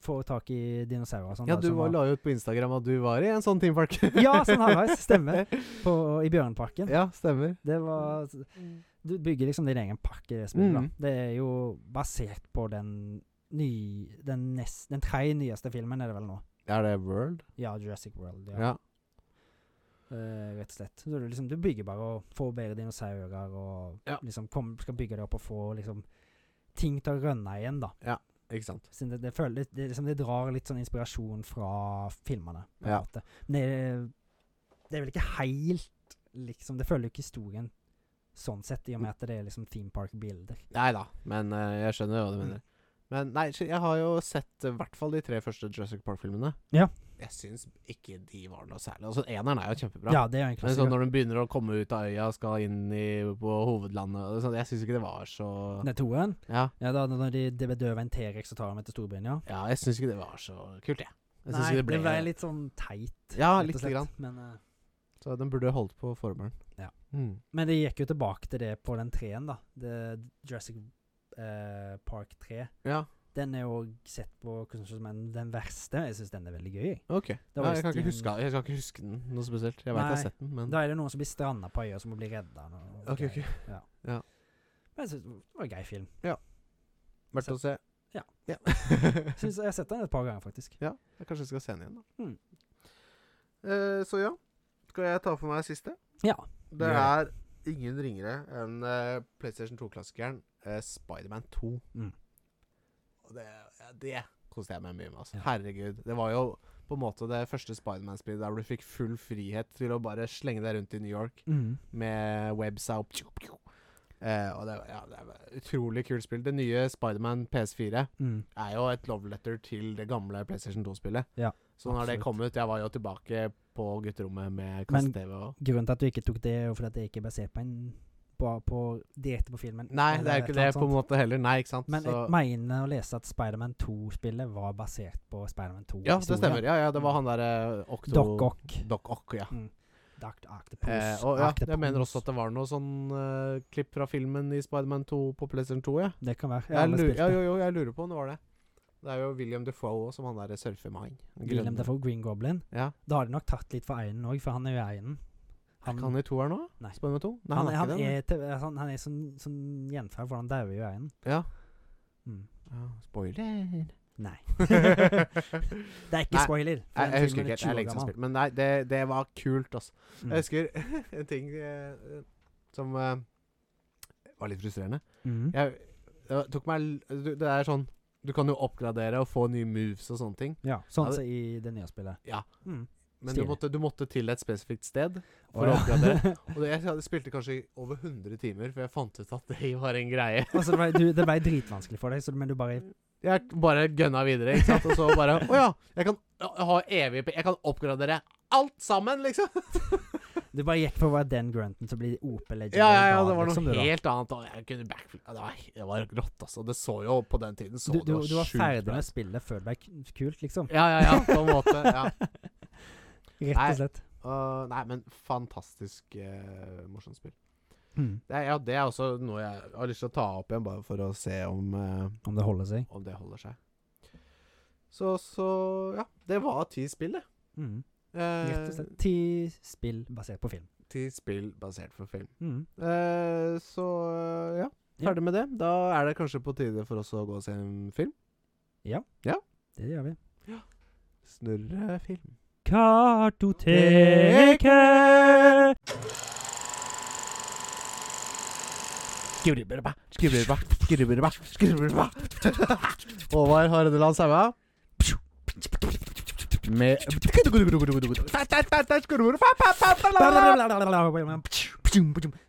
får tak i dinosaurer og sånn. Ja, da, du som var, la jo ut på Instagram at du var i en sånn teampark. Ja, sånn halvveis. Stemmer. På, I Bjørnparken. ja, stemmer. Det var Du bygger liksom din egen park i det spillet. Mm. da. Det er jo basert på den ny... Den, nest, den tre nyeste filmen, er det vel nå. Er det World? Ja, Jurassic World. Ja. Ja. Eh, rett og slett. Så du, liksom, du bygger bare og får bedre dinosaurer, og Ja. liksom kom, skal bygge det opp og få liksom ting til å rønne igjen, da. Ikke sant. Så det, det, føler, det, det, liksom, det drar litt sånn inspirasjon fra filmene. på en Ja. måte. Men det, det er vel ikke helt liksom, Det følger jo ikke historien sånn sett, i og med at det er liksom theme park-bilder. Nei da, men eh, jeg skjønner jo hva du mener. Men nei, skj- jeg har jo sett eh, i hvert fall de tre første Jurassic Park-filmene. Ja. Jeg syns ikke de var noe særlig. Altså, Eneren er jo kjempebra. Ja, det er jo en Men sånn klassiker. når de begynner å komme ut av øya og skal inn i, på hovedlandet og sånn, Jeg syns ikke det var så Det er toeren. Ja, Ja, da, når de, de bedøver en T-rex og tar dem til Storbritannia. ja jeg syns ikke det var så kult, jeg. jeg synes Nei, ikke det ble litt sånn teit. Ja, rett og lite slett. grann. Men, eh, Så den burde holdt på formelen. Ja. Mm. men det gikk jo tilbake til det på den treen, da. Det Jurassic eh, Park 3. Ja, Den er jo sett på kanskje som en, den verste. Jeg syns den er veldig gøy. var OK. Ja, visst jeg, kan i ikke en- huske, jeg kan ikke huske den noe spesielt. Jeg veit jeg har Nei. sett den, men Da er det noen som blir stranda på øya, som må bli redda. og- og Ok, greier. Ja. Ja. Men jeg synes det var en grei film. verdt å se. Ja. ja. Synes, jeg har sett den et par ganger, faktisk. Jeg kanskje skal se den igjen, da. Mm. Eh, så ja, skal jeg ta for meg siste? Ja. Det Gjør er ingen ringere enn eh, PlayStation 2-klassikeren uh, Spiderman 2. Mm. Og det, ja, det koste jeg meg mye med. Altså. Ja. Herregud. Det var jo på en måte det første Spiderman-spillet der du fikk full frihet til å bare slenge deg rundt i New York Mhm. med websa og pju, pju. Eh, og det, var- ja, det var utrolig kult spill. Det nye Spiderman PS4 Mm. er jo et love letter til det gamle PlayStation 2-spillet. Ja, så når det absolutt. kom ut Jeg var jo tilbake på gutterommet med kasse-TV og Grunnen til at du ikke tok det, er jo fordi at det ikke er basert på en på, på, direkte på filmen. Nei, det eller er et jo ikke eller det annet på en sånt. måte heller. Nei, ikke sant. Men så, jeg mener å lese at Spiderman 2-spillet var basert på Spiderman 2. ja, det stemmer. Ja, ja, det var han derre Okto... Doc Ock. Doc Ock, ja. Dr. Octopus. Eh, og ja, jeg mener Octopus. også at det var noe sånn eh, klipp fra filmen i Spiderman 2 på PlayStation 2, ja. Det kan være. Jeg har Jeg aldri lurer, spilt ja det. jo, jo, jeg lurer på om det var det. Det er jo William Defoe som han derre surfer med han. Den William grønne. Dafoe, Green Goblin. Ja. Da har de nok tatt litt for Einen òg, for han er jo Einen. Er ikke han i toeren nå? Nei. Spiderman 2? Nei, han, han, han, er ikke det. er, til- han, han er sånn, sånn gjenferd, for han dauer jo i Einen. Ja. Mm. ja. Spoiler. Nei. Nei, Det er ikke Nei, spoiler. for den jeg husker filmen er ikke helt. Jeg 20 år er lenge siden jeg har gammel. spilt, men nei, det, det var kult, altså. Mm. Jeg husker en ting eh, som eh, var litt frustrerende. Mhm. Jeg, det var- tok meg l- du- Det er sånn Du kan jo oppgradere og få nye moves og sånne ting, Ja, sånn Ja, som i det nye spillet. Ja. Mm. men du Stilig. måtte, du måtte til et spesifikt sted Å, for å ja. oppgradere. Og det, jeg hadde- spilte kanskje i over 100 timer før jeg fant ut at det var en greie. Altså, det, ble, du, det ble dritvanskelig for deg, så, men du bare Jeg bare gønna videre, ikke sant. Og så bare Å ja! Jeg kan ha evig Jeg kan oppgradere alt sammen, liksom! Du bare gikk for å være den grunten som blir OP Legend. Ja, ja, ja, det var noe du, liksom, da. helt annet. Og jeg kunne backflip Ja, Det var, det var rått, altså. Det så jo på den tiden så du, du, sånn- det var du var sjukt ferdig bra. med spillet før det ble k- kult, liksom. Ja, ja, ja. På en måte. Ja. Rett Nei. og slett. Øh, nei, men fantastisk eh, morsomt spill. Mm. Det, er- ja, det er også noe jeg har lyst til å ta opp igjen, bare for å se om, eh, Om det holder seg. om det holder seg. Så, så Ja. Det var ti spill, det. Mm. Eh, Rett og slett. Ti spill basert på film. Ti spill basert på film. Mm. Eh, så ja. Ja. Ferdig med det. Da er det kanskje på tide for oss å gå og se en film. Det gjør vi. Snurre film. Kartoteket! Skribbelba, skribbelba, skribbelba, skribbelba. Håvard Hardeland Saua. Med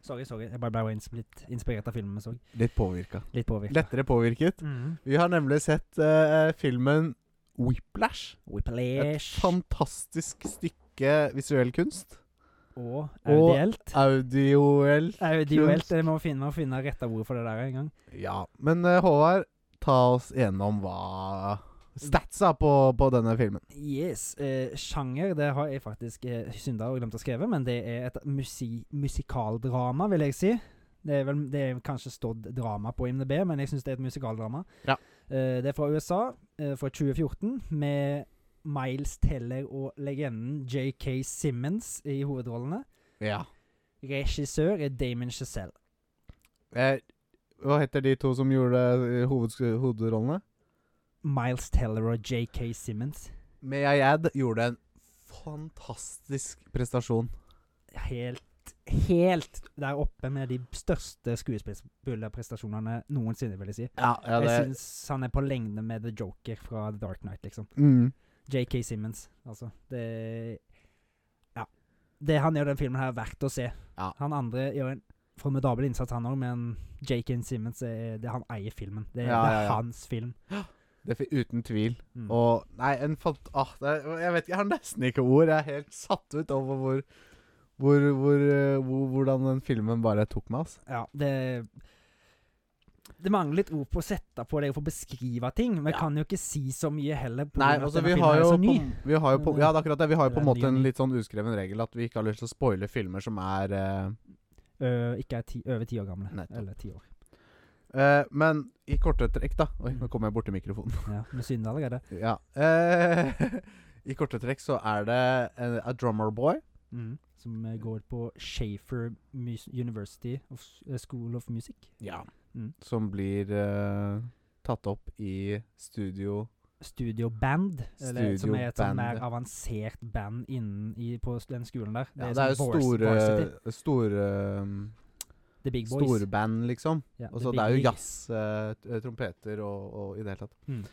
Sorry, sorry. Jeg bare ble ins- litt inspirert av filmen vi så. Litt påvirka. Litt påvirket. Lettere påvirket. Mm. Vi har nemlig sett eh, filmen Whiplash. Et Whiplash og fantastisk stykke visuell kunst. audielt. Audioel. Audielt. Jeg må finne, må finne rette ord for det der en gang. Ja. Men eh, Håvard, ta oss gjennom hva statsa på, på denne filmen. Yes. Eh, sjanger det har jeg faktisk eh, synda og glemt å skrive, men det er et musi musikaldrama, vil jeg si. Det er, vel, det er kanskje stått drama på IMDb, men jeg syns det er et musikaldrama. Ja. Eh, det er fra USA, eh, fra 2014, med Miles Teller og legenden JK Simmons i hovedrollene. Ja. Regissør er Damon Chazelle. Eh, hva heter de to som gjorde eh, hovedsku- hovedrollene? Miles Teller og JK Simmons. Mea Yad gjorde en fantastisk prestasjon. helt Helt der oppe med de største skuespillerprestasjonene noensinne, vil jeg si. Ja, ja Jeg syns han er på lengde med The Joker fra The Dark Knight, liksom. mm. JK Simmons, altså. Det Ja. Det han gjør i den filmen her, er verdt å se. Ja. Han andre gjør en formidabel innsats, han òg, men JK Simmons er det han eier filmen. Det er, Ja, det er ja, ja. hans film. Det fi- Uten tvil. Mm. Og Nei, en fant... Ah, det er, jeg vet ikke, jeg har nesten ikke ord. Jeg er helt satt ut over hvor hvor, hvor, eh, hvor, hvordan den filmen bare tok meg. Altså. Ja, det det mangler litt ord på å sette på det og få beskrive ting. Vi Ja. kan jo ikke si så mye heller. på Nei, grunn av at altså, denne vi filmen har er jo, så på, ny. Mm. vi har jo på, Ja, det er akkurat det. Vi har jo på en Eller ny måte og en ny. litt sånn uskreven regel at vi ikke har lyst til å spoile filmer som er eh, Øh, ikke er ti, over ti år gamle. Nettopp. Eller ti år. eh, Men i korte trekk, da Oi, nå kommer jeg borti mikrofonen. Ja, Vi synder allerede. Ja. Eh, I korte trekk så er det eh, A Drummer Boy. Mm. Som eh, går på Shafer Mus University of S- eh, School of Music. Mm. Som blir eh, tatt opp i studio Studio Band, eller, som er et Studio sånn mer Band. avansert band innen i, på s- den skolen der. Ja, det er jo sånn Voice- store Varsity, Store The Big Boys. Storband, liksom. Ja, Og The så Big det er jo League. jazz, eh, t- eh, trompeter og, og i det hele tatt. Mm.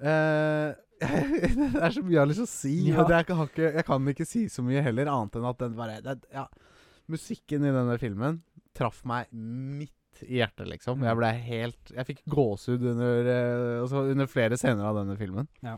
Eh, det er så mye jeg har lyst til å si, Ja. og det er, ikke- har ikke, jeg kan ikke si så mye heller, annet enn at den bare det, ja, Musikken i denne filmen traff meg midt i hjertet, liksom. Jeg ble helt Jeg fikk gåsehud under, eh, altså under flere scener av denne filmen. Ja.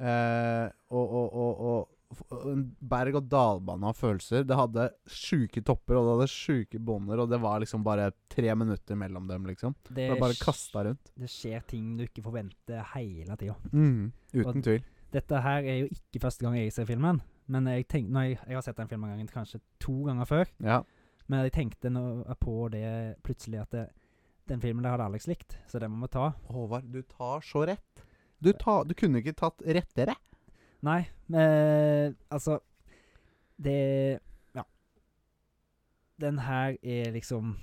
Eh, og, og, og, og f- en berg-og-dal-bane av følelser. Det hadde sjuke topper, og det hadde sjuke bånder, og det var liksom bare tre minutter mellom dem, liksom. Det, Det var bare sk- kasta rundt. det skjer ting du ikke forventer hele tida. Mm, Uten Og- tvil. Dette her er jo ikke første gang jeg ser filmen. Men jeg, tenk, når jeg, jeg har sett den filmen gangen, kanskje to ganger før. Ja. Men jeg tenkte nå på det plutselig at det, den filmen der hadde Alex likt, så den må vi ta. Håvard, du tar så rett. Du, ta, du kunne ikke tatt rettere. Nei, men altså Det Ja. Den her er liksom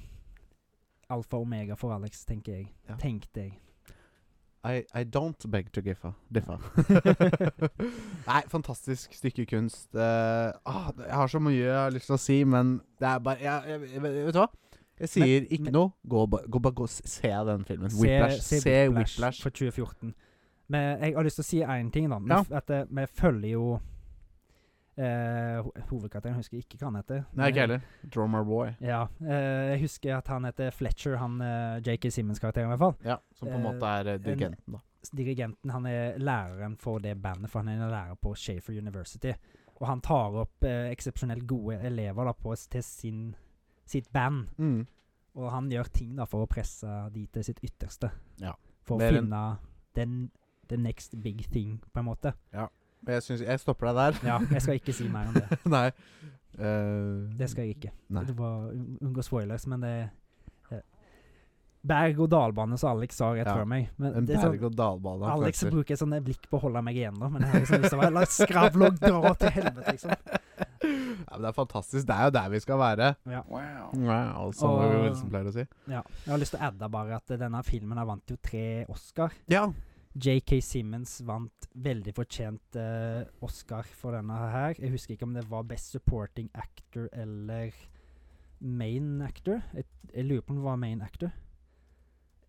alfa og omega for Alex, tenker jeg. Ja. Tenkte jeg. I, I don't beg to differ. differ. Nei, fantastisk stykke kunst. Eh, ah, jeg har så mye jeg har lyst til å si, men det er bare jeg, jeg, jeg, Vet du hva? Jeg sier ikke men- noe. Gå, ba- gå, bare gå, og s- se den filmen. Se- Whiplash. Se, Whiplash, Whiplash. for 2014. Men jeg har lyst til å si én ting, da. Vi, Ja. f- at eh, vi følger jo eh, ho- Hovedkarakteren husker jeg ikke hva han heter. Nei, ikke Men- heller. Drummer Boy. Ja, eh, jeg husker at han heter Fletcher, han eh, JK Simmons-karakteren i hvert fall. Ja, som på en Eh, måte er eh, en- dirigenten, da. dirigenten han er læreren for det bandet, for han er en lærer på Shafer University. Og han tar opp eh, eksepsjonelt gode elever da, på, til sin, sitt band. Og han gjør ting da, for å presse de til sitt ytterste. Ja. For Mer å enn- finne den, the next big thing, på en måte. Men jeg, syns- jeg stopper deg der. Ja, jeg skal ikke si mer om det. Nei. Eh, Det skal jeg ikke. Nei. Det var un- Unngå spoilers, men det eh, Berg-og-dal-bane, som Alex sa rett Ja, før meg. Men En det er sånn- berg-og-dal-bane av Alex følelser. bruker sånne blikk på å holde meg igjen, da. Men jeg har liksom lyst til å være La skravle og dra til helvete, liksom. Ja, men det er fantastisk. Det er jo der vi skal være. Wow. Wow, altså, som Og- Roy Wilson pleier å si. Ja. Jeg har lyst til å adde bare at eh, denne filmen her vant jo tre Oscar. Ja. JK Simmons vant veldig fortjent eh, Oscar for denne her. Jeg husker ikke om det var Best Supporting Actor eller main actor. Jeg, jeg lurer på om det var main actor.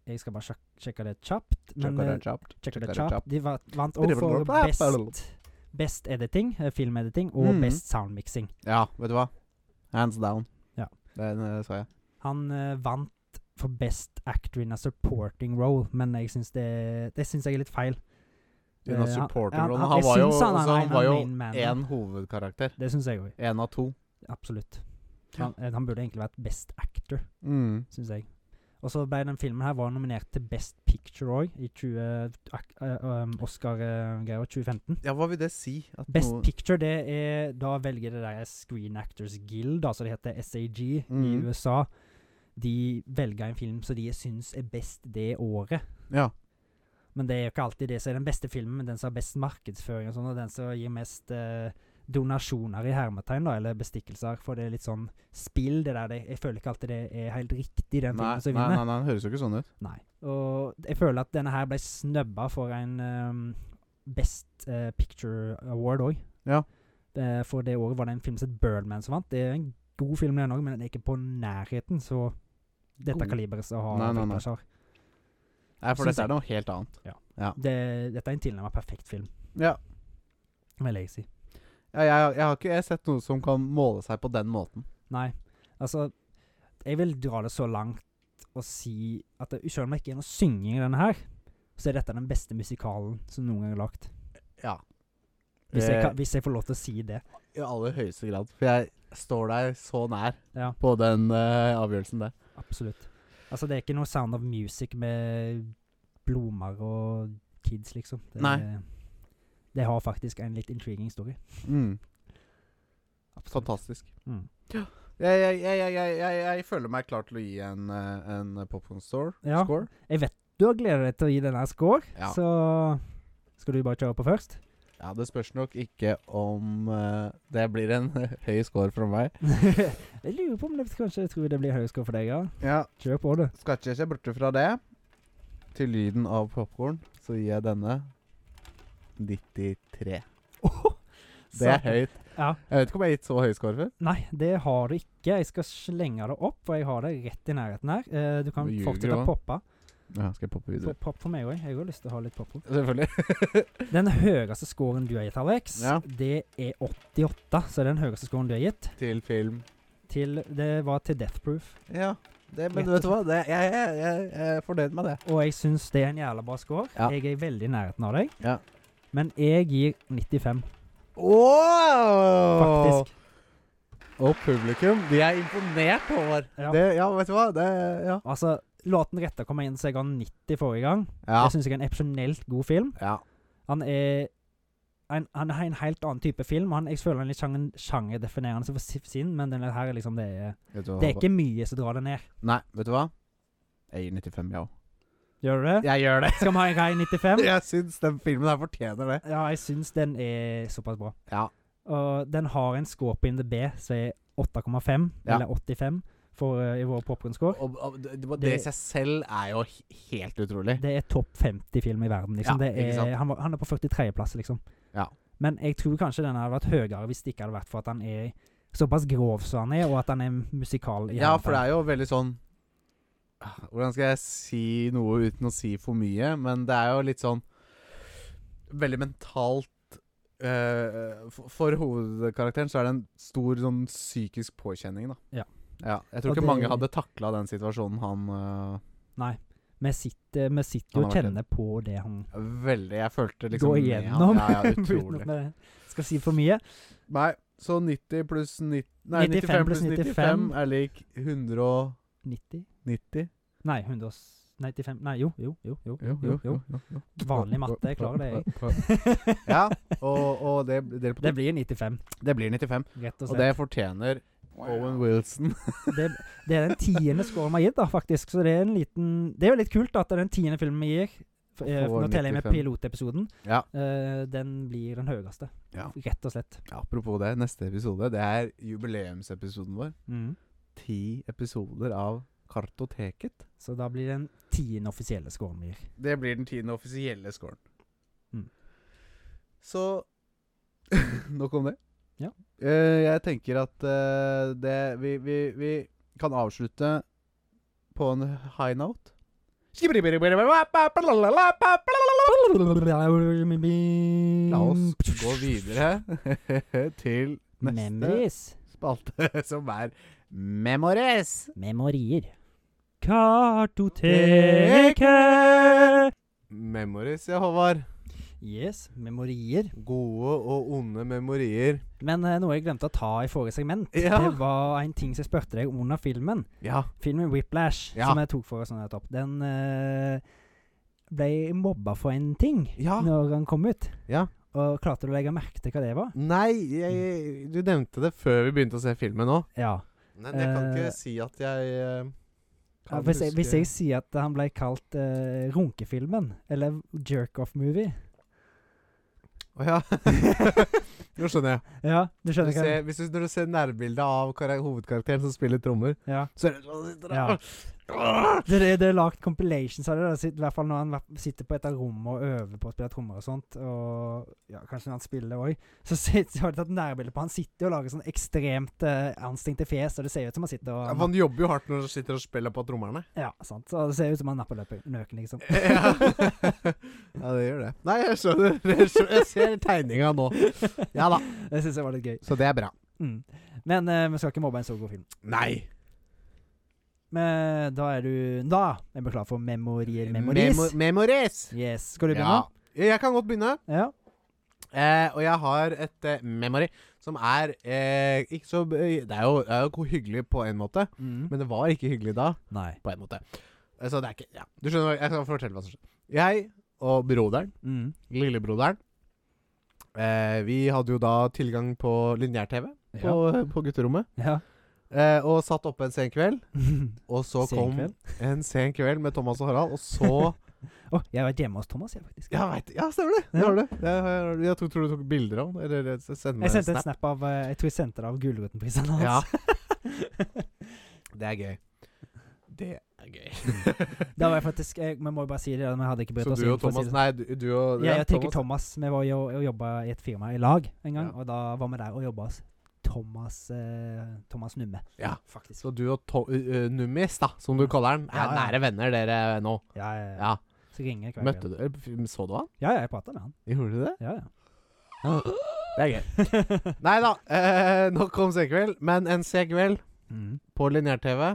Jeg skal bare sjek sjekke det kjapt. Men Checker eh, det kjapt. sjekke det checker det kjapt. kjapt. De va- vant også for best, best editing, eh, filmediting, og Mhm. best soundmixing. Ja, vet du hva? Hands down. Ja. Den eh, sa jeg. Han eh, vant for Best Actor in a Supporting Role, men jeg syns det Det syns jeg er litt feil. Eh, Unna han- supporterrollen. han- Han, jeg var jo, syns han er altså, en han var jo main man. én hovedkarakter. Det syns jeg òg. Én av to. Absolutt. Ja. Han, eh, han burde egentlig vært Best Actor, Mm. syns jeg. Og så ble den filmen her var nominert til Best Picture òg, i 20 ak- eh, um, Oscar-greia 2015. Ja, hva vil det si? At Best noe- Picture, det er Da velger det der Screen Actors Guild, altså det heter SAG i Mhm. USA. De velger en film som de syns er best det året. Ja. Men det er jo ikke alltid det som er den beste filmen, men den som har best markedsføring og sånn, og den som gir mest eh, donasjoner i hermetegn, da, eller bestikkelser. For det er litt sånn spill, det der. Det, jeg føler ikke alltid det er helt riktig, den filmen Nei, nei, som nei, vinner. nei, det høres jo ikke sånn ut. Nei. Og jeg føler at denne her ble snøbba for en ehm, Best eh, Picture Award òg. Ja. Eh, for det året var det en film som het Birdman som vant. Det er en god film, den òg, men den er ikke på nærheten så dette God. kaliberet som har Nei, nei, nei. Whiplash har. Nei, for Syns dette jeg. er noe helt annet. Det, dette er en tilnærmet perfekt film, Ja. vil jeg si. Ja, jeg, jeg har ikke jeg har sett noe som kan måle seg på den måten. Nei, altså Jeg vil dra det så langt og si at det, selv om det ikke er noe synging i denne her, så er dette den beste musikalen som noen gang er lagd. Ja. Hvis, jeg Eh, kan- hvis jeg får lov til å si det. I aller høyeste grad. For jeg står deg så nær Ja. på den eh, avgjørelsen der. Absolutt. Altså, det er ikke noe Sound of Music med blomster og kids, liksom. Det, Nei. Det har faktisk en litt intriguing story. Absolutt. Mm. Fantastisk. Mm. Jeg, jeg, jeg, jeg, jeg, jeg, jeg føler meg klar til å gi en, eh, en popcorn store Ja. score. Jeg vet du har gleda deg til å gi denne score, Ja. så skal du bare kjøre på først? Ja, det spørs nok ikke om eh, det blir en høy score fra meg. jeg lurer på om det kanskje jeg tror det blir høy score for deg, ja. Ja, Kjør på, du. skal ikke se borte fra det. Til lyden av popkorn så gir jeg denne 93. Det er Satan. høyt. Ja. Jeg vet ikke om jeg har gitt så høy score før. Nei, det har du ikke. Jeg skal slenge det opp, for jeg har det rett i nærheten her. Eh, du kan Du ljuger, fortsette å hva? poppe. Ja, skal jeg poppe Få videre? Pop for meg òg. Jeg har lyst til å ha litt popkorn. Selvfølgelig. Den høyeste scoren du har gitt, Alex, Ja. det er 88. Så den høyeste scoren du har gitt, Til film. til, det var til Death Proof. Ja. Det, men Rett og vet du hva, det, jeg, jeg, jeg, jeg er fornøyd med det. Og jeg syns det er en jævla bra score. Ja. Jeg er veldig i nærheten av deg. Ja. Men jeg gir 95, Wow! faktisk. Og publikum, de er imponert, Håvard. Ja. Det- ja, vet du hva? Det, ja. Altså, låten retta kom inn så jeg ga 90 forrige gang. Ja. Det syns jeg er en eksepsjonelt god film. ja. Han er en, han er en helt annen type film. Han, jeg føler han er litt sjanger- sjangerdefinerende for si- sin, men denne her er liksom det er, Vet du hva, det er Håvard? ikke mye som drar det ned. Nei, vet du hva? Jeg gir 95, jeg òg. Gjør du det? Jeg gjør det. Skal vi ha en grei 95? Jeg syns den filmen her fortjener det. Ja, jeg syns den er såpass bra. Ja. Og den har en score på IMDb som er 8,5, Ja. eller 85, for, eh, i vår popkornscore. Og, og det, det, Det- i seg selv er jo he- helt utrolig. Det er topp 50-film i verden. liksom. Ja, det ikke sant. er, han, var, han er på 43.-plass, liksom. Ja. Men jeg tror kanskje den hadde vært høyere hvis det ikke hadde vært for at han er såpass grov som han er, og at han er musikal. i Ja, hele for det tatt. er jo veldig sånn Ah, Hvordan skal jeg si noe uten å si for mye? Men det er jo litt sånn Veldig mentalt eh, for, for hovedkarakteren så er det en stor sånn psykisk påkjenning, da. Ja. jeg tror Og ikke det- mange hadde takla den situasjonen han eh, Vi sitter, vi sitter jo og Han har vært kjenner på det han Veldig Jeg følte liksom går med igjennom. Han. Ja, ja, uten utrolig. at vi Skal si for mye. Nei, så 90 pluss 90 Nei, 95 95 pluss pluss 95 er lik 190. 90? Nei, 195 Nei, jo, jo, jo. jo, Jo, jo, jo. jo, jo. Vanlig matte, jeg klarer det, jeg. ja, og, og det, det, Det blir 95, det blir 95. rett og Og det slett. fortjener Owen Wow. Wilson. Det, det er den tiende scoren vi har gitt, da, faktisk. Så det er en liten Det er jo litt kult da, at det er den tiende filmen vi gir. For, eh, Får nå teller jeg med 95. pilotepisoden. Ja. Eh, den blir den høyeste, Ja. rett og slett. Apropos det, neste episode Det er jubileumsepisoden vår. Mm. Ti episoder av Kartoteket. Så da blir den tiende offisielle scoren vi gir. Det blir den tiende offisielle scoren. Mm. Så Nok om det. Ja. Eh, jeg tenker at eh, det vi, vi, vi kan avslutte på en high note. La oss gå videre Mm. til neste Memories. spalte, som er Memories. Memorier. Kartoteket. Memories, ja, Håvard. Yes, memorier. Gode og onde memorier. Men eh, noe jeg glemte å ta i forrige segment, Ja. det var en ting som jeg spurte deg om under filmen. Ja. Filmen Whiplash, Ja. som jeg tok for oss nå nettopp, den eh, ble mobba for en ting Ja. når den kom ut. Ah. Ja. Og klarte du å legge merke til hva det var? Nei, jeg, jeg- du nevnte det før vi begynte å se filmen òg. Ja. Men jeg kan Eh, ikke si at jeg eh, Ja, kan hvis, jeg, hvis huske- jeg sier at han ble kalt eh, runkefilmen, eller jerk-off-movie Å ja. Nå skjønner jeg. Ja, du Når skjønner du hva jeg ser, hvis du, når du ser nærbildet av kara- hovedkarakteren som spiller trommer, ja. så er det sånn han sitter Ja. der. Åh! Det, det, det er lagt compilations av det, da, sitt- i hvert fall når han vært- sitter på et av rommene og øver på å spille trommer og sånt, og ja, kanskje når han spiller òg, så sitter- så har de tatt nærbilde på Han sitter og lager sånn ekstremt eh, anstrengte fjes, og det ser ut som han sitter Ja, og for Han jobber jo hardt når han sitter og spiller på trommerne. Ja, sant. Så det ser ut som han napper løpe- nøken, liksom. ja, det gjør det. Nei, jeg skjønner. Jeg, skjønner. jeg ser tegninga nå. Ja da. Det syns jeg var litt gøy. Så det er bra. Mm. Men eh, vi skal ikke mobbe en så god film. Nei. Men eh, da er du Da er vi klar for memorier. Memories. Memo memories. yes. Skal du Ja. begynne? Jeg kan godt begynne. Ja. Eh, og jeg har et eh, memory som er eh, ikke så Det er jo, det er jo hyggelig på en måte, Mm. men det var ikke hyggelig da. Nei. På en måte. Eh, Så det er ikke Ja, du skjønner, hva- jeg skal fortelle hva som skjedde. Jeg og broderen, Mm. lillebroderen eh, Vi hadde jo da tilgang på lineær-TV Ja. på, på gutterommet. ja. Eh, og satt oppe en sen kveld, og så Sen kom kveld? en sen kveld med Thomas og Harald, og så Å, jeg har vært hjemme hos Thomas, jeg, faktisk. Ja, veit Ja, stemmer det! Det Ja. har du. Det har Jeg, jeg tror, tror du tok bilder av den, eller eh, sendte meg Jeg en sendte snap. en snap av eh, Jeg tror jeg sendte det av Gulrotenprisen hans. Ja. Det er gøy. Det er gøy. Da var jeg faktisk jeg, Vi må jo bare si det, da, vi hadde ikke brydd Så oss du inn og for å si Thomas det sånn. Nei, du, du og Ja, jeg tenker Thomas. Thomas Vi var jo og jobba i et firma i lag en gang, Ja. og da var vi der og jobba hos Thomas eh, Thomas Numme, Ja. faktisk. Så du og to ø, ø, Nummis, da, som du kaller han, er Ja, ja. nære venner dere nå. Ja, ja, ja. Ja. Så ringer jeg hver Møtte du eller, Så du han? Ja, ja, jeg prata med han. Gjorde du det? Ja, ja. Det er gøy. Nei da, eh, nok om sequel. Men en sequel Mm. på lineær-TV,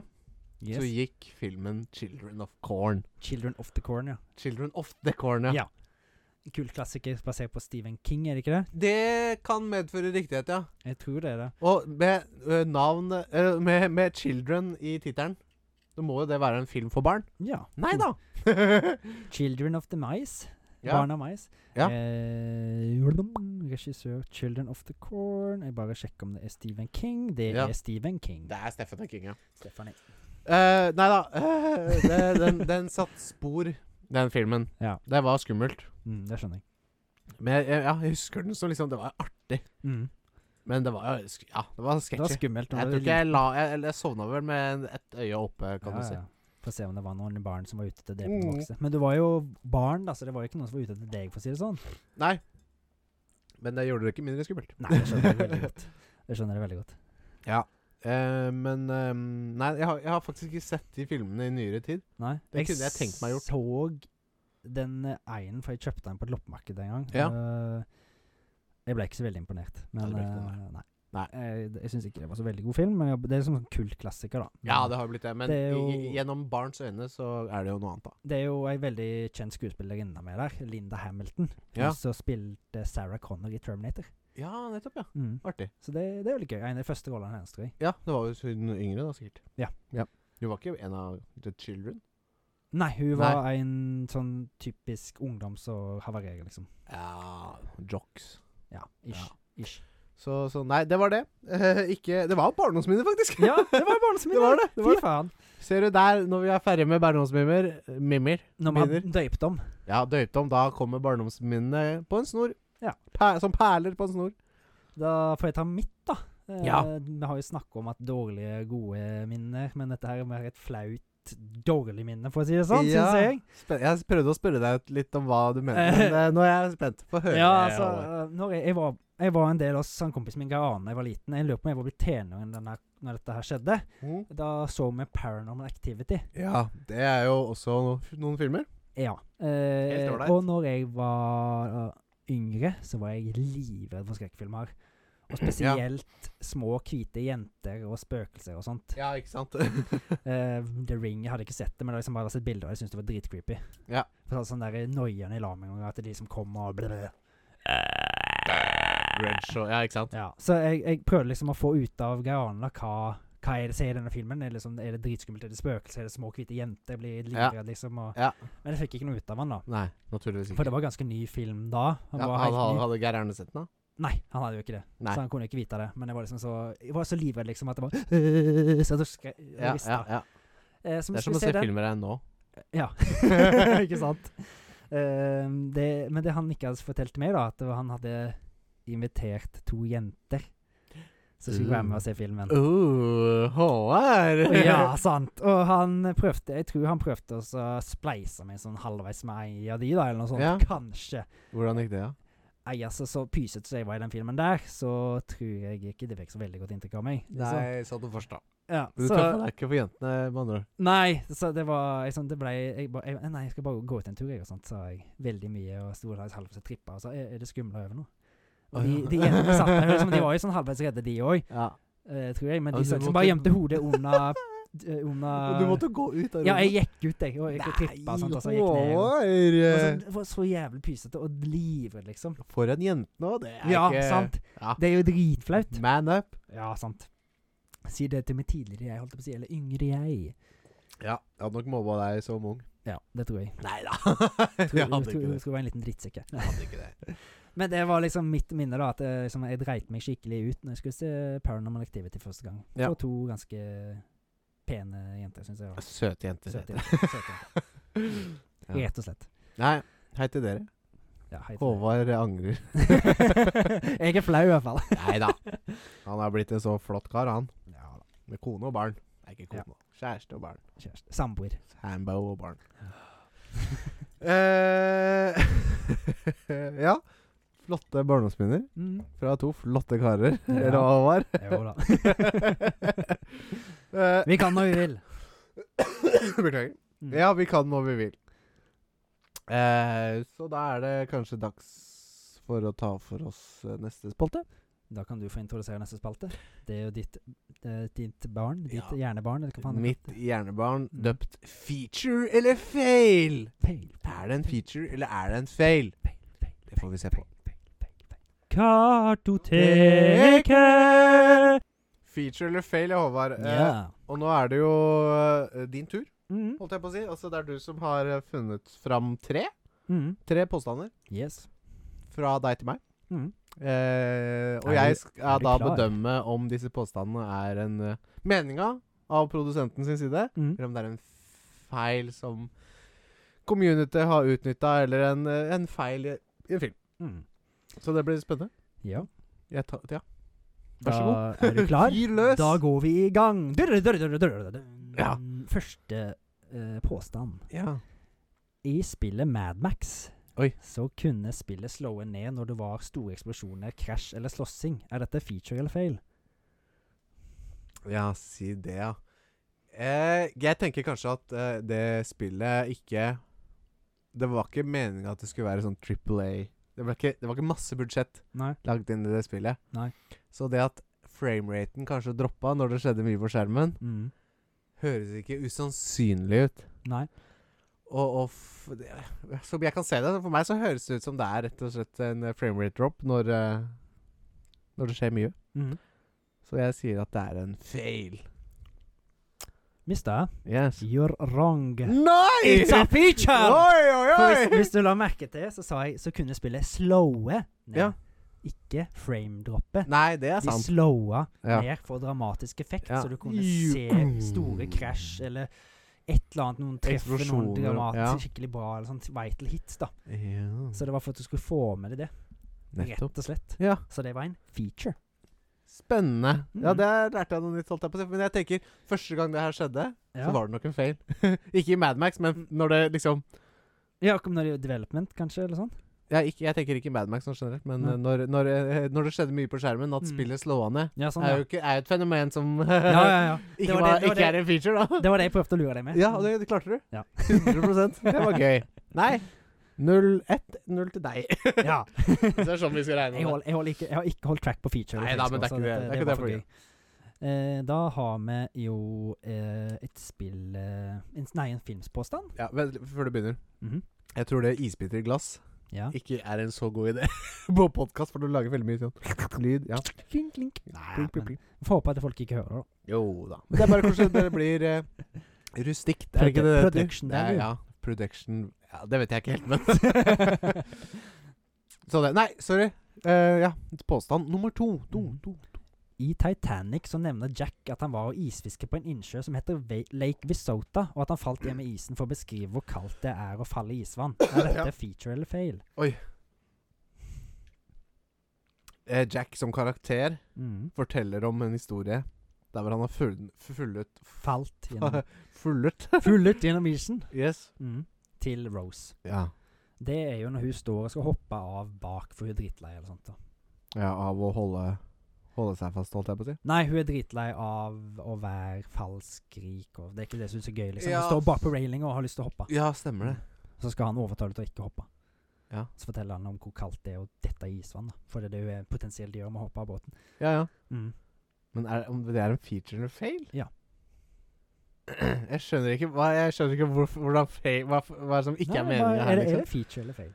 Yes. så gikk filmen 'Children of Corn'. Children of the Corn, ja. 'Children of the Corn', ja. Ja. Kul klassiker basert på Stephen King, er det ikke det? Det kan medføre riktighet, ja. Jeg tror det er det. Og med ø, navn ø, med, med 'Children' i tittelen, så må jo det være en film for barn. Ja. Nei da! Children of the Mice. Ja. Barn av mais. Ja. Eh, blum, regissør Children of the Corn. Jeg bare sjekker om det er Stephen King. Det Ja. er Stephen King. det er Stephen King, ja. Stephanie. Eh, nei da. eh, det, den, den satt spor, den filmen. Ja. Det var skummelt. Mm, det skjønner jeg. Men jeg, jeg- ja, jeg husker den som liksom Det var artig. Mm. Men det var jo sk- Ja, det var Det var sketsjy. skummelt. når Jeg du tror er ikke jeg la Jeg, eller jeg sovna vel med en- et øye oppe, kan Ja, du si. ja. Få se om det var noen barn som var ute til å drepe Mm. noen voksne. Men du var jo barn, da, så det var jo ikke noen som var ute til deg, for å si det sånn. Nei. Men det gjorde det ikke mindre skummelt. Nei, det skjønner jeg veldig godt. Jeg skjønner det veldig godt. Ja. Eh, men ehm, Nei, jeg har, jeg har faktisk ikke sett de filmene i nyere tid. Nei. Det kunne jeg tenkt meg gjort. så den eh, einen, for jeg kjøpte den på et loppemarked en gang. Eh, jeg ble ikke så veldig imponert. Men det ble ikke eh, det, nei. Nei. Eh, det- jeg syns ikke det var så veldig god film, men jeg, det er liksom en kult klassiker, da. Men Ja, det har jo blitt det. Men Det er i- jo- i- gjennom barns øyne så er det jo noe annet, da. det er jo ei veldig kjent skuespillerinne med der, Linda Hamilton, Ja. som spilte Sarah Connor i Terminator. Ja, nettopp, ja. Mm. Artig. Så det, det er veldig gøy. En av de første rollene hennes, tror jeg. Ja, det var jo hun yngre da, sikkert. Ja. Hun var ikke en av The Children? Nei, hun var en sånn typisk ungdoms- og havarerer, liksom. Ja, jocks. Ja, ish. Ish. Så, så nei, det var det. Eh, ikke Det var barndomsminner, faktisk! Ja, det var barnesminner! Det var det, det var Fy faen! Ser du der, når vi er ferdig med barndomsmimmer eh, Mimmer. Når man Minner. døypte om. Ja, døypt om. Da kommer barndomsminnene på en snor. Ja. Per, som perler på en snor. Da får jeg ta mitt, da. Eh, Ja. Vi har jo snakka om at dårlige, gode minner, men dette her er mer et flaut, dårlig minne, for å si det sånn, syns Ja. jeg. Spen jeg prøvde å spørre deg ut litt om hva du mener, men eh, nå er jeg spent. Få høre. Ja, altså, Håvard. eh, når jeg, jeg, var, jeg var en del av kompisen min Garane da jeg var liten. Jeg lurer på om jeg var blitt tenåring da denne når dette her skjedde. Mhm. Da så vi Paranormal Activity. Ja, det er jo også no- noen filmer. Ja. Eh, Helt ålreit. og når jeg var eh, yngre, så var jeg livredd for skrekkfilmer. Og spesielt små, hvite jenter og spøkelser og sånt. Ja, ikke sant? Eh, The Ring, jeg hadde ikke sett det, men jeg liksom bare sett bilder, og jeg syntes det var dritcreepy. Ja. For det var sånn der noierne i lag med en gang, at de liksom kom og blablabla. Grudge og Ja, ikke sant? Ja, så jeg, jeg prøvde liksom å få ut av Garana hva, hva er det som er i denne filmen. Er det, liksom, er det dritskummelt, er det spøkelser, er det små hvite jenter, blir livredd, liksom. Og, Ja. Men jeg fikk ikke noe ut av han da. Nei, naturligvis ikke. For det var ganske ny film da. Han ja, var han, helt hadde- ny. hadde Geir Erne sett den, da? Nei, han hadde jo ikke det. Nei. Så han kunne ikke vite det. Men jeg var liksom så Jeg var så livredd liksom at det var Så jeg skre- jeg Ja, rista. ja, ja. Eh, så vi Det skulle er som å se den. filmer her nå. Ja, ikke sant? Eh, det, men det han ikke hadde fortalt meg, da, at det var han hadde invitert to jenter som skulle være med og se filmen. Uh, HR! Ja, sant. Og han prøvde Jeg tror han prøvde også å spleise meg sånn halvveis med ei av de, da, eller noe sånt. Ja. Kanskje. Hvordan gikk det, da? Nei, altså, så pysete som jeg var i den filmen der, så tror jeg ikke det fikk så veldig godt inntrykk av meg. Så, sa du først, da. ja, Du sånn. så, tøffa deg ikke for jentene, med andre ord. Nei, så det var liksom, det ble, jeg ba, jeg, Nei, jeg skal bare gå ut en tur, jeg, og sånt, sa jeg. Veldig mye, og sto der halvveis og trippa, og sa er, er det skumla over nå? Og de, Å, ja. de jentene satt der, liksom, de var jo sånn halvveis redde, de òg, Ja. tror jeg, men de Ja, du satt, måtte- som bare gjemte hodet under d- under Du måtte gå ut av Eh, Ja, jeg gikk ut, jeg, og jeg trippa og sånt, og så gikk jeg ned. Og, og så, ned. det var så jævlig pysete og livredd, liksom. For en jente nå, det er Ja, ikke sant. Ja. Det er jo dritflaut. Man up. Ja, sant. Si det til meg tidligere jeg, holdt jeg på å si, eller yngre jeg. Ja, jeg hadde nok mobba deg som ung. Ja, det tror jeg. Nei da. Jeg Jeg tror, hadde tror, ikke det. tror jeg var en liten drittsekk. jeg. Jeg hadde ikke det. Men det var liksom mitt minne, da. At jeg, liksom, jeg dreit meg skikkelig ut når jeg skulle se Paranormal Activity første gang. Ja. Og to ganske pene jenter, syns jeg. var. Søte jenter. Søte jenter. Søte jenter. Ja. Rett og slett. Nei, hei til dere. Ja, hei til deg. Håvard angrer. jeg er flau, i hvert fall. Nei da. Han er blitt en så flott kar, han. Ja da. Med kone og barn. Nei, ikke kone. Kjæreste og barn. Kjæreste. Samboer. Sambo og barn. eh, ja. Flotte barndomsminner Mm. fra to flotte karer. Ja. Eller hva det var. Jo da. Eh, Vi kan når vi vil. Beklager. Mm. Ja, vi kan når vi vil. Eh, så da er det kanskje dags for å ta for oss eh, neste spalte. Da kan du få introdusere neste spalte. Det er jo ditt, eh, ditt barn. Ditt Ja. hjernebarn. Eller hva faen Mitt hjernebarn Mm. døpt 'feature eller fail'. Peil, Er det en feature, eller er det en fail? peil, peil, Det får vi se på. peil, peil, peil. Kartoteket! Feature eller fail, ja, Håvard. Eh, Ja. Og nå er det jo eh, din tur, Mm. holdt jeg på å si. Altså, det er du som har eh, funnet fram tre. Mm. Tre påstander Yes. fra deg til meg. Mm. Eh, og Er du- jeg skal er du da klar? bedømme om disse påstandene er en eh, meninga av produsenten sin side, Mm. eller om det er en feil som community har utnytta, eller en, eh, en feil i i en film. Mm. Så det blir spennende. Ja. Jeg tar, ja. Da Vær så god. er du klar? Fyr løs. Da går vi i gang. Durr, durr, durr, durr, durr. Ja. Første eh, påstand. ja. I spillet Mad Max Oi. så kunne spillet slåe ned når det var store eksplosjoner, krasj eller slåssing. Er dette feature eller fail? Ja, si det, ja. Eh, jeg tenker kanskje at eh, det spillet ikke Det var ikke meninga at det skulle være sånn Triple A. Det, ble ikke, det var ikke masse budsjett Nei. lagd inn i det spillet. Nei. Så det at frameraten kanskje droppa når det skjedde mye på skjermen, Mm. høres ikke usannsynlig ut. Nei. Og, Og, og f det, som jeg kan se det, for meg så høres det ut som det er rett og slett en eh, framerate drop når, eh, når det skjer mye. mm. Så jeg sier at det er en fail. Mister, Yes. you're wrong. Nei! It's a feature! Oi, oi, For oi! hvis, hvis du la merke til, så sa jeg så kunne spillet slowe ned. Ja. Ikke framedroppe. Nei, det er De sant. slowa Ja. ned for dramatisk effekt, Ja. så du kunne Ju- Mm. se store krasj eller et eller annet, noen treffer noen Eksplosjoner, dramat ja. skikkelig bra, eller sånn vital hits, da. Ja, Så det var for at du skulle få med deg det, nettopp. rett og slett. Ja. Så det var en feature. Spennende. Ja, Mm. der lærte jeg noe nytt. Holdt jeg på. å si. Men jeg tenker, første gang det her skjedde, Ja, Mm. så var det nok en fail. ikke i Mad Max, men når det liksom ja kom når det er development, kanskje, eller sånn. Jeg, ikke, jeg tenker ikke Mad Max sånn generelt, men Nei. eh, når, når, eh, når det skjedde mye på skjermen, at Mm. spillet slår av ned, Ja, sånn, er ja. jo ikke, er jo et fenomen som Ja, ja, ja. ikke, var var, det- det var ikke det- er en feature, da. Det var det jeg prøvde å lure deg med. Ja, og det, det klarte du. Ja. 100 Det var gøy. Nei. 0-1, 0 til deg. Ja. det er sånn vi skal Jeg, hold, jeg, hold ikke, jeg har ikke holdt track på liksom, altså, feature. Nei da, men det er ikke det- det er ikke det for gøy. Eh, da har vi jo eh, et spill eh, en, Nei, en filmspåstand. Ja, vent, litt Før du begynner. Mhm. Jeg tror det isbiter i glass Ja. ikke er en så god idé på podkast, for du lager veldig mye sånn lyd. Ja. Klink, klink. Nei, Plink, plink, plink. Får håpe at folk ikke hører det. Jo da. Men det er bare kanskje det blir eh, rustikt. Er det ikke det Produ- det heter? production Det er- value. Ja. Production Ja, det vet jeg ikke helt, men Så det Nei, sorry. Eh, ja, påstand nummer to. to, Mhm. to. I Titanic så nevner Jack at han var og isfiske på en innsjø som heter Ve- Lake Visota, og at han falt ned med isen for å beskrive hvor kaldt det er å falle i isvann. Er Ja. dette feature eller fail? Eh, Jack som karakter Mm. forteller om en historie der hvor han har full- fullet Falt gjennom Fullet? Fullet gjennom isen. Yes. Mm. Til Rose. Ja. Det er jo når hun står og skal hoppe av bak, for hun er dritlei eller sånt. da. Ja, av å holde Holde seg fast, holdt jeg på å si. Nei, hun er dritlei av å være falsk rik, og det er ikke det som er så gøy, liksom. Ja. Hun står bak på railinga og har lyst til å hoppe. Ja, stemmer det. Så skal han overtale til å ikke hoppe. Ja. Så forteller han om hvor kaldt det er å dette i isvann, da. For det er det hun er potensielt gjør med å hoppe av båten. Ja, ja. Mm. Men er, om det er en feature eller fail? Ja. Jeg skjønner ikke hva, jeg skjønner ikke hvorfor- hvordan fail, hva, hva som ikke er Nei, meninga hva- her. er, det, er Liksom. det feature eller fail?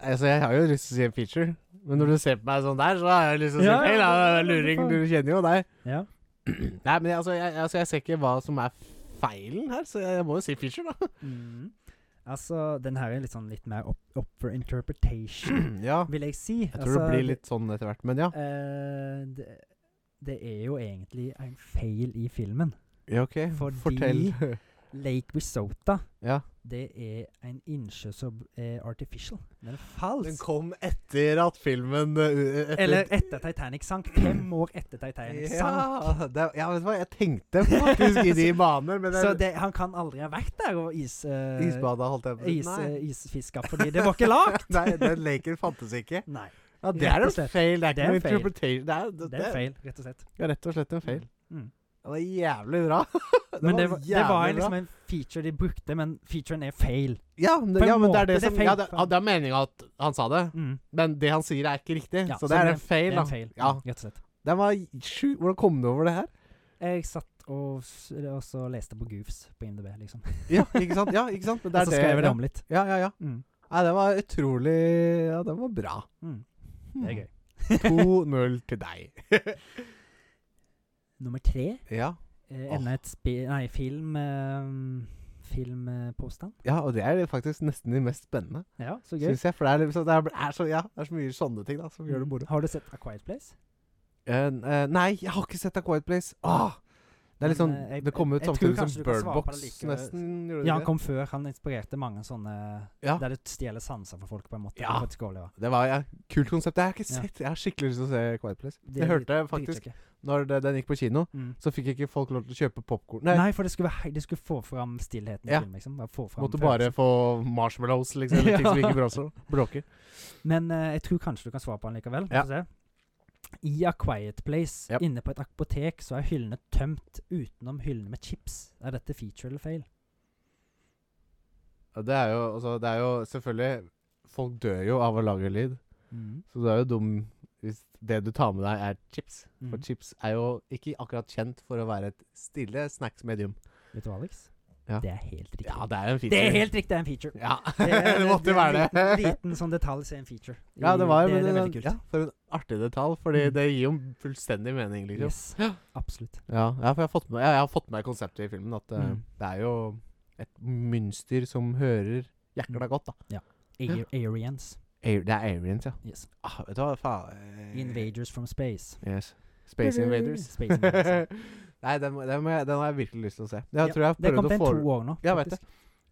Altså, jeg har jo lyst til å si en feature, men når du ser på meg sånn der, så har jeg lyst til å si Ja, ja, fail. Ja, ja, det er du luring, du kjenner jo deg. Ja. Nei, men jeg, altså, jeg, altså, jeg ser ikke hva som er feilen her, så jeg, jeg må jo si feature, da. Mm. Altså, den her er litt sånn litt mer up, up for interpretation, ja. vil jeg si. Jeg tror altså, det blir litt sånn etter hvert, men ja. eh, det, det er jo egentlig en feil i filmen. Ja, OK. Fordi- Fortell. Lake Risota, ja. det er en innsjø som er artificial. Den er falsk. Den kom etter at filmen eh, etter, Eller etter Titanic sank. Fem år etter Titanic sank. Ja, det, ja, vet du hva, jeg tenkte faktisk i de baner, men Så jeg- det, han kan aldri ha vært der og is, eh, Isbada, holdt jeg på å si. is, Nei. eh, isfiska, fordi det var ikke lagd! Nei, den leken fantes ikke. Nei. Ja, Det Rett er og en slett. feil. Det er Det ikke er noe en feil. interpretation. Det er, det, Det er feil, rett og slett. Ja, rett og slett en feil. Mm. Det var jævlig bra. Det Men det var, det var jævlig liksom bra. en feature de brukte, men featuren er feil. ja, men det- på en ja, men det er måte, det det er som feil. ja, det, ja, det er meninga at han sa det, Mm. men det han sier, er ikke riktig. Ja, så det er en Det feil, er da. en feil, Ja. rett og slett. Den var sjuk. Hvordan kom du over det her? Jeg satt og, s- og så leste på Goofs på IMDb, liksom. Ja, ikke sant? Ja, ikke sant? Men Og det er så det- skrev jeg det ja. om litt. Ja, ja, ja. Mm. Nei, den var utrolig Ja, den var bra. Mm. Hmm. Det er gøy. 2-0 til deg. Nummer tre Ja. eh, Åh. enda et spi... Nei, film... Eh, Filmpåstand. ja, og det er faktisk nesten de mest spennende, ja, så gøy. syns jeg. For det er, liksom, det, er, er så, ja, det er så mye sånne ting da som gjør Mm. det moro. Har du sett A Quiet Place? Eh, eh, nei, jeg har ikke sett A Quiet Place. Åh! Det er litt sånn Men, eh, jeg- Det kom ut jeg tror samtidig som kanskje du kan Bird svare på Box det likevel. nesten. Gjorde Ja, han det? kom før. Han inspirerte mange sånne Ja. der du stjeler sanser for folk, på en måte. Ja. for at de skal overleve. det var ja, kult konsept. Jeg har ikke Ja. sett Jeg har skikkelig lyst til å se Quiet Place. Det Det er hørte jeg faktisk Dritkjekke. Når det, den gikk på kino, Mm. så fikk ikke folk lov til å kjøpe popkorn. Nei. Nei, for det skulle, være, hei- det skulle få fram stillheten i Ja. filmen. Liksom. Bare få fram måtte følelsen. bare få marshmallows, liksom. Eller ting som ikke bråser- bråker. Men eh, jeg tror kanskje du kan svare på den likevel. Vi Ja. får se. I A Quiet Place, Yep. inne på et apotek, så er hyllene tømt utenom hyllene med chips. Er dette feature eller fail? Ja, Det er jo, altså, det er jo selvfølgelig Folk dør jo av å lage lyd, så du er jo dum hvis det du tar med deg, er chips. For Mm. chips er jo ikke akkurat kjent for å være et stille snacksmedium. Vet du hva, Alex? Ja. Det er helt riktig. Ja, det er jo en feature. det er helt riktig, det er en feature. Ja, det, måtte jo være En liten, det. liten sånn detalj som er en feature. I- Ja, det var det, men det er det- veldig kult. Ja, for en artig detalj, fordi Mm. det gir jo fullstendig mening, liksom. Yes, absolutt. Ja, ja, for jeg har fått med, ja, jeg har fått med konseptet i filmen, at eh, Mm. det er jo et mønster som hører jækla Mm. godt, da. Air, Arians. Air, det er aliens, ja. Yes. Ah, vet du hva, faen eh, Invaders from space. Yes. Space Invaders. Space altså. Invaders. ja. Nei, den, må- den, må jeg, den har jeg virkelig lyst til å se. Jeg Ja, tror jeg har Det kom prøvd til å, en fore- to år nå. Ja, jeg vet det.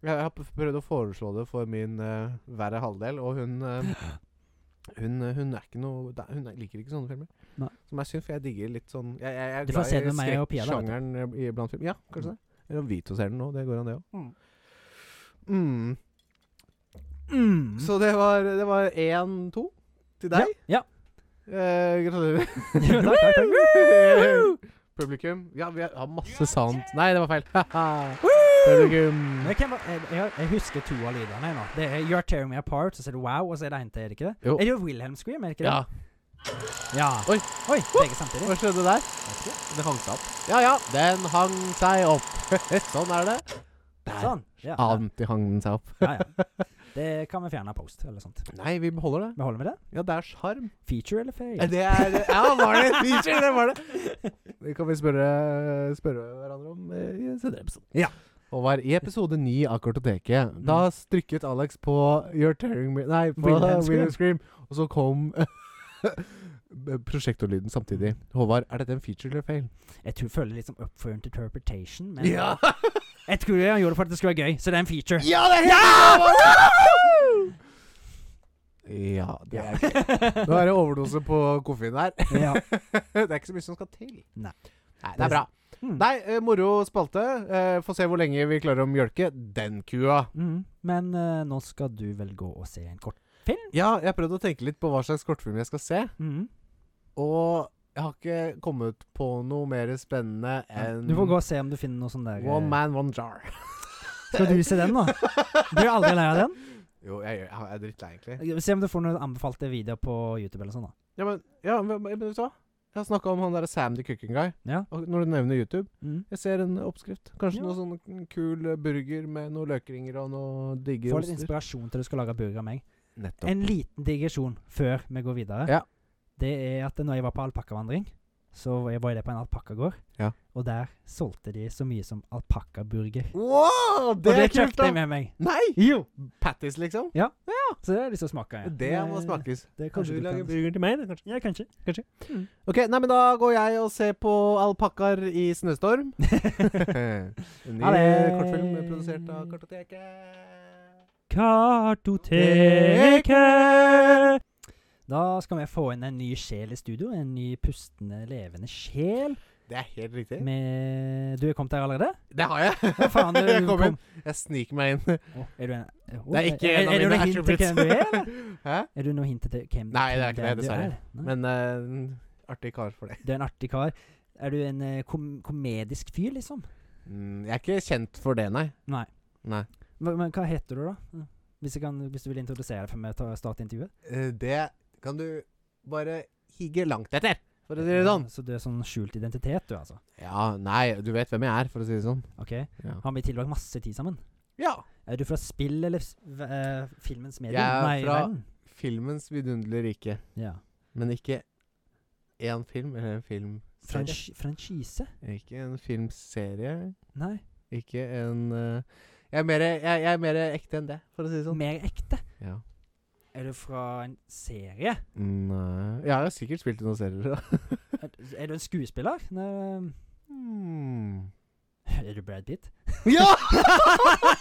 jeg har p- prøvd å foreslå det for min eh, verre halvdel, og hun eh, hun, eh, hun er ikke noe da- Hun er- liker ikke sånne filmer. Nei. Som jeg syns, for jeg digger litt sånn Jeg, jeg, jeg er Du får glad se i den med meg og Pia da, vet du. skrekksjangeren eh, i- blant film. Ja, kanskje det. Eller om Vito ser den nå. Det går an, det òg. Mm. Mm. Så det var, det var 1-2 til deg. Ja. Eh, gratulerer. ja. takk, takk, takk. Publikum. Ja, vi har masse sound. Nei, det var feil. Haha. Woo! Publikum. Men hvem var- jeg, jeg, jeg husker to av lydene her nå. Det er You're Tearing Me Apart, så er det Wow, og så er det en til, er det ikke det? Jo. Er det Wilhelm Scream, er det ikke det? Ja. ja. Oi. Oi, begge samtidig. Hva skjedde der? Den hang seg opp. Ja ja, den hang seg opp. sånn er det. Der. Sånn. Ja. Alltid hang den seg opp. ja, ja. Det kan vi fjerne av post, eller sånt. Nei, vi beholder det. Vi holder med det. Ja, det er sjarm. Feature eller fail? Det er Ja, var det en feature? Det var det. Det kan vi spørre, spørre hverandre om eh, i en senere episode. Ja. Og var i episode ni av Kartoteket. Da strykket Alex på You're Tearing Me Nei, på Wilhelm Wilhelm Scream. Scream. Og så kom prosjektorlyden samtidig. Håvard, er dette en feature eller fail? Jeg tror føler liksom up for interpretation, men jeg tror han gjorde det for at det skulle være gøy, så det er en feature. Ja, det er helt Ja, det er gøy. Nå er det overdose på koffein her. Ja. det er ikke så mye som skal til. Nei. Nei, det er bra. Mm. Nei, eh, moro spalte. Eh, Få se hvor lenge vi klarer å mjølke den kua. Mm. Men eh, nå skal du vel gå og se en kort film? Ja, jeg har prøvd å tenke litt på hva slags kortfilm jeg skal se, Mm. og jeg har ikke kommet på noe mer spennende enn Du får gå og se om du finner noe sånn der eh, One Man, One Jar. Skal du se den, da? Blir du aldri lei av den? Jo, jeg, gjør- jeg er drittlei, egentlig. Se om du får noen anbefalte videoer på YouTube eller sånn, da. Ja, men, ja, men, men vet du hva? Jeg har snakka om han derre Sam the Cooking Guy. Ja. Og når du nevner YouTube Mm. Jeg ser en oppskrift. Kanskje Ja. noe sånn k- kul eh, burger med noen løkringer og noe digge Få litt inspirasjon til du skal lage burger av meg. Nettopp. En liten digresjon før vi går videre. Ja. Det er at når jeg var på alpakkavandring, så var jeg var jeg på en alpakkagård. Ja. Og der solgte de så mye som alpakkaburger. Wow, Og det det er kult, kjøpte jeg da! med meg. Nei! Jo. Patties, liksom? Så det har jeg lyst til å smake. Ja. Det må smakes. Det kanskje du kan burger til meg? Kanskje. Ja, kanskje. Ok, nei, men Da går jeg og ser på alpakkaer i snøstorm. en ny Ha det. kortfilm produsert av Kartoteket. Kartoteket. Da skal vi få inn en ny sjel i studio. En ny pustende, levende sjel. Det er helt riktig. Med Du er kommet her allerede? Det har jeg. Hva faen, du jeg kom inn. Jeg sniker meg inn. Å, er du en Å, Det er ikke en av er, er, er du noe mine hint til attributes. hvem du er, eller? Hæ? Er du noe hint til hvem, Nei, det er hvem ikke det, du dessverre. er? Nei. Men eh, artig kar for det. Du er en artig kar. Er du en eh, kom komedisk fyr, liksom? Mm, jeg er ikke kjent for det, nei. Nei. Nei. Men, men hva heter du, da? Hvis, jeg kan, hvis du vil introdusere deg før vi tar- starter intervjuet? Eh, det kan du bare higge langt etter, for å si det sånn. Så du er sånn skjult identitet, du, altså? Ja, nei, du vet hvem jeg er, for å si det sånn. Ok. Ja. Har vi tilbrakt masse tid sammen? Er du fra spill eller s- v- eh, filmens medium? Jeg er Nei, fra- verden. Filmens vidunderlige rike, Ja. men ikke én film eller en filmserie. Franch franchise? Ikke en filmserie, Nei. ikke en eh, jeg, er mer, jeg, jeg er mer ekte enn det, for å si det sånn. Mer ekte. Ja. Er du fra en serie? Nei Jeg har jo sikkert spilt i noen serier, da. Er, er du en skuespiller? Nei. eh, Hmm. Er du Brad Pitt? Ja!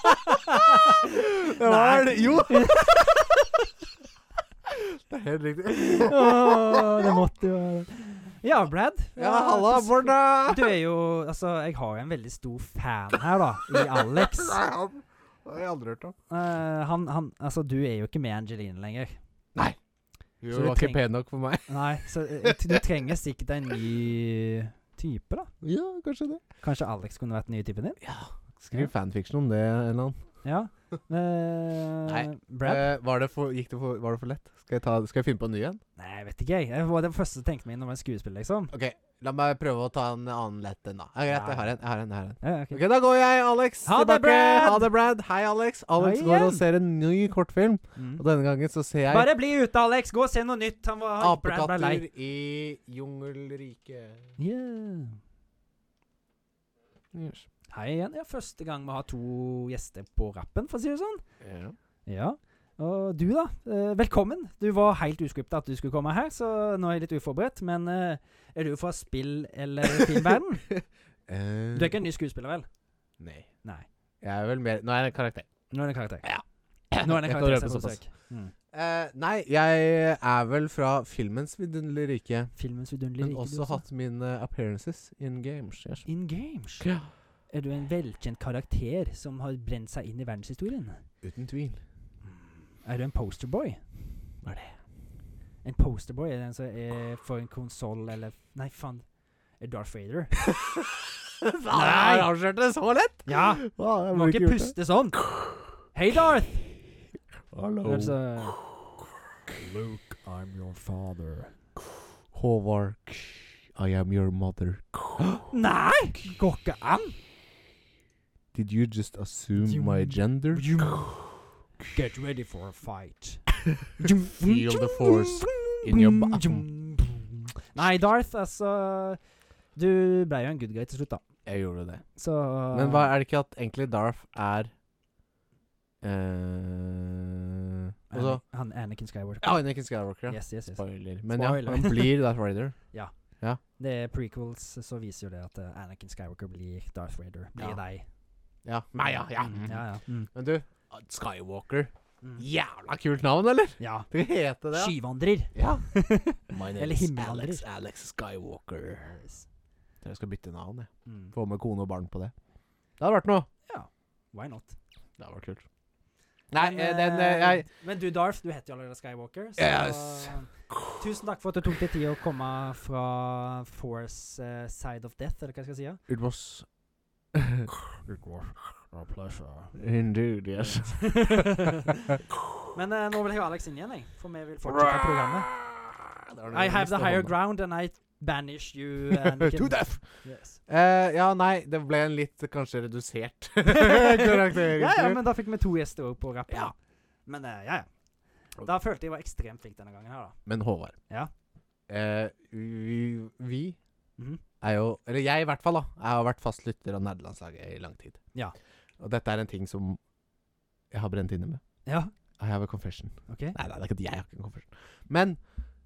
det Nei. var det. Jo! det er helt riktig. Åh, det måtte jo være det. Ja, Brad. Ja, halla, hvordan- Bård. da. Du er jo Altså, jeg har jo en veldig stor fan her, da, i Alex. Nei, han det har jeg aldri hørt om. Eh, han, han Altså, du er jo ikke med Angeline lenger. Du Så du var ikke tenk- pen nok for meg. Nei, så eh, t- du trenger sikkert en ny type, da. Ja, kanskje det. Kanskje Alex kunne vært den nye typen din? Skriv fanfiction om det en eller annen. Ja. Eh, Nei. Brad? Eh, var, det for, gikk det for, var det for lett? Skal jeg, ta, skal jeg finne på en ny en? Nei, jeg vet ikke, jeg. Det var det første som tenkte meg når man er skuespiller, liksom. Ok, la meg prøve å ta en annen lett en, da. Ja, greit, jeg har en. Jeg har en, jeg har en. Ja, ok. Ok, Da går jeg, Alex. Ha det, tilbake. Brad! Ha det, Brad. Hei, Alex. Alex Hei går igjen. og ser en ny kortfilm. Mm. Og denne gangen så ser jeg Bare bli ute, Alex! Gå og se noe nytt! Han var han- Brad ble lei. Apekatter i jungelriket. Yeah. Hei igjen. Ja, første gang vi har to gjester på rappen, for å si det sånn. Ja. Ja. Og du, da. Eh, velkommen. Du var helt uskripta at du skulle komme her, så nå er jeg litt uforberedt. Men eh, er du fra spill- eller filmverden? Du er ikke en ny skuespiller, vel? Nei. Nei. Jeg er vel mer Nå er jeg en karakter. Nå er det en karakter. Ja. Nå er det Jeg en kan karakter røpe som såpass. søker. Mm. Eh, nei, jeg er vel fra filmens vidunderlige rike, Filmens vidunderlige rike. men du også hatt mine appearances in games. Yes. In games. Ja. Er du en velkjent karakter som har brent seg inn i verdenshistorien? Uten tvil. Er du en posterboy? Hva er det? En posterboy er den som er for en konsoll eller Nei, faen. Er Darth Vader? Nei, jeg avslørte det så lett! Ja! Wow, jeg Du må burde ikke gjort puste sånn! Hei, Darth! det. Hallo. Altså Luke, I'm your father. Håvard. I am your mother. Nei! Går ikke an! Did you just assume You- my gender? Get ready for a fight. Feel the force in your ba- Nei, Darth, altså Du ble jo en good guy til slutt, da. Jeg gjorde det. Så Men hva er det ikke at egentlig Darth er eh, Altså Anakin- Han Anakin Skywalker. Ja, Anakin Skywalker. Ja. Yes, yes, yes. Spoiler. Men Spoiler. ja, han blir Darth Vader. Det er prequels, så viser jo det at eh, Anakin Skywalker blir Darth Vader. Blir Ja. deg. Ja. Meg, ja. ja. Mm, ja, ja. Mm, Men du, Skywalker. mm. Jævla kult navn, eller? ja. Skal vi hete det? Skyvandrer. Ja. My Eller himmelvandrer. Alex Skywalker. Yes. Jeg skal bytte navn, jeg. Mm. Få med kone og barn på det. Det hadde vært noe. Why not? Det hadde vært kult. Nei, Men, eh, den eh, eh, jeg Men du, Darth, du heter jo allerede Skywalker. Så Yes. Tusen takk for at du tok deg tid å komme fra Force eh, Side of Death, eller hva skal jeg si? ja? It was Indeed, yes. Men eh, nå vil jeg ha Alex inn igjen, jeg. For vi vil fortsette programmet. Det var det I have jeg the mistet higher eh, hånda. ground, and I banish you. Anakin. To death! Yes. Eh, ja, nei, det ble en litt kanskje redusert karakter. ja, ja, men da fikk vi to gjester også på rappen. Ja. Men eh, ja, ja. Da følte jeg var ekstremt flink denne gangen her, da. Men Håvard. Ja. Eh, vi, vi Mhm. er jo Eller jeg i hvert fall, da. Jeg har vært fast lytter av nerdelandslaget i lang tid. Ja. Og dette er en ting som jeg har brent inne med. Ja, I have a confession. OK. Nei, nei, det er ikke at jeg har ikke en confession. Men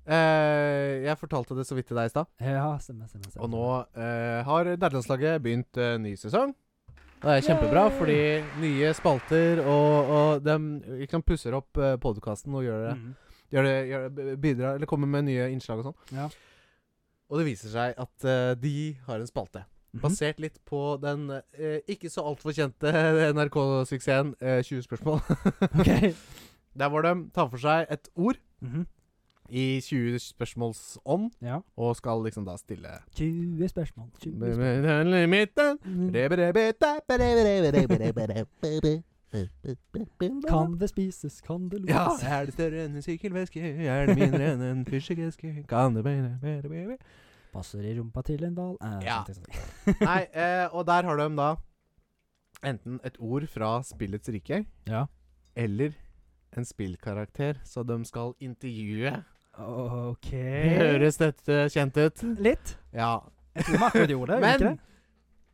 eh, jeg fortalte det så vidt til deg i stad. Ja, stemmer, stemmer. stemmer. Og nå eh, har Nerdelandslaget begynt eh, ny sesong. Det er kjempebra, Yay! fordi nye spalter og, og de liksom pusser opp eh, podkasten og gjør det, Mhm. gjør det, gjør det bidrar, Eller kommer med nye innslag og sånn. Ja. Og det viser seg at eh, de har en spalte. Mhm. Basert litt på den eh, ikke så altfor kjente NRK-suksessen eh, 20 spørsmål. Ok. Der hvor de tar for seg et ord Mhm. i 20 spørsmåls ånd, Ja. og skal liksom da stille 20 spørsmål. 20 spørsmål. Kan det spises? Kan det Ja, luktes? er det større enn en sykkelveske? Er det mindre enn en fyrstikkeske? Kan det være bedre, baby? Passer i rumpa til en hval? Eh, Ja. sånn, sånn, sånn. Nei, eh, og der har de da enten et ord fra spillets rike, Ja. eller en spillkarakter, så de skal sånn. intervjue. OK Høres dette kjent ut? Litt. Ja. Jeg tror Marco gjorde det. gjorde ikke Men det?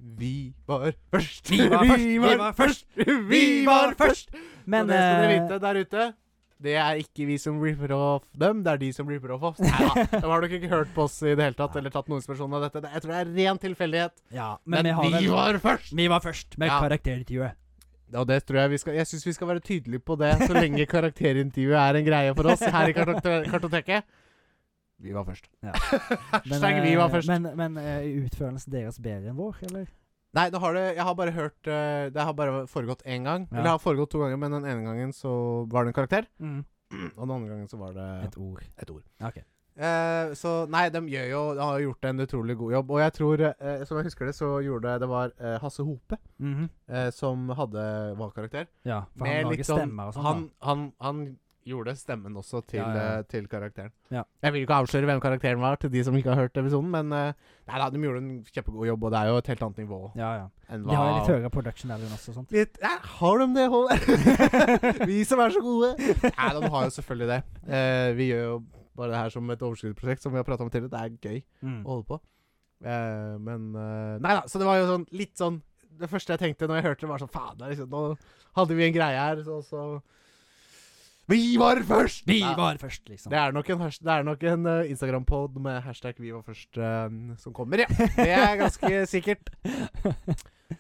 vi var først! Vi var først! Vi var først! Vi var først! Men så det skal dere eh, vite der ute. Det er ikke vi som ripper off dem, det er de som ripper off oss. Neida, De har nok ikke hørt på oss i det hele tatt, eller tatt noen inspirasjon av dette. Det- Jeg tror det er ren tilfeldighet. Ja, men, Men, vi, har vi vel- var først! vi var først med Ja. karakterintervjuet. Og det tror jeg vi skal Jeg syns vi skal være tydelige på det, så lenge karakterintervjuet er en greie for oss her i kartote Kartoteket. Vi var først. Ja. Men, Hashtag vi eh, var først. Men, men eh, er utførelsen deres bedre enn vår, eller? Nei, det har det Jeg har bare hørt eh, Det har bare foregått én gang. Ja. Eller det har foregått to ganger, men den ene gangen så var det en karakter, og den andre gangen så var det Et ord. et ord. OK. Eh, så nei, de gjør jo De har gjort en utrolig god jobb. Og jeg tror, eh, som jeg husker det, så gjorde det var eh, Hasse Hope Mhm. eh, som hadde var karakter. Ja, for Med han lager litt sånn- stemmer og sånn. Han, da. han, han gjorde stemmen også til, Ja, ja, ja. eh, til karakteren. Ja. Jeg vil ikke avsløre hvem karakteren var, til de som ikke har hørt episoden, men eh, nei, da, de gjorde en kjempegod jobb, og det er jo et helt annet nivå Ja, ja. enn De hva har jo litt høyere production value også, sant? Litt, ja, har de det, Håvard? vi som er så gode. Nei, de har jo selvfølgelig det. Eh, vi gjør jo bare det her som et overskuddsprosjekt, som vi har prata om tidligere. Det er gøy. Mm. å holde på. Eh, men eh, Nei da, så det var jo sånn litt sånn Det første jeg tenkte når jeg hørte det, var sånn Faen, det er liksom, nå hadde vi en greie her, så, så Vi var først! Vi Nei, var først, liksom. Det er nok en, hasht- det er nok en eh, Instagram-pod med hashtag 'vi var først' eh, som kommer, ja. Det er ganske sikkert.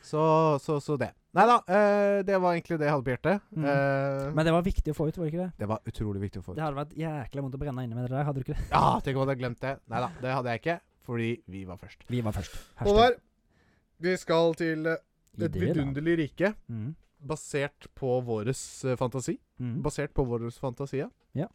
Så, så, så det. Nei da, eh, det var egentlig det jeg hadde på hjertet. Mm. Eh, Men det var viktig å få ut, var det ikke det? det var utrolig viktig å få ut. Det hadde vært jækla vondt å brenne inne med det der, hadde du ikke det? Ja, tenk om jeg hadde glemt det. Nei da, det hadde jeg ikke, fordi vi var først. Vi var først. Håvard, vi skal til eh, Idéer, da. rike. Mm. basert på våres eh, fantasi. Mm. Basert på våres fantasi, ja. Ja.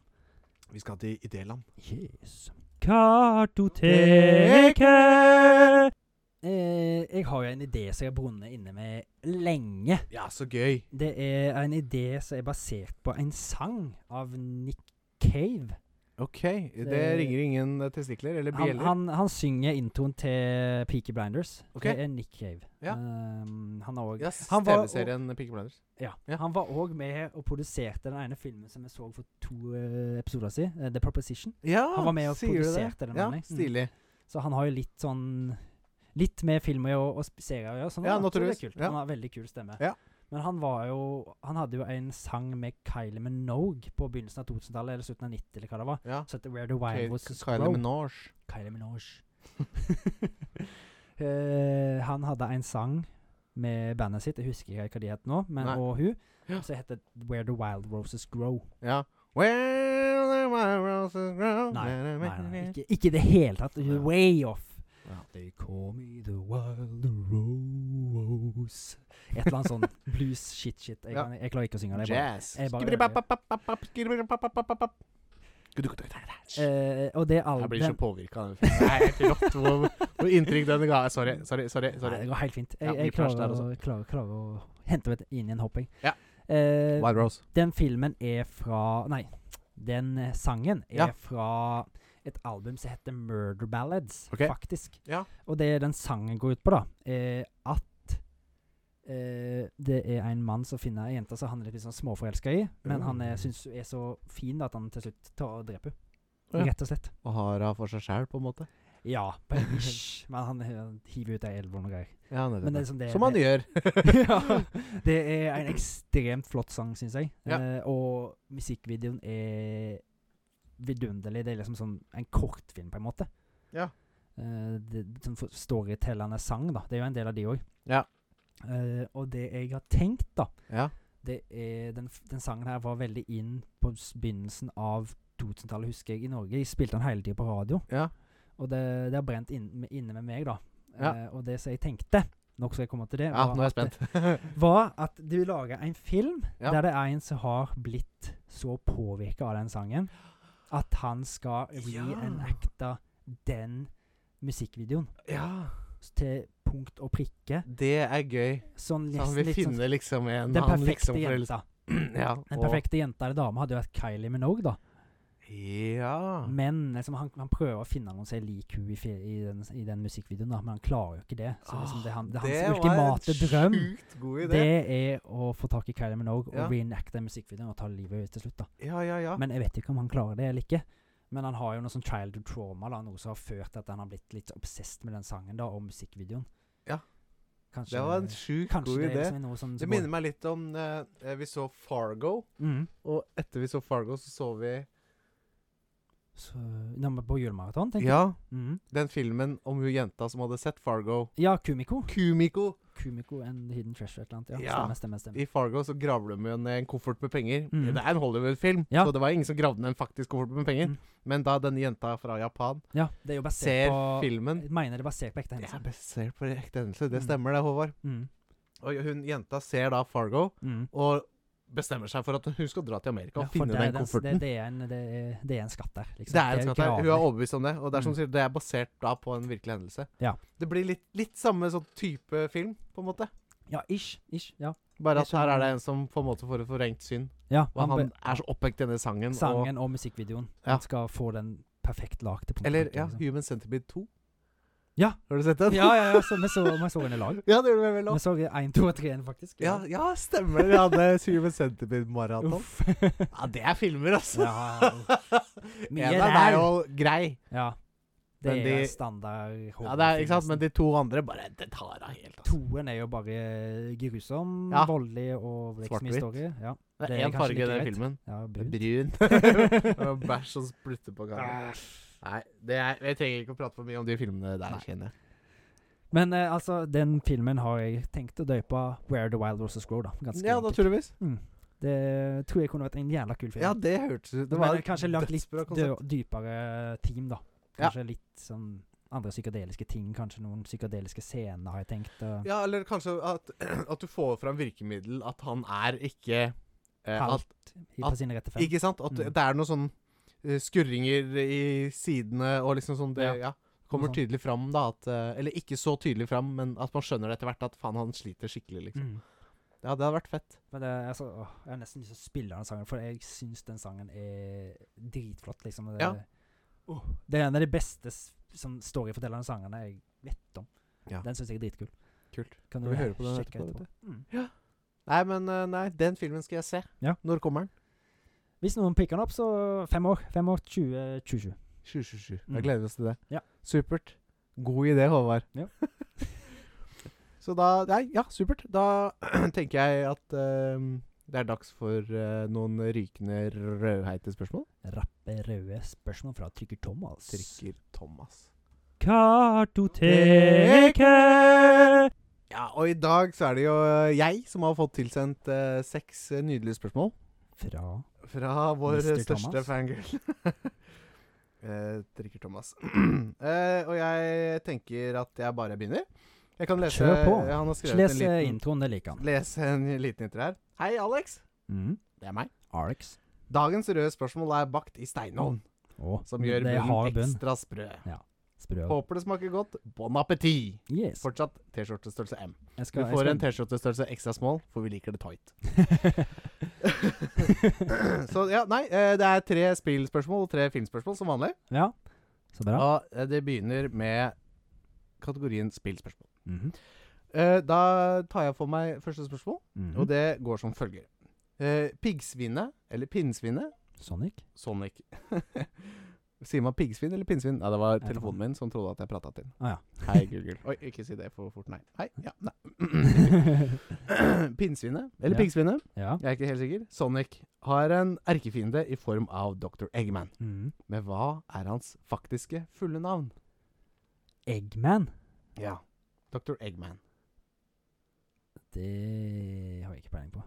Vi skal til idéland. Yes. Kartoteket! Eh, jeg har jo en idé som jeg har brunnet inne med lenge. Ja, så gøy. Det er en idé som er basert på en sang av Nick Cave. OK. Det, ringer ingen eh, testikler eller Han, bjeller. han, han synger introen til Peaky Blinders. Ok. Det er Nick Cave. Ja. Um, han er også Yes, han var- TV-serien Peaky Blinders. Ja. Ja. Han var òg med og produserte den ene filmen som jeg så for to eh, episoder siden, eh, The Proposition. Ja, Han var med og Ah, sier du det? produserte den, Ja, nemlig. Mm. stilig. Så han har jo litt sånn Litt med film å gjøre, og, sp- serier å gjøre. Sånn, Ja, det er naturligvis. kult. Ja. Han har veldig kul stemme. Ja. Men han var jo Han hadde jo en sang med Kylie Minogue på begynnelsen av 2000-tallet, eller slutten av 90, eller hva det var. Ja. Så heter Where the Kate- Wild Was Kylie Grow. Minogue. Kylie Minogue. Eh, han hadde en sang med bandet sitt, jeg husker ikke hva de het nå, men, Nei. og hun, Ja. som heter Where the Wild Roses Grow. Ja. Where the wild roses grow Nei, nei, nei ikke, ikke i det hele tatt. Hun er Ja. Way off. Ja. They call me the wild rose Et eller annet sånn blues shit shit. Jeg, Ja. kan, jeg klarer ikke å synge det. jeg bare- Jazz. jeg bare- Skribripapapapap, skribripapapapap. Gudugudugudugudu. Eh, og det Jeg blir så albumet påvirka av den filmen. Det er helt rått hvor, hvor inntrykk den ga. Sorry, sorry. sorry, Nei, sorry. det går helt fint. Ja, Jeg, jeg mye pers klarer, der å- klarer, klarer å hente meg inn i en hopping. Ja. Eh, Wild Rose. den filmen er fra Nei, den eh, sangen er Ja. fra et album som heter Murder Ballads, Ok. faktisk. Ja. Og det den sangen går ut på, da, er at eh, det er en mann som finner ei jente som han er litt sånn småforelska i, men Mm. han er- syns hun er så fin da, at han til slutt tar og dreper Ja. henne. Rett og slett. Og har henne for seg sjøl, på en måte. Ja, på en vis. Men han eh, hiver ut ei elv og noe greier. Ja, nettopp. Men det er som det Som han det- gjør. ja, det er en ekstremt flott sang, syns jeg. Ja. Eh, og musikkvideoen er vidunderlig. Det er liksom sånn en kortfilm, på en måte. Ja. Eh, det, sånn for- storytellende sang, da. Det er jo en del av de òg. Ja. og det jeg har tenkt, da Ja. det er, den, f- den sangen her var veldig inn på s- begynnelsen av 2000-tallet, husker jeg, i Norge. Jeg spilte den hele tida på radio. Ja. Og det, det har brent inn, med- inne med meg, da. Ja. Eh, og det som jeg tenkte, nok skal jeg komme til det, ja, var nå er jeg at- spent. var at du lager en film Ja. der det er en som har blitt så påvirka av den sangen at han skal Ja. reenacte den musikkvideoen Ja. s- til punkt og prikke. Det er gøy. Sånn Så han nesten vil litt sånn finne liksom en den han perfekte liksom forelsker- jenta. Ja. Den og- perfekte jenta eller dame hadde jo vært Kylie Minogue, da. Ja. Men liksom, han, han prøver å finne noen som er lik henne i, fi- i, den- i den musikkvideoen, da. Men han klarer jo ikke det. Så liksom, det er, han, det er hans ultimate drøm. var Ah, en sjukt god idé. Det er å få tak i Kylie Minogue Ja. og reenacte den musikkvideoen og ta livet av henne til slutt, da. Ja, ja, ja. Men jeg vet ikke om han klarer det eller ikke. Men han har jo noe sånn childhood trauma, da, noe som har ført til at han har blitt litt obsessed med den sangen da, og musikkvideoen. Ja. Kanskje, det var en sjukt kanskje god det er idé. liksom noe som Det minner meg litt om eh, eh, Vi så Fargo, mm. og etter vi så Fargo, så så vi Så, nå er vi på julemaraton, tenker jeg. Ja, Mm. den filmen om hun jenta som hadde sett Fargo. Ja, Kumiko. Kumiko! Kumiko and the Hidden Treasure et eller annet. Ja, Ja. stemmer, stemmer. stemmer. I Fargo så gravler de jo ned en koffert med penger. Mhm. Det er en Hollywood-film, Ja. så det var ingen som gravde ned en faktisk koffert med penger. Mhm. Men da denne jenta fra Japan Ja, det er jo basert ser på filmen Jeg mener det er basert på ekte Det er hendelser. basert på ekte hendelser. Det Mhm. stemmer det, Håvard. Mm. Og hun jenta ser da Fargo Mm. og bestemmer seg for at hun skal dra til Amerika Ja, og for finne det er den den- kofferten. Det, det, er en, det, er, det er en skatt der. Liksom. Det er en skatt her. Hun er graver. overbevist om det. Og det er, som Mm. du sier, det er basert da på en virkelig hendelse. Ja. Det blir litt, litt samme sånn type film, på en måte. Ja, ish. ish ja. Jeg Bare at her skjønner. er det en som på en måte får et forvrengt syn. Ja, Og han, be- er så opphengt i denne sangen. Sangen og musikkvideoen. Ja. Han skal få den perfekt lagd. Og, eller ja, Human Centipede 2. liksom. Ja. Har du sett den? ja, ja, ja. Så vi så, vi så den i lag. ja det gjorde vi vel Vi òg. så én, to og tre faktisk. Ja, ja, stemmer. Vi hadde Human Centipede-maraton. Uff. Ja, det er filmer, altså. ja, Mye en av dem er ræl. jo grei. ja. Det Men er de- standard Ja, det er, horrorfilm, ikke sant? nesten. Men de to andre bare Det tar av helt. Altså. Toen er jo bare grusom, Ja. voldelig og det er ikke så mye Svart-hvitt. story. Ja, Det det er er én kanskje farge i like den greit. filmen. ja Det er brun. Brun. og bæsj som sprutter på gangen. Ah. Nei, det er, jeg trenger ikke å prate for mye om de filmene der, Nei. kjenner jeg. Men eh, altså, den filmen har jeg tenkt å døpe Where the Wild Roses Grow, da. Ganske Ja, enkelt. naturligvis. Mm. Det tror jeg kunne vært en jævla kul film. Ja, det hørtes ut Men Det var kanskje lagt litt dødsbra dø- dypere team, da. Ja. Kanskje litt sånn andre psykedeliske ting. Kanskje noen psykedeliske scener, har jeg tenkt. Og Ja, eller kanskje at, at du får fram virkemiddel at han er ikke eh, at, halvt i- på at- sine rette fem. Ikke sant? At Mm. det er noen sånn eh, skurringer i sidene og liksom sånn det, Ja. ja. Kommer Noe sånt. tydelig fram, da. At, eh, eller ikke så tydelig fram, men at man skjønner etter hvert at faen, han sliter skikkelig, liksom. Mm. Ja, det hadde vært fett. Men det, altså, åh, jeg har nesten lyst til å spille den sangen, for jeg syns den sangen er dritflott. liksom. Det, Ja. Åh, det er en av de beste s- sånn storyfortellende sangene jeg vet om. Ja. Den syns jeg er dritkul. Kult. Kan Skal vi høre på den sjekke etterpå, vet Mm. Nei, men eh, nei, den filmen skal jeg se. Ja. Når kommer den? Hvis noen picker den opp, så fem år. Fem år 2027. 2027. Mm. Jeg gleder oss til det. Ja. Supert. God idé, Håvard. Ja. Så da Nei, ja, supert. Da tenker jeg at ehm, det er dags for eh, noen rykende rødheite spørsmål. Rappe røde spørsmål fra Trykker Thomas. Trykker Thomas. Kartoteket. Ja, og i dag så er det jo eh, jeg som har fått tilsendt eh, seks eh, nydelige spørsmål. Fra Fra vår Mr. største Thomas. fangirl. Eh, Drikker Thomas. Eh, og jeg tenker at jeg bare begynner. Jeg kan lese Kjør på. Han har skrevet Les eh, en liten, introen, det liker han. Les en liten intro her. Hei, Alex. Mm. Det er meg. Arx. Dagens røde spørsmål er bakt i steinovn, Å, som gjør det er hard munnen bunn. ekstra sprø. Sprø. Håper det smaker godt. Bon appétit! Yes. Fortsatt T-skjortestørrelse M. Jeg Du skal, får en jeg T-skjortestørrelse ekstra small, for vi liker det tight. skal. Så ja, nei, eh, det er tre spillspørsmål og tre filmspørsmål, som vanlig. ja. Så bra. Og eh, det begynner med kategorien spillspørsmål. Mhm. Eh, da tar jeg for meg første spørsmål, Mhm. og det går som følger. Eh, piggsvinet, eller pinnsvinet Sonic? Sonic. Sier man piggsvin eller pinnsvin? Nei, det var vet ikke. telefonen min som trodde at jeg prata til den. Ah, ja. Hei, Google. Oi, ikke si det for fort, nei. Hei. Ja, nei. Pinnsvinet, eller Ja. piggsvinet, ja. jeg er ikke helt sikker. Sonic har en erkefiende i form av Dr. Eggman. Mhm. Men hva er hans faktiske fulle navn? Eggman? Ja. Dr. Eggman. Det har jeg ikke peiling på.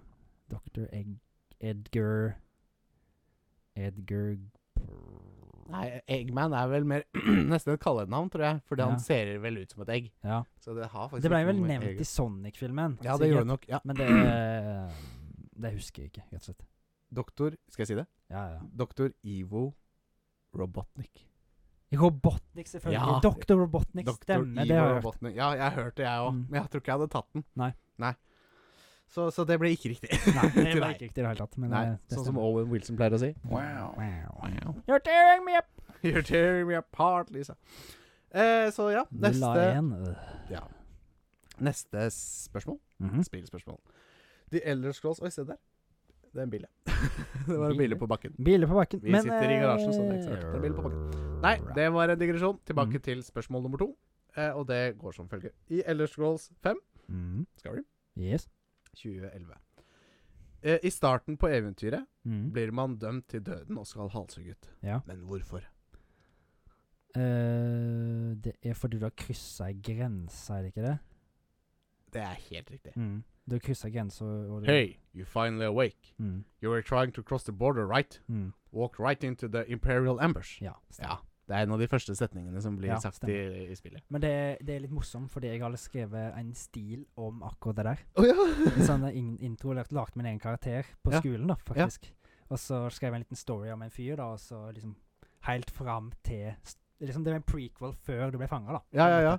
Dr. Egg... Edgar Edgar Nei, Eggman er vel mer nesten et kallenavn, tror jeg. Fordi Ja. han ser vel ut som et egg. Ja. Så det har faktisk Det ble ikke vel noe med nevnt egg- i Sonic-filmen. Ja, det sikkert. gjorde det nok. Ja. Men det Det husker jeg ikke, rett og slett. Doktor Skal jeg si det? Ja, ja. Doktor Ivo Robotnik. Robotnik, selvfølgelig. Ja. Dr. Robotnik stemmer, det har jeg hørt. Robotnik. Ja, jeg hørte det, jeg òg. Mm. Men jeg tror ikke jeg hadde tatt den. Nei. Så, så det ble ikke riktig. Nei, det Til var deg. ikke riktig i det hele tatt. Men eh, Nei, det, det Sånn som Owen Wilson pleier å si. Wow. Wow. Wow. You're tearing me up! You're tearing me apart, Lisa. Eh, så ja, La neste, igjen. øh. neste spørsmål. Mhm. Spillspørsmål. The Elder Scrolls Oi, se der. Det er en bille. det var en bille på bakken. Biler på bakken. eh, Vi sitter i garasjen, så det er ikke så rart at det er biler på bakken. Nei, det var en digresjon. Tilbake Mm. til spørsmål nummer to. Eh, og det går som følger. I Elder Scrolls 5 mm. Skyrim Yes. 2011 eh, I starten på eventyret Mm. blir man dømt til døden og skal halshugge ut. Ja. Men hvorfor? Eh, det er fordi du har kryssa ei grense, er det ikke det? Det er helt riktig. Mm. Du har kryssa grensa og du- Mm. Hey, you finally awake. Mm. You were trying to cross the border, right? Mm. Walk right into the imperial ambush. Ja. Ja, det er en av de første setningene som blir Ja, sagt i, stemmer. i spillet. Men det, det er litt morsomt, fordi jeg hadde skrevet en stil om akkurat det der. Å ja! En sånn in intro lagt, lagt min egen karakter på Ja. skolen, da, Ja. faktisk. Og så skrev jeg en liten story om en fyr, da, og så liksom helt fram til st- Liksom Det var en prequel før du ble fanga, da. Ja, ja, ja.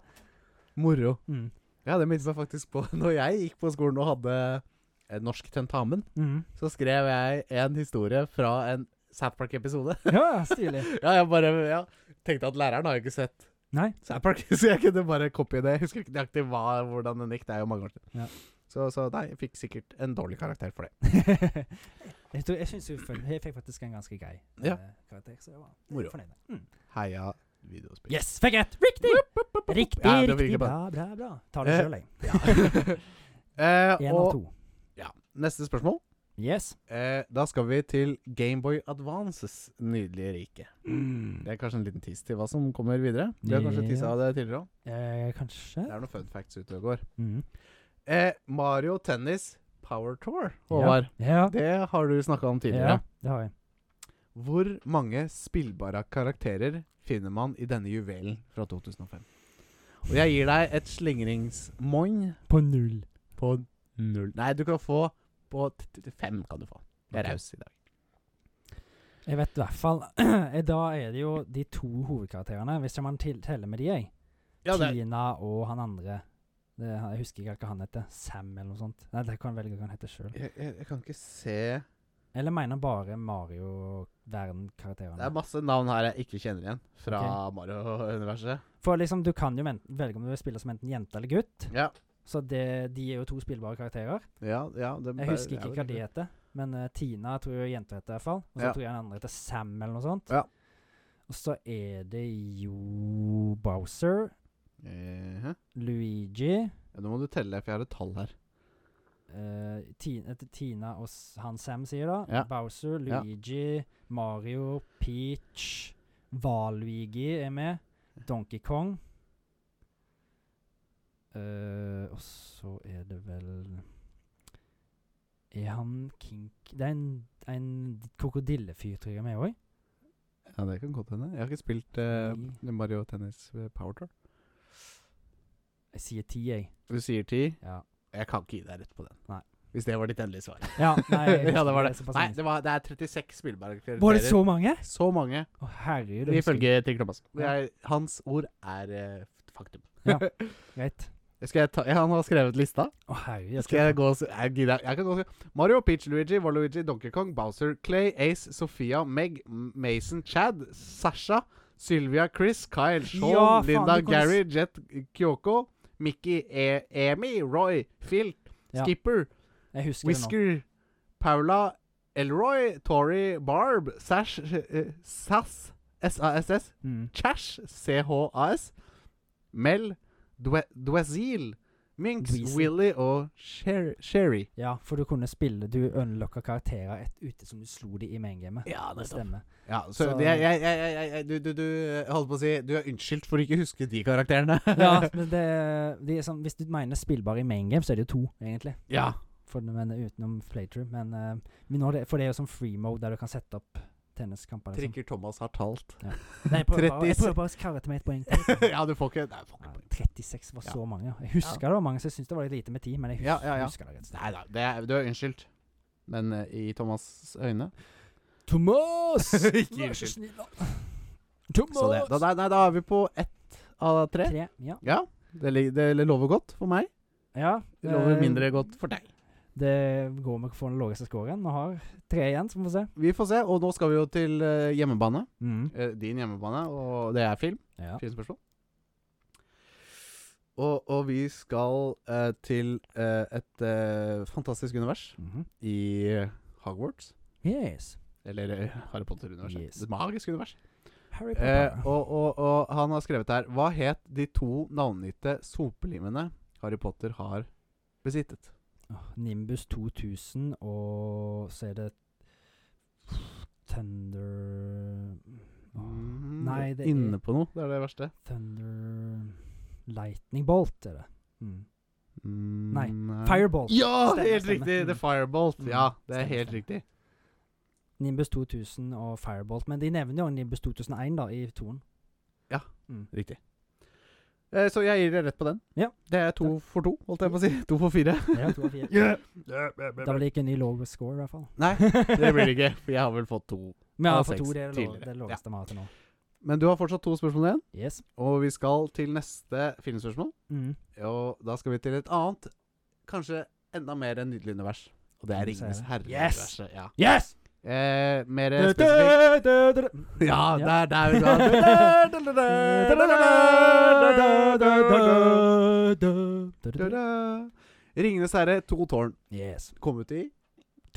Moro. Mm. Ja, det minnet meg faktisk på Når jeg gikk på skolen og hadde eh, norsk tentamen, Mm. så skrev jeg en historie fra en South Park-episode. Ja, stilig. ja, jeg bare ja, tenkte at læreren har jo ikke sett Nei. South Park, så jeg kunne bare copy det. Jeg husker ikke nøyaktig hva, hvordan den gikk, det er jo mange år siden. Ja. Så, så nei, jeg fikk sikkert en dårlig karakter for det. jeg tror, jeg syns jeg fikk faktisk en ganske grei Ja. eh, karakter, så jeg var Moro. fornøyd. med. Mm. Heia videospill. Yes, fikk rett! Riktig! Riktig, Ja, det riktig. virker Bra, bra. bra, bra. Ta det Eh, sjøl, jeg. Eh, Én av og to. neste spørsmål. Yes. Eh, da skal vi til Gameboy Advances nydelige rike. Det Mm. er kanskje en liten tiss til hva som kommer videre. Du har kanskje Ja. tissa av det tidligere òg? Eh, kanskje Det er noen fun facts ute og går. mm. Eh, Mario Tennis Power Tour, Håvard. Ja. Det har du snakka om Ja, tidligere. det har jeg. Hvor mange spillbare karakterer finner man i denne juvelen fra 2005? Og jeg gir deg et slingringsmoin På null. på null. Nei, du kan få på t- t- t- fem. kan du få. Jeg er Ok. raus i dag. Jeg vet i hvert fall eh, Da er det jo de to hovedkarakterene, hvis man til- teller med de, jeg. Tina og han andre. Det, jeg husker ikke hva han heter. Sam eller noe sånt. Nei, det kan jeg velge hva han heter sjøl. jeg, jeg, jeg kan ikke se Eller mener bare Mario-verden-karakterene. Det er masse navn her jeg ikke kjenner igjen fra Mario-universet. For liksom, du kan jo ven- velge om du vil spille som enten jente eller gutt. Ja. Så det, de er jo to spillbare karakterer. Ja, ja, det Jeg husker ikke hva de er. heter, men eh, Tina tror jeg jenta heter i hvert fall. Og så Ja. tror jeg den andre heter Sam eller noe sånt. Ja. Og så er det jo Bowser, Eh, Luigi, ja, nå må du telle, for jeg har et tall her. eh, Ti- eh, Tina og s- han Sam sier da. Ja. Bowser, Ja. Luigi, Mario, Peach, Valuigi er med. Donkey Kong. Eh, og så er det vel Er han King K- Det er en, en krokodillefyr, tror jeg, med òg. Ja, det kan godt hende. Jeg har ikke spilt eh, Mario Tennis eh, Power Tour. Jeg sier ti, jeg. Du sier ti. Ja. Jeg kan ikke gi deg rett på den. Nei. Hvis det var ditt endelige svar. ja nei, jeg ja, husker det var det. er såpass Nei, lenge det, var, det er 36 spillbare karakterer. siden. Var det så mange? Så mange, Å, herregud. jeg husker ikke. ifølge Trygve Thomas. Ja. Jeg- Hans ord er eh, faktum. Ja. Greit. Skal jeg ta, ja, han har skrevet lista. Å, herregud. jeg Skal jeg gå og se- jeg gidder- jeg kan gå og se. Mario, Peach, Luigi, Waluigi, Donkey Kong, Bowser, Clay, Ace, Sofia, Meg, M- Mason, Chad, Sasha, Sylvia, Chris, Kyle, Sean, Ja, faen, Linda, du kan s- Gary, Jet, Kyoko, Mickey, e Amy, Roy, Phil, Ja. Skipper, Jeg husker det nå. Whisker, Paula, Elroy, Tori, Barb, Sash, eh, Sass, S-A-S-S, Mm. Chash, C-H-A-S, Mel, Dwe Dwezil, Minx, Dweezil. Willy og Sher Sherry. Ja, for du kunne spille Du unlocka karakterer et ute som du slo de i maingamet. Ja, Det stemmer. Ja, så Så- det- jeg, jeg, jeg, jeg, jeg, du, du, du jeg holdt på å si Du er unnskyldt for å ikke huske de karakterene. Ja, men det, de er sånn, Hvis du mener spillbare i maingame, så er det jo to, egentlig. ja. For, men, utenom playthrough. Men, eh, men nå er det, for det er jo sånn free mode, der du kan sette opp tenniskamper. Liksom. Trikker Thomas har talt. Nei, jeg prøver, bare, jeg 36. prøver bare å karre til meg et poeng. til. ja, du får ikke Nei, får Ja, ikke poeng. 36 var så mange. Jeg husker det var mange, så jeg syns det var litt lite med tid. Men jeg husker, Ja, ja, ja. husker det rett og slett. Nei da, det er- du er unnskyldt. Men eh, i Thomas' øyne Thomas! Ikke Vær så unnskyld. snill, da. Så det. Thomas! Da, nei, nei, da er vi på ett av tre. Tre. Ja. Ja. Det, lig- det lover godt for meg. ja Det lover eh, mindre godt for deg. Det går med å få den laveste scoren. Vi har tre igjen, så vi får se. Vi får se. Og nå skal vi jo til eh, hjemmebane. Mm. Eh, din hjemmebane, og det er film. Ja. Fine spørsmål. Og, og vi skal eh, til eh, et eh, fantastisk univers Mhm. i eh, Hogwarts. Yes. Eller eh, Harry Potter-universet. Yes. Det magiske universet. Harry Potter. Eh, og, og, og han har skrevet her Hva het de to navngitte sopelimene Harry Potter har besittet? Åh, Nimbus 2000, og så er det Thunder åh, Mm. nei, det er- Inne på noe. Det er det verste. Thunder Lightning Bolt er det. Mm. Mm, Nei. Firebolt. Ja, Stemmer, helt stemmer. riktig! The Mm. Firebolt. Mm. Ja, det er Stemmer, helt stemmer. riktig. Nimbus 2000 og Firebolt. Men de nevner jo Nimbus 2001 da, i toen. Riktig. Eh, Så jeg gir dere rett på den. Ja. Det er to for to, holdt jeg på å si. To for fire. Ja, to av fire. Da blir det ikke en ny low score, i hvert fall. Nei, det blir det ikke, for jeg har vel fått to. Men ja, Av for seks to det er det lå- tidligere. det laveste vi har til nå. Men du har fortsatt to spørsmål igjen, Yes. og vi skal til neste filmspørsmål. Mm. Og da skal vi til et annet, kanskje enda mer nydelig univers. Og det er Ringenes Yes! herre-universet. Ja. Yes! Eh, mer Du, du, spesifikt du, du, du. Ja, Ja. der, der vi skal. Ringenes herre, to tårn. Yes. Kom ut i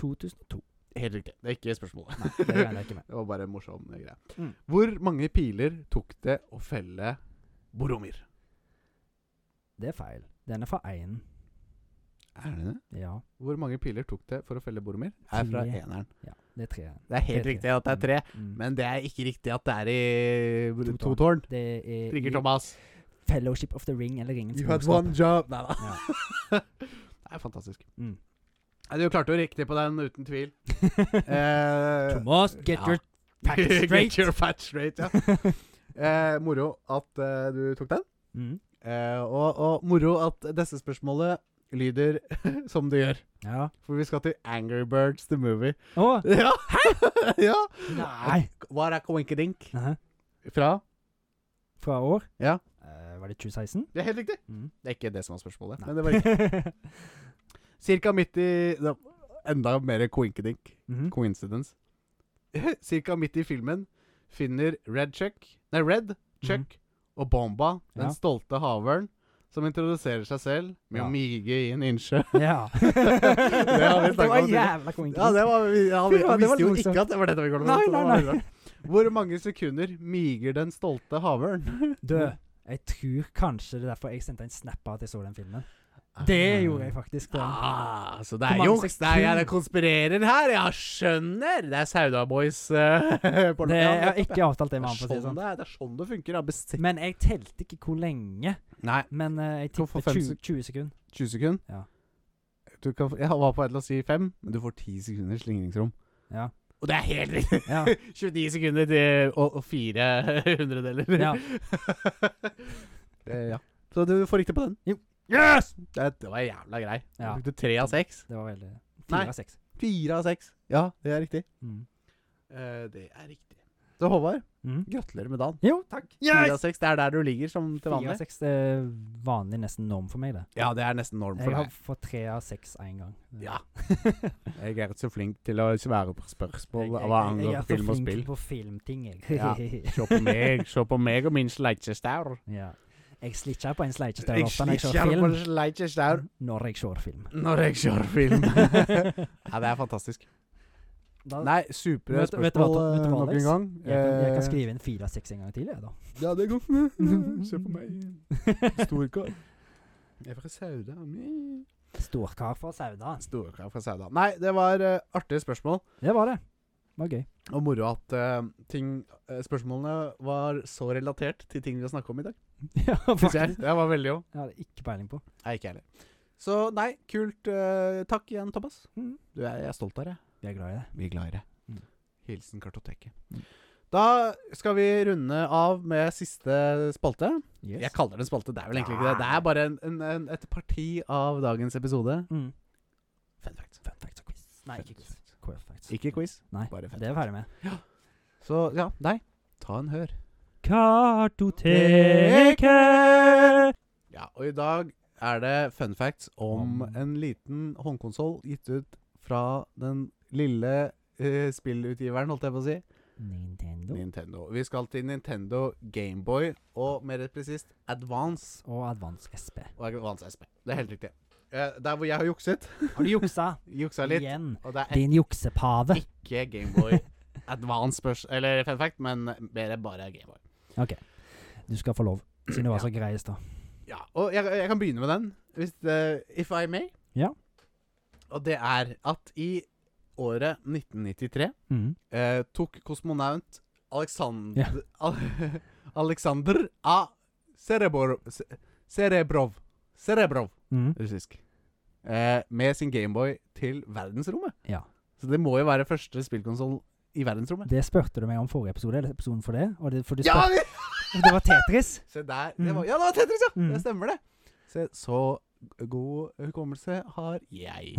2002. Helt riktig. Det er ikke spørsmålet. Nei, det regner jeg ikke med. Det var bare en morsom eh, greie. Mm. Hvor mange piler tok det å felle Boromir? Det er feil. Den er fra én. Er det det? Ja. Hvor mange piler tok det for å felle Boromir? Er fra Ti. eneren. ja. Det er tre. Det er helt Det er riktig at det er tre, Mm. men det er ikke riktig at det er i br- To to tårn. det er Trigger i Thomas. Fellowship of the Ring eller Ringens job. Nei da. Ja. Det er fantastisk. Mm. Nei, Du klarte jo riktig på den, uten tvil. Eh, Mm. Thomas, get ja. your Pack it straight. Get your facts straight, ja. Eh, moro at eh, du tok den. Mm. Eh, og, og moro at dette spørsmålet lyder som det gjør. Ja. For vi skal til Angry Birds the Movie. Å! Ja! ja. Nei! Hva er Coinkydink? Aha. Fra? Fra år? Ja. Eh, var det 2016? Det er helt riktig. Mm. Det er ikke det som var spørsmålet. Nei. Men det var riktig. Cirka midt i da, Enda mer coinkydink. Mhm. Coincidence. Cirka midt i filmen finner Red Chuck Nei, Red Chuck og Bomba, den Ja. stolte havørn, som introduserer seg selv med Ja. å mige i en innsjø. Ja. Det har vi det snakket var om tidligere. jævla kongen. Ja, det var, vi- ja, vi, Fy faen, vi det var visste jo morsomt. ikke at det var dette vi kom til. Nei, så det nei, var nei. bra. Hvor mange sekunder miger den stolte havørn? Du, jeg tror kanskje det er derfor jeg sendte en snap av at jeg så den filmen. Eh, Det gjorde jeg faktisk. da. Ah, så det Hvor er mange juks. Det er sekunder? jeg konspirerer her. Jeg skjønner. Det er Sauda Boys. eh, på- Det, jeg Ja, har ikke avtalt det Det med er han, for å si det sånn sånn. det er. Det er sånn det funker. Ja. Bestikk. Men jeg telte ikke hvor lenge. Nei, Men eh, jeg Kom for tipper 20, fem sek- 20 sekunder. 20 sekunder. Ja. Du kan, jeg var på et eller annet å si fem, men du får 10 sekunders slingringsrom. Ja. Og det er helt riktig! Ja. 29 sekunder til, og, og fire hundredeler. Ja. Eh, ja. Så du får riktig på den. Jo. Yes! Det, det var jævla grei. Ja. Du brukte tre av seks. Det var veldig Nei. Fire av seks. Fire av seks. Ja, det er riktig. Mm. Eh, det er riktig. Så Håvard, Mm. gratulerer med dagen. Jo, takk. Fire av seks, det er der du ligger som til Fire vanlig? av seks det er vanlig nesten norm for meg, det. Ja, det er nesten norm Jeg har fått tre av seks én gang. Ja. Jeg er ikke så flink til å svare på spørsmål Jeg- jeg- hva jeg angår er så film og flink spill. på filmting, jeg. Ja. Se på meg, se på meg og min sleikjestaur. Ja. Jeg slitcher på en sleikjestaur ofte når jeg ser på en film. sleikjestaur Når Mm, jeg ser film. når jeg ser film. ja, det er fantastisk. Da, Nei, supre Vet- vet du hva, spørsmål Tom- vet du hva, nok en Alex? gang. jeg, kan, jeg Eh, kan skrive inn fire av seks en gang til, jeg, da. Ja, det går fint. Se på meg. Storkar. Jeg er fra Sauda. Storkar fra Sauda. altså. Storkar fra Sauda. Nei, det var eh, artige spørsmål. Det var det. Det var gøy. Og moro at eh, ting, eh, spørsmålene var så relatert til ting vi har snakket om i dag. ja, Synes faktisk. jeg. Det var veldig jo. Jeg hadde ikke peiling på. Nei, ikke jeg heller. Så nei, kult. eh, takk igjen, Thomas. Mhm. Du, jeg, jeg er stolt av deg. Vi er glad i det. Vi er glad i deg. Mm. Hilsen Kartoteket. Mm. Da skal vi runde av med siste spalte. Yes. Jeg kaller det en spalte, det er vel egentlig ikke det. Det er bare en, en, en, et parti av dagens episode. Mm. Fun fact. Fun facts og quiz. Nei, ikke quiz. Quiz facts. Ikke quiz, Nei, bare fun det er vi ferdig med. Så ja, nei. Ta en hør. Kartoteket! Ja, og i dag er det fun facts om Om- en liten håndkonsoll gitt ut fra den lille eh, spillutgiveren, holdt jeg på å si. Nintendo. Nintendo. Vi skal til Nintendo Gameboy, og mer presist Advance Og Advance SP. og Advance SP. Det er helt riktig. Eh, der hvor jeg har jukset. Har du juksa? Juksa litt. Igjen. Og det er Din juksepave. ikke Gameboy Advance spørs... Eller fun fact, men mer bare Gameboy. Du skal få lov, siden du var så grei i stad. Ja, og jeg, jeg kan begynne med den, hvis det, if I may. Ja. Og det er at i året 1993 Mm. eh, tok kosmonaut Aleksand Ja. Al Aleksander A. Cerebor Ce Cerebrov Cerebrov, Mm. russisk. Eh, med sin Gameboy til verdensrommet. Ja. Så det må jo være første spillkonsoll i verdensrommet. Det spurte du meg om forrige episode, eller episoden for det. Og det for du Ja, spurte, det var Tetris. Se der. Det Mm. var, ja, det var Tetris, ja! Mm. Det stemmer, det. Se, så god hukommelse har jeg.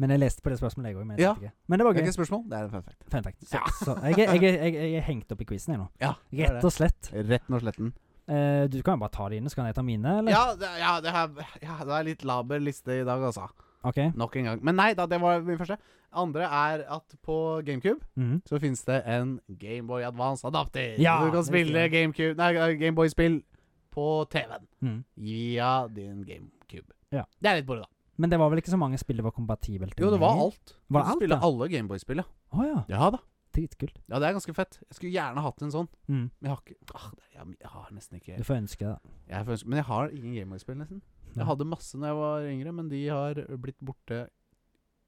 Men jeg leste på det spørsmålet, jeg òg. Men, jeg Ja. skjønte ikke. men det var Det er gøy. ikke et spørsmål, det er en fun fact. Fun fact. Så, Ja. så, jeg, er- jeg, er- jeg, jeg er hengt opp i quizen, jeg nå. Ja, det er Rett og slett. det. Retten og sletten. Eh, du kan jo bare ta dine, så kan jeg ta mine, eller? Ja, det, ja, det, er, ja, det er litt laber liste i dag, altså. OK. Nok en gang. Men nei da, det var min første. Andre er at på GameCube Mhm. så finnes det en Gameboy Advance adapter. Ja, du kan det spille husker jeg. GameCube Nei, eh, Gameboy-spill på TV-en Mhm. via din GameCube. Ja. Det er litt moro, da. Men det var vel ikke så mange spill det var kompatibelt Jo, det var alt. Var Du det alt, spille da? alle Gameboy-spillene. Å ja. Ja da. Dritkult. Ja, det er ganske fett. Jeg skulle gjerne hatt en sånn. Mm. Men jeg har ikke ah, det, jeg, jeg har nesten ikke Du får ønske det. jeg får ønske- Men jeg har ingen Gameboy-spill, nesten. Jeg Ja. hadde masse når jeg var yngre, men de har blitt borte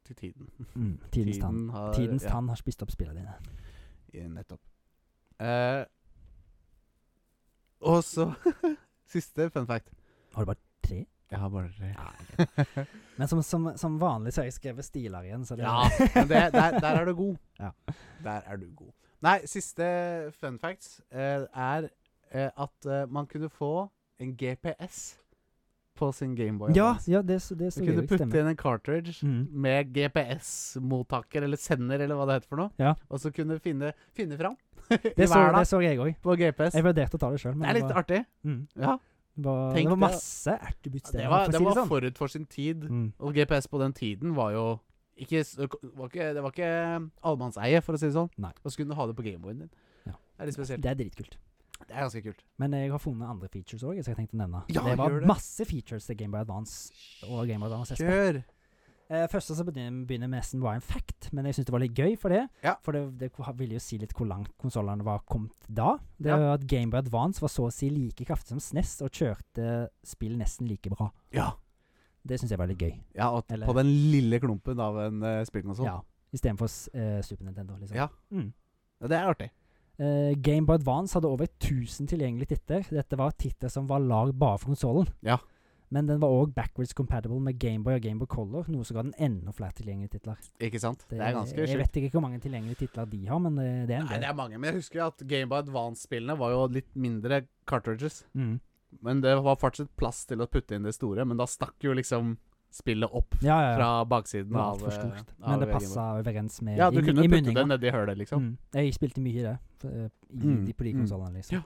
til tiden. Mm. Tidens tann. har, Tidens eh, ja, tann har spist opp spillene dine. i- Nettopp. Eh, og så Siste fun fact. Har du bare tre? Jeg har bare tre. Ja, ok. Men som, som, som vanlig så har jeg skrevet stiler igjen, så det Ja, men det, der, der er du god. Ja. Der er du god. Nei, siste fun facts eh, er eh, at eh, man kunne få en GPS på sin Gameboy. Ja, Advance. ja, det, så- det Du så kunne jeg putte stemmer. inn en cartridge Mm. med GPS-mottaker, eller sender, eller hva det heter for noe, Ja. og så kunne finne, finne fram i Det, så, verden det så jeg òg. på GPS. Jeg vurderte å ta det sjøl, men Det er litt var, artig. mm, Ja, det var, Tenk det var deg- masse attributes der. det var, for å det si var sånn. forut for sin tid. mm. Og GPS på den tiden var jo ikke, s- var ikke, Det var ikke allemannseie, for å si det sånn. Nei. Og så kunne du ha det på Gameboyen din. Ja. Det er litt spesielt. Det er dritkult. Det er ganske kult. Men jeg har funnet andre features òg, så jeg tenkte å nevne. Ja, det var gjør det. masse features til Gameboy Advance og Gameboy Advance SP. Kjør! Eh, første så begynner begynner med nesten bare en fact, men jeg syns det var litt gøy for det. Ja. For det, det ville jo si litt hvor langt konsollene var kommet da. Det Ja. var at Gameboy Advance var så å si like kraftig som SNES, og kjørte spill nesten like bra. Ja. Det syns jeg var litt gøy. ja og Eller- på den lille klumpen av en uh, spillkonsoll. Ja. Istedenfor uh, Super Nintendo, liksom. Ja. Mm. Ja, Det er artig. Eh, Game Boy Advance hadde over 1000 tilgjengelige titler. Dette var titler som var lagd bare for konsollen. Ja. Men den var òg backwards compatible med Gameboy og Gameboy Color, noe som ga den enda flere tilgjengelige titler. Ikke sant? Det, er ganske Jeg sjukt. vet ikke hvor mange tilgjengelige titler de har, men eh, det er en Nei, del. det er mange, men jeg husker jo at Gameboy Advance-spillene var jo litt mindre cartridges. Mm. Men det var fortsatt plass til å putte inn det store, men da stakk jo liksom spillet opp Ja, ja, ja. fra Det baksiden var av altfor eh, stort. av Men det Gameboy. passa overens med Ja, du i, kunne i putte det munninga. nedi hølet, liksom. Mm. Jeg spilte mye i det, f- eh, i, Mm, de- på de mm. konsollene, liksom. Ja.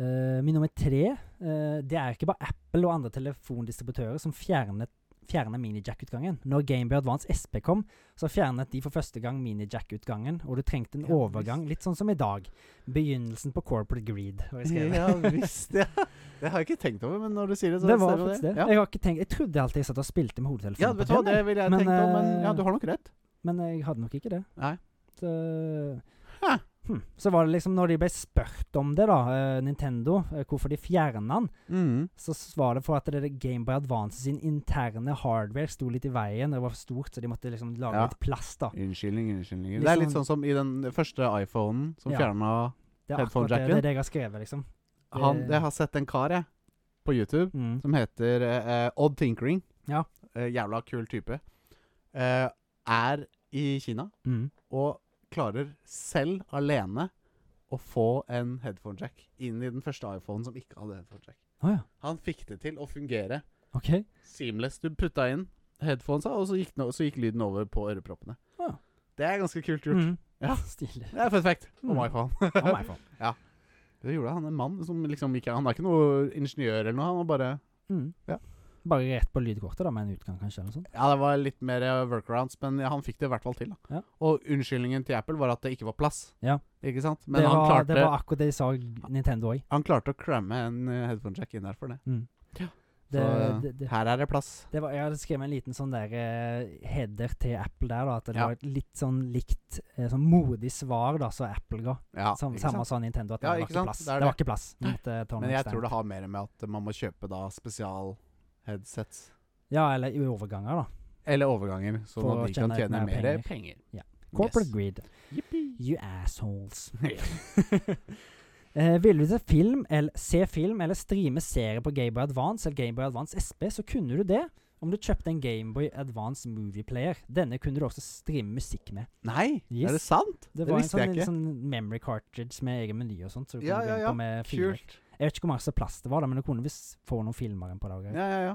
Eh, min nummer tre eh, Det er ikke bare Apple og andre telefondistributører som fjernet Fjernet minijack-utgangen. Når Gameboy Advance SP kom, så fjernet de for første gang minijack-utgangen, og du trengte en Ja, visst. overgang, litt sånn som i dag. Begynnelsen på corporate greed. har jeg skrevet. Ja visst, ja. Det har jeg ikke tenkt over, men når du sier det, så Det var stemmer faktisk det. Ja. Jeg, har ikke tenkt, jeg trodde alltid jeg satt og spilte med hodetelefonen. Ja, på vet du hva, det trening, ville jeg Men, tenkt om, men eh, ja, du har nok rett. men jeg hadde nok ikke det. Nei. Så, Hæ. eh, hm. så var det liksom, når de ble spurt om det, da, eh, Nintendo, eh, hvorfor de fjerna den, Mm. så s- var det for at det Gameboy Advance sin interne hardware sto litt i veien. Det var for stort, så de måtte liksom lage Ja. litt plass, da. Unnskyldning, unnskyldning. Litt Det er litt sånn- sånn som i den første iPhonen som Ja. Det er fjerna akkurat det, Headphone-jacken? det, er det jeg har skrevet, liksom. han Det- Jeg har sett en kar, jeg, på YouTube, Mm. som heter eh, eh, Odd Tinkering. Ja. Eh, jævla kul type. Eh, er i Kina Mm. og klarer selv, alene, å få en headphone-jack inn i den første iPhonen som ikke hadde headphone-jack. Å ja. Han fikk det til å fungere OK. seamless. Du putta inn headphonesa, og så gikk, den- så gikk lyden over på øreproppene. Ja. Det er ganske kult gjort. Mm. Ja. Stilig. Det er fun fact om Mm. iPhone. Om iPhone. Det gjorde han en mann som liksom ikke Han er ikke noe ingeniør eller noe. Han var bare Mm. Ja. Bare rett på lydkortet, da, med en utgang, kanskje, eller noe sånt. Ja, det var litt mer eh, workarounds, men ja, han fikk det i hvert fall til. da Ja. Og unnskyldningen til Apple var at det ikke var plass. Ja. Ikke sant? Men det, han, var, klarte, det var akkurat det de sa Nintendo òg. han klarte å cramme en eh, headphone-jack inn her for det. Det, Så, det, det, Her er det plass. det var, jeg hadde skrevet en liten sånn der eh, header til Apple der, da. At det Ja. var et litt sånn likt, eh, sånn modig svar da, som Apple ga. Ja, Sam, ikke samme sant? sa Nintendo, at det, Ja, var ikke ikke sant? plass. Det Det, er var det. ikke plass. eh, Vi måtte ta noen Men jeg stand. tror det har mer med at eh, man må kjøpe da spesial-headsets. Ja, eller i overganger, da. Eller overganger, sånn For at å de kan tjene tjene mer mer penger. penger. Ja. Corporate Yes. greed. Yippee. You assholes. Ja. Eh, ville du se film, eller, se film eller streame serie på Gameboy Advance eller Gameboy Advance SP, så kunne du det om du kjøpte en Gameboy Advance Movie Player. Denne kunne du også streame musikk med. Nei, Yes. er det sant? Det Det, var en visste sånn, jeg ikke. sånn memory cartridge med egen meny og sånt. Så du Ja, kunne ja, gå inn ja. på med filmer. Kult. Jeg vet ikke hvor masse plass det var, da, men du kunne visst få noen filmer enn på dager. Ja, ja, ja.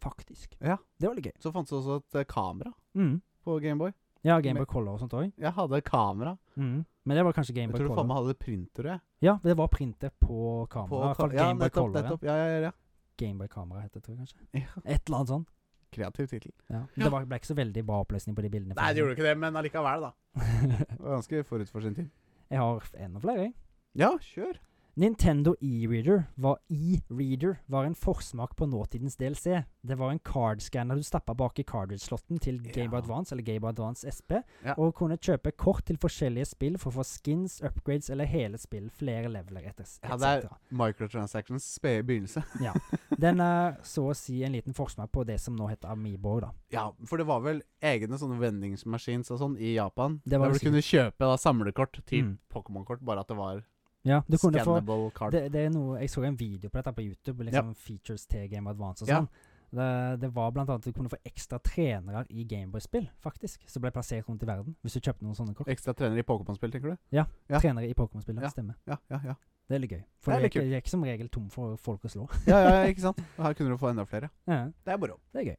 Faktisk. Ja. Det var litt gøy. Så fantes det også et eh, kamera Mm. på Gameboy. Ja, Gameboy Color og sånt òg. Jeg hadde kamera. Mm. Men det var kanskje Jeg Gameboy tror du faen Color. meg hadde printer, jeg. Ja, det var printer på kamera. På I hvert fall ka- ja, Gameboy nettopp, Color. ja. nettopp. Ja, ja, ja. ja. Gameboy Kamera heter det, tror jeg kanskje. Ja. Et eller annet sånt. Kreativ tittel. Ja. Ja. Det var, ble ikke så veldig bra oppløsning på de bildene. Nei, det gjorde ikke det, men allikevel, da. ikke. Det var ganske forut for sin tid. sånn. jeg har enda flere, jeg. Ja, kjør. Nintendo e-reader var, e-reader var en forsmak på nåtidens DLC. Det var en cardscanner du stappa bak i cardridge-slotten til Ja. Game Boy Advance eller Game Boy Advance SP, Ja. og kunne kjøpe kort til forskjellige spill for å få skins, upgrades eller hele spill, flere leveler etter Ja, det er- etc. Microtransactions spede begynnelse. Den er så å si en liten forsmak på det som nå heter Amiibo, da. Ja, for det var vel egne sånne vendingsmaskiner og sånn i Japan. Det var der det du kunne kjøpe da, samlekort, typ Mm. Pokémon-kort, bare at det var Ja, du kunne få Scannable card. det, det er noe, Jeg så en video på dette på YouTube. Liksom Features til Game Boy Advance og Ja. sånn. Det, det var blant annet at du kunne få ekstra trenere i Gameboy-spill, faktisk. Som ble plassert rundt i verden, hvis du kjøpte noen sånne kort. Ekstra trener i Pokémon-spill, tenker du? ja. Trenere i Pokémon-spill, Ja. stemmer. Ja, ja, ja. Det er litt gøy. For det Det er er, litt ikke, det er ikke som regel tom for folk å slå. ja, ja, ja ikke sant? Og her kunne du få enda flere. Ja, Det er moro. det er gøy.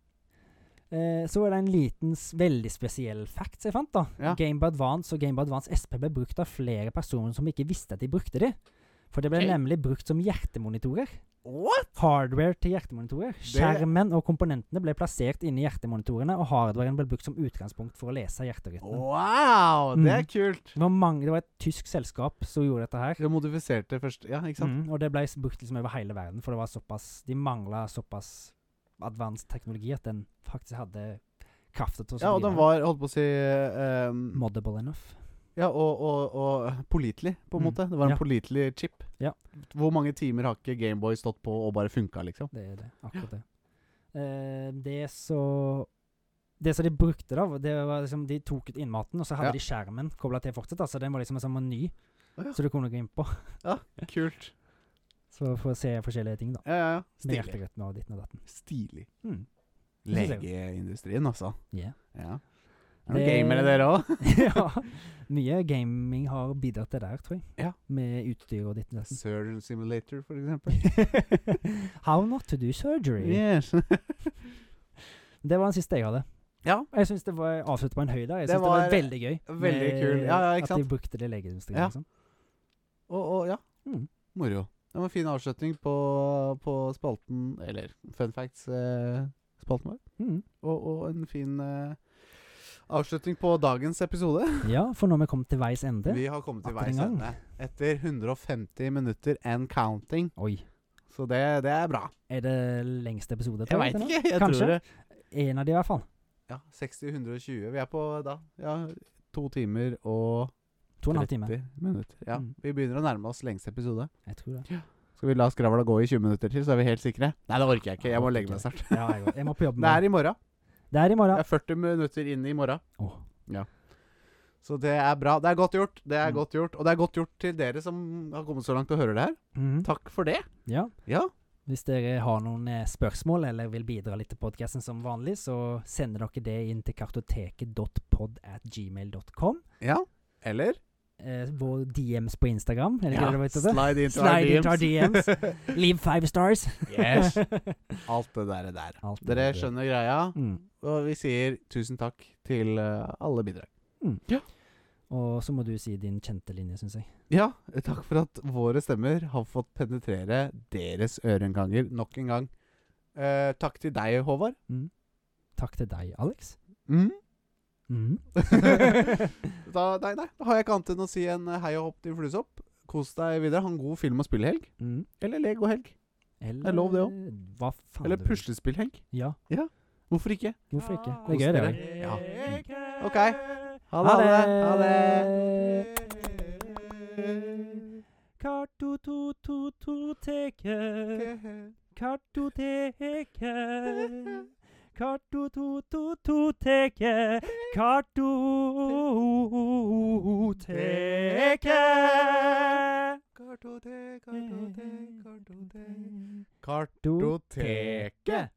Eh, så er det en liten, s- veldig spesiell fact som jeg fant. da Ja. Game Boy Advance og Game Boy Advance SP ble brukt av flere personer som ikke visste at de brukte de. For det ble Ok. nemlig brukt som hjertemonitorer. What?! Hardware til hjertemonitorer. Skjermen og komponentene ble plassert inni hjertemonitorene, og hardwaren ble brukt som utgangspunkt for å lese hjerterytmen. Wow! Det er Mm. kult! Det var mange, det var et tysk selskap som gjorde dette her. Du modifiserte først Ja, ikke sant? Mm, og det ble s- brukt liksom over hele verden, for det var såpass De mangla såpass advanced teknologi at den faktisk hadde kraften til å Ja, og drive den var, holdt på å si eh, um, moddable enough. Ja, og, og, og pålitelig, på en Mm, måte. Det var en ja. pålitelig chip. Ja. Hvor mange timer har ikke Gameboy stått på og bare funka, liksom? Det er det. Akkurat det. Eh, det så Det som de brukte, da, det var liksom De tok ut innmaten, og så hadde Ja. de skjermen kobla til fortsatt. da, Så den var liksom en sånn meny Å ja. så du kunne gå inn på. Kult. Så for å se forskjellige ting, da. Ja, ja, ja. Med Stilig. hjerterytme og ditten og datten. Stilig. Mm. Det synes jeg. Legeindustrien, altså. Yeah. Ja. Er Det- det gamere, dere òg? ja. Mye gaming har bidratt til der, tror jeg. Ja. Med utstyr og ditten og datten. Surgeon Simulator, for eksempel. How not to do surgery. Yes. Det var den siste jeg hadde. Ja. Jeg syns det var avsluttet på en høy der. Jeg Det synes det var, var veldig gøy. veldig med kul. Ja, ja, ikke At sant? de brukte det i legeindustrien. Ja. Liksom. Og, og ja. Mm. Moro. Det var en fin avslutning på, på spalten Eller Fun Facts-spalten vår. Mm. Og, og en fin eh, avslutning på dagens episode. Ja, for når vi kom til veis ende Vi har kommet til Atter veis en gang. ende. Etter 150 minutter and counting. Oi. Så det, det er bra. Er det lengste episode? Jeg veit eller noe? ikke. Jeg Kanskje. tror det. En av de, i hvert fall. Ja, 60-120. Vi er på da ja, to timer og To og en halv 30 time. minutter. Ja, Mm. Vi begynner å nærme oss lengste episode. Jeg tror det. Skal vi la skravla gå i 20 minutter til, så er vi helt sikre? Nei, det orker jeg ikke. Jeg må legge meg snart. Ja, jeg, går. jeg må på jobb Det med er i morgen. Det er i Jeg morgen. er 40 minutter inn i morgen. Åh. Så det er bra. Det er godt gjort. Det er Mm. godt gjort. Og det er godt gjort til dere som har kommet så langt og hører det her. Mhm. Takk for det. Ja. Ja. Hvis dere har noen eh, spørsmål eller vil bidra litt til podkasten som vanlig, så sender dere det inn til kartoteket.pod at gmail.com. ja. Eller? Eh, vår DMs på Instagram. Er det ikke Ja, det du vet det? Slide into Slide into our our DMs. Leave five stars. yes. Alt det der. der. Alt Dere er bra. skjønner greia. Mm. Og vi sier tusen takk til eh, alle bidrag. Og så må du si din kjente linje, syns jeg. Ja, takk for at våre stemmer har fått penetrere deres øreinnganger nok en gang. Eh, takk til deg, Håvard. Takk til deg, Alex. Mm. Mhm. da, nei, nei, da har jeg ikke annet enn å si en eh, hei og hopp til fluesopp. Kos deg videre. Ha en god film- og spillhelg. Mhm. Eller leg og helg. Eller Det er lov, det Hva faen Eller du vil. puslespillhelg. Ja, Hvorfor ikke? hvorfor ikke? Kos Det er gøy, det dere. òg. Ja. OK. Ha Ha det. det. Ha det. Kartotototeket, kartoteket, kartotototeket, kartoteket. Kartotek, kartotek, kartotek. Kartoteket.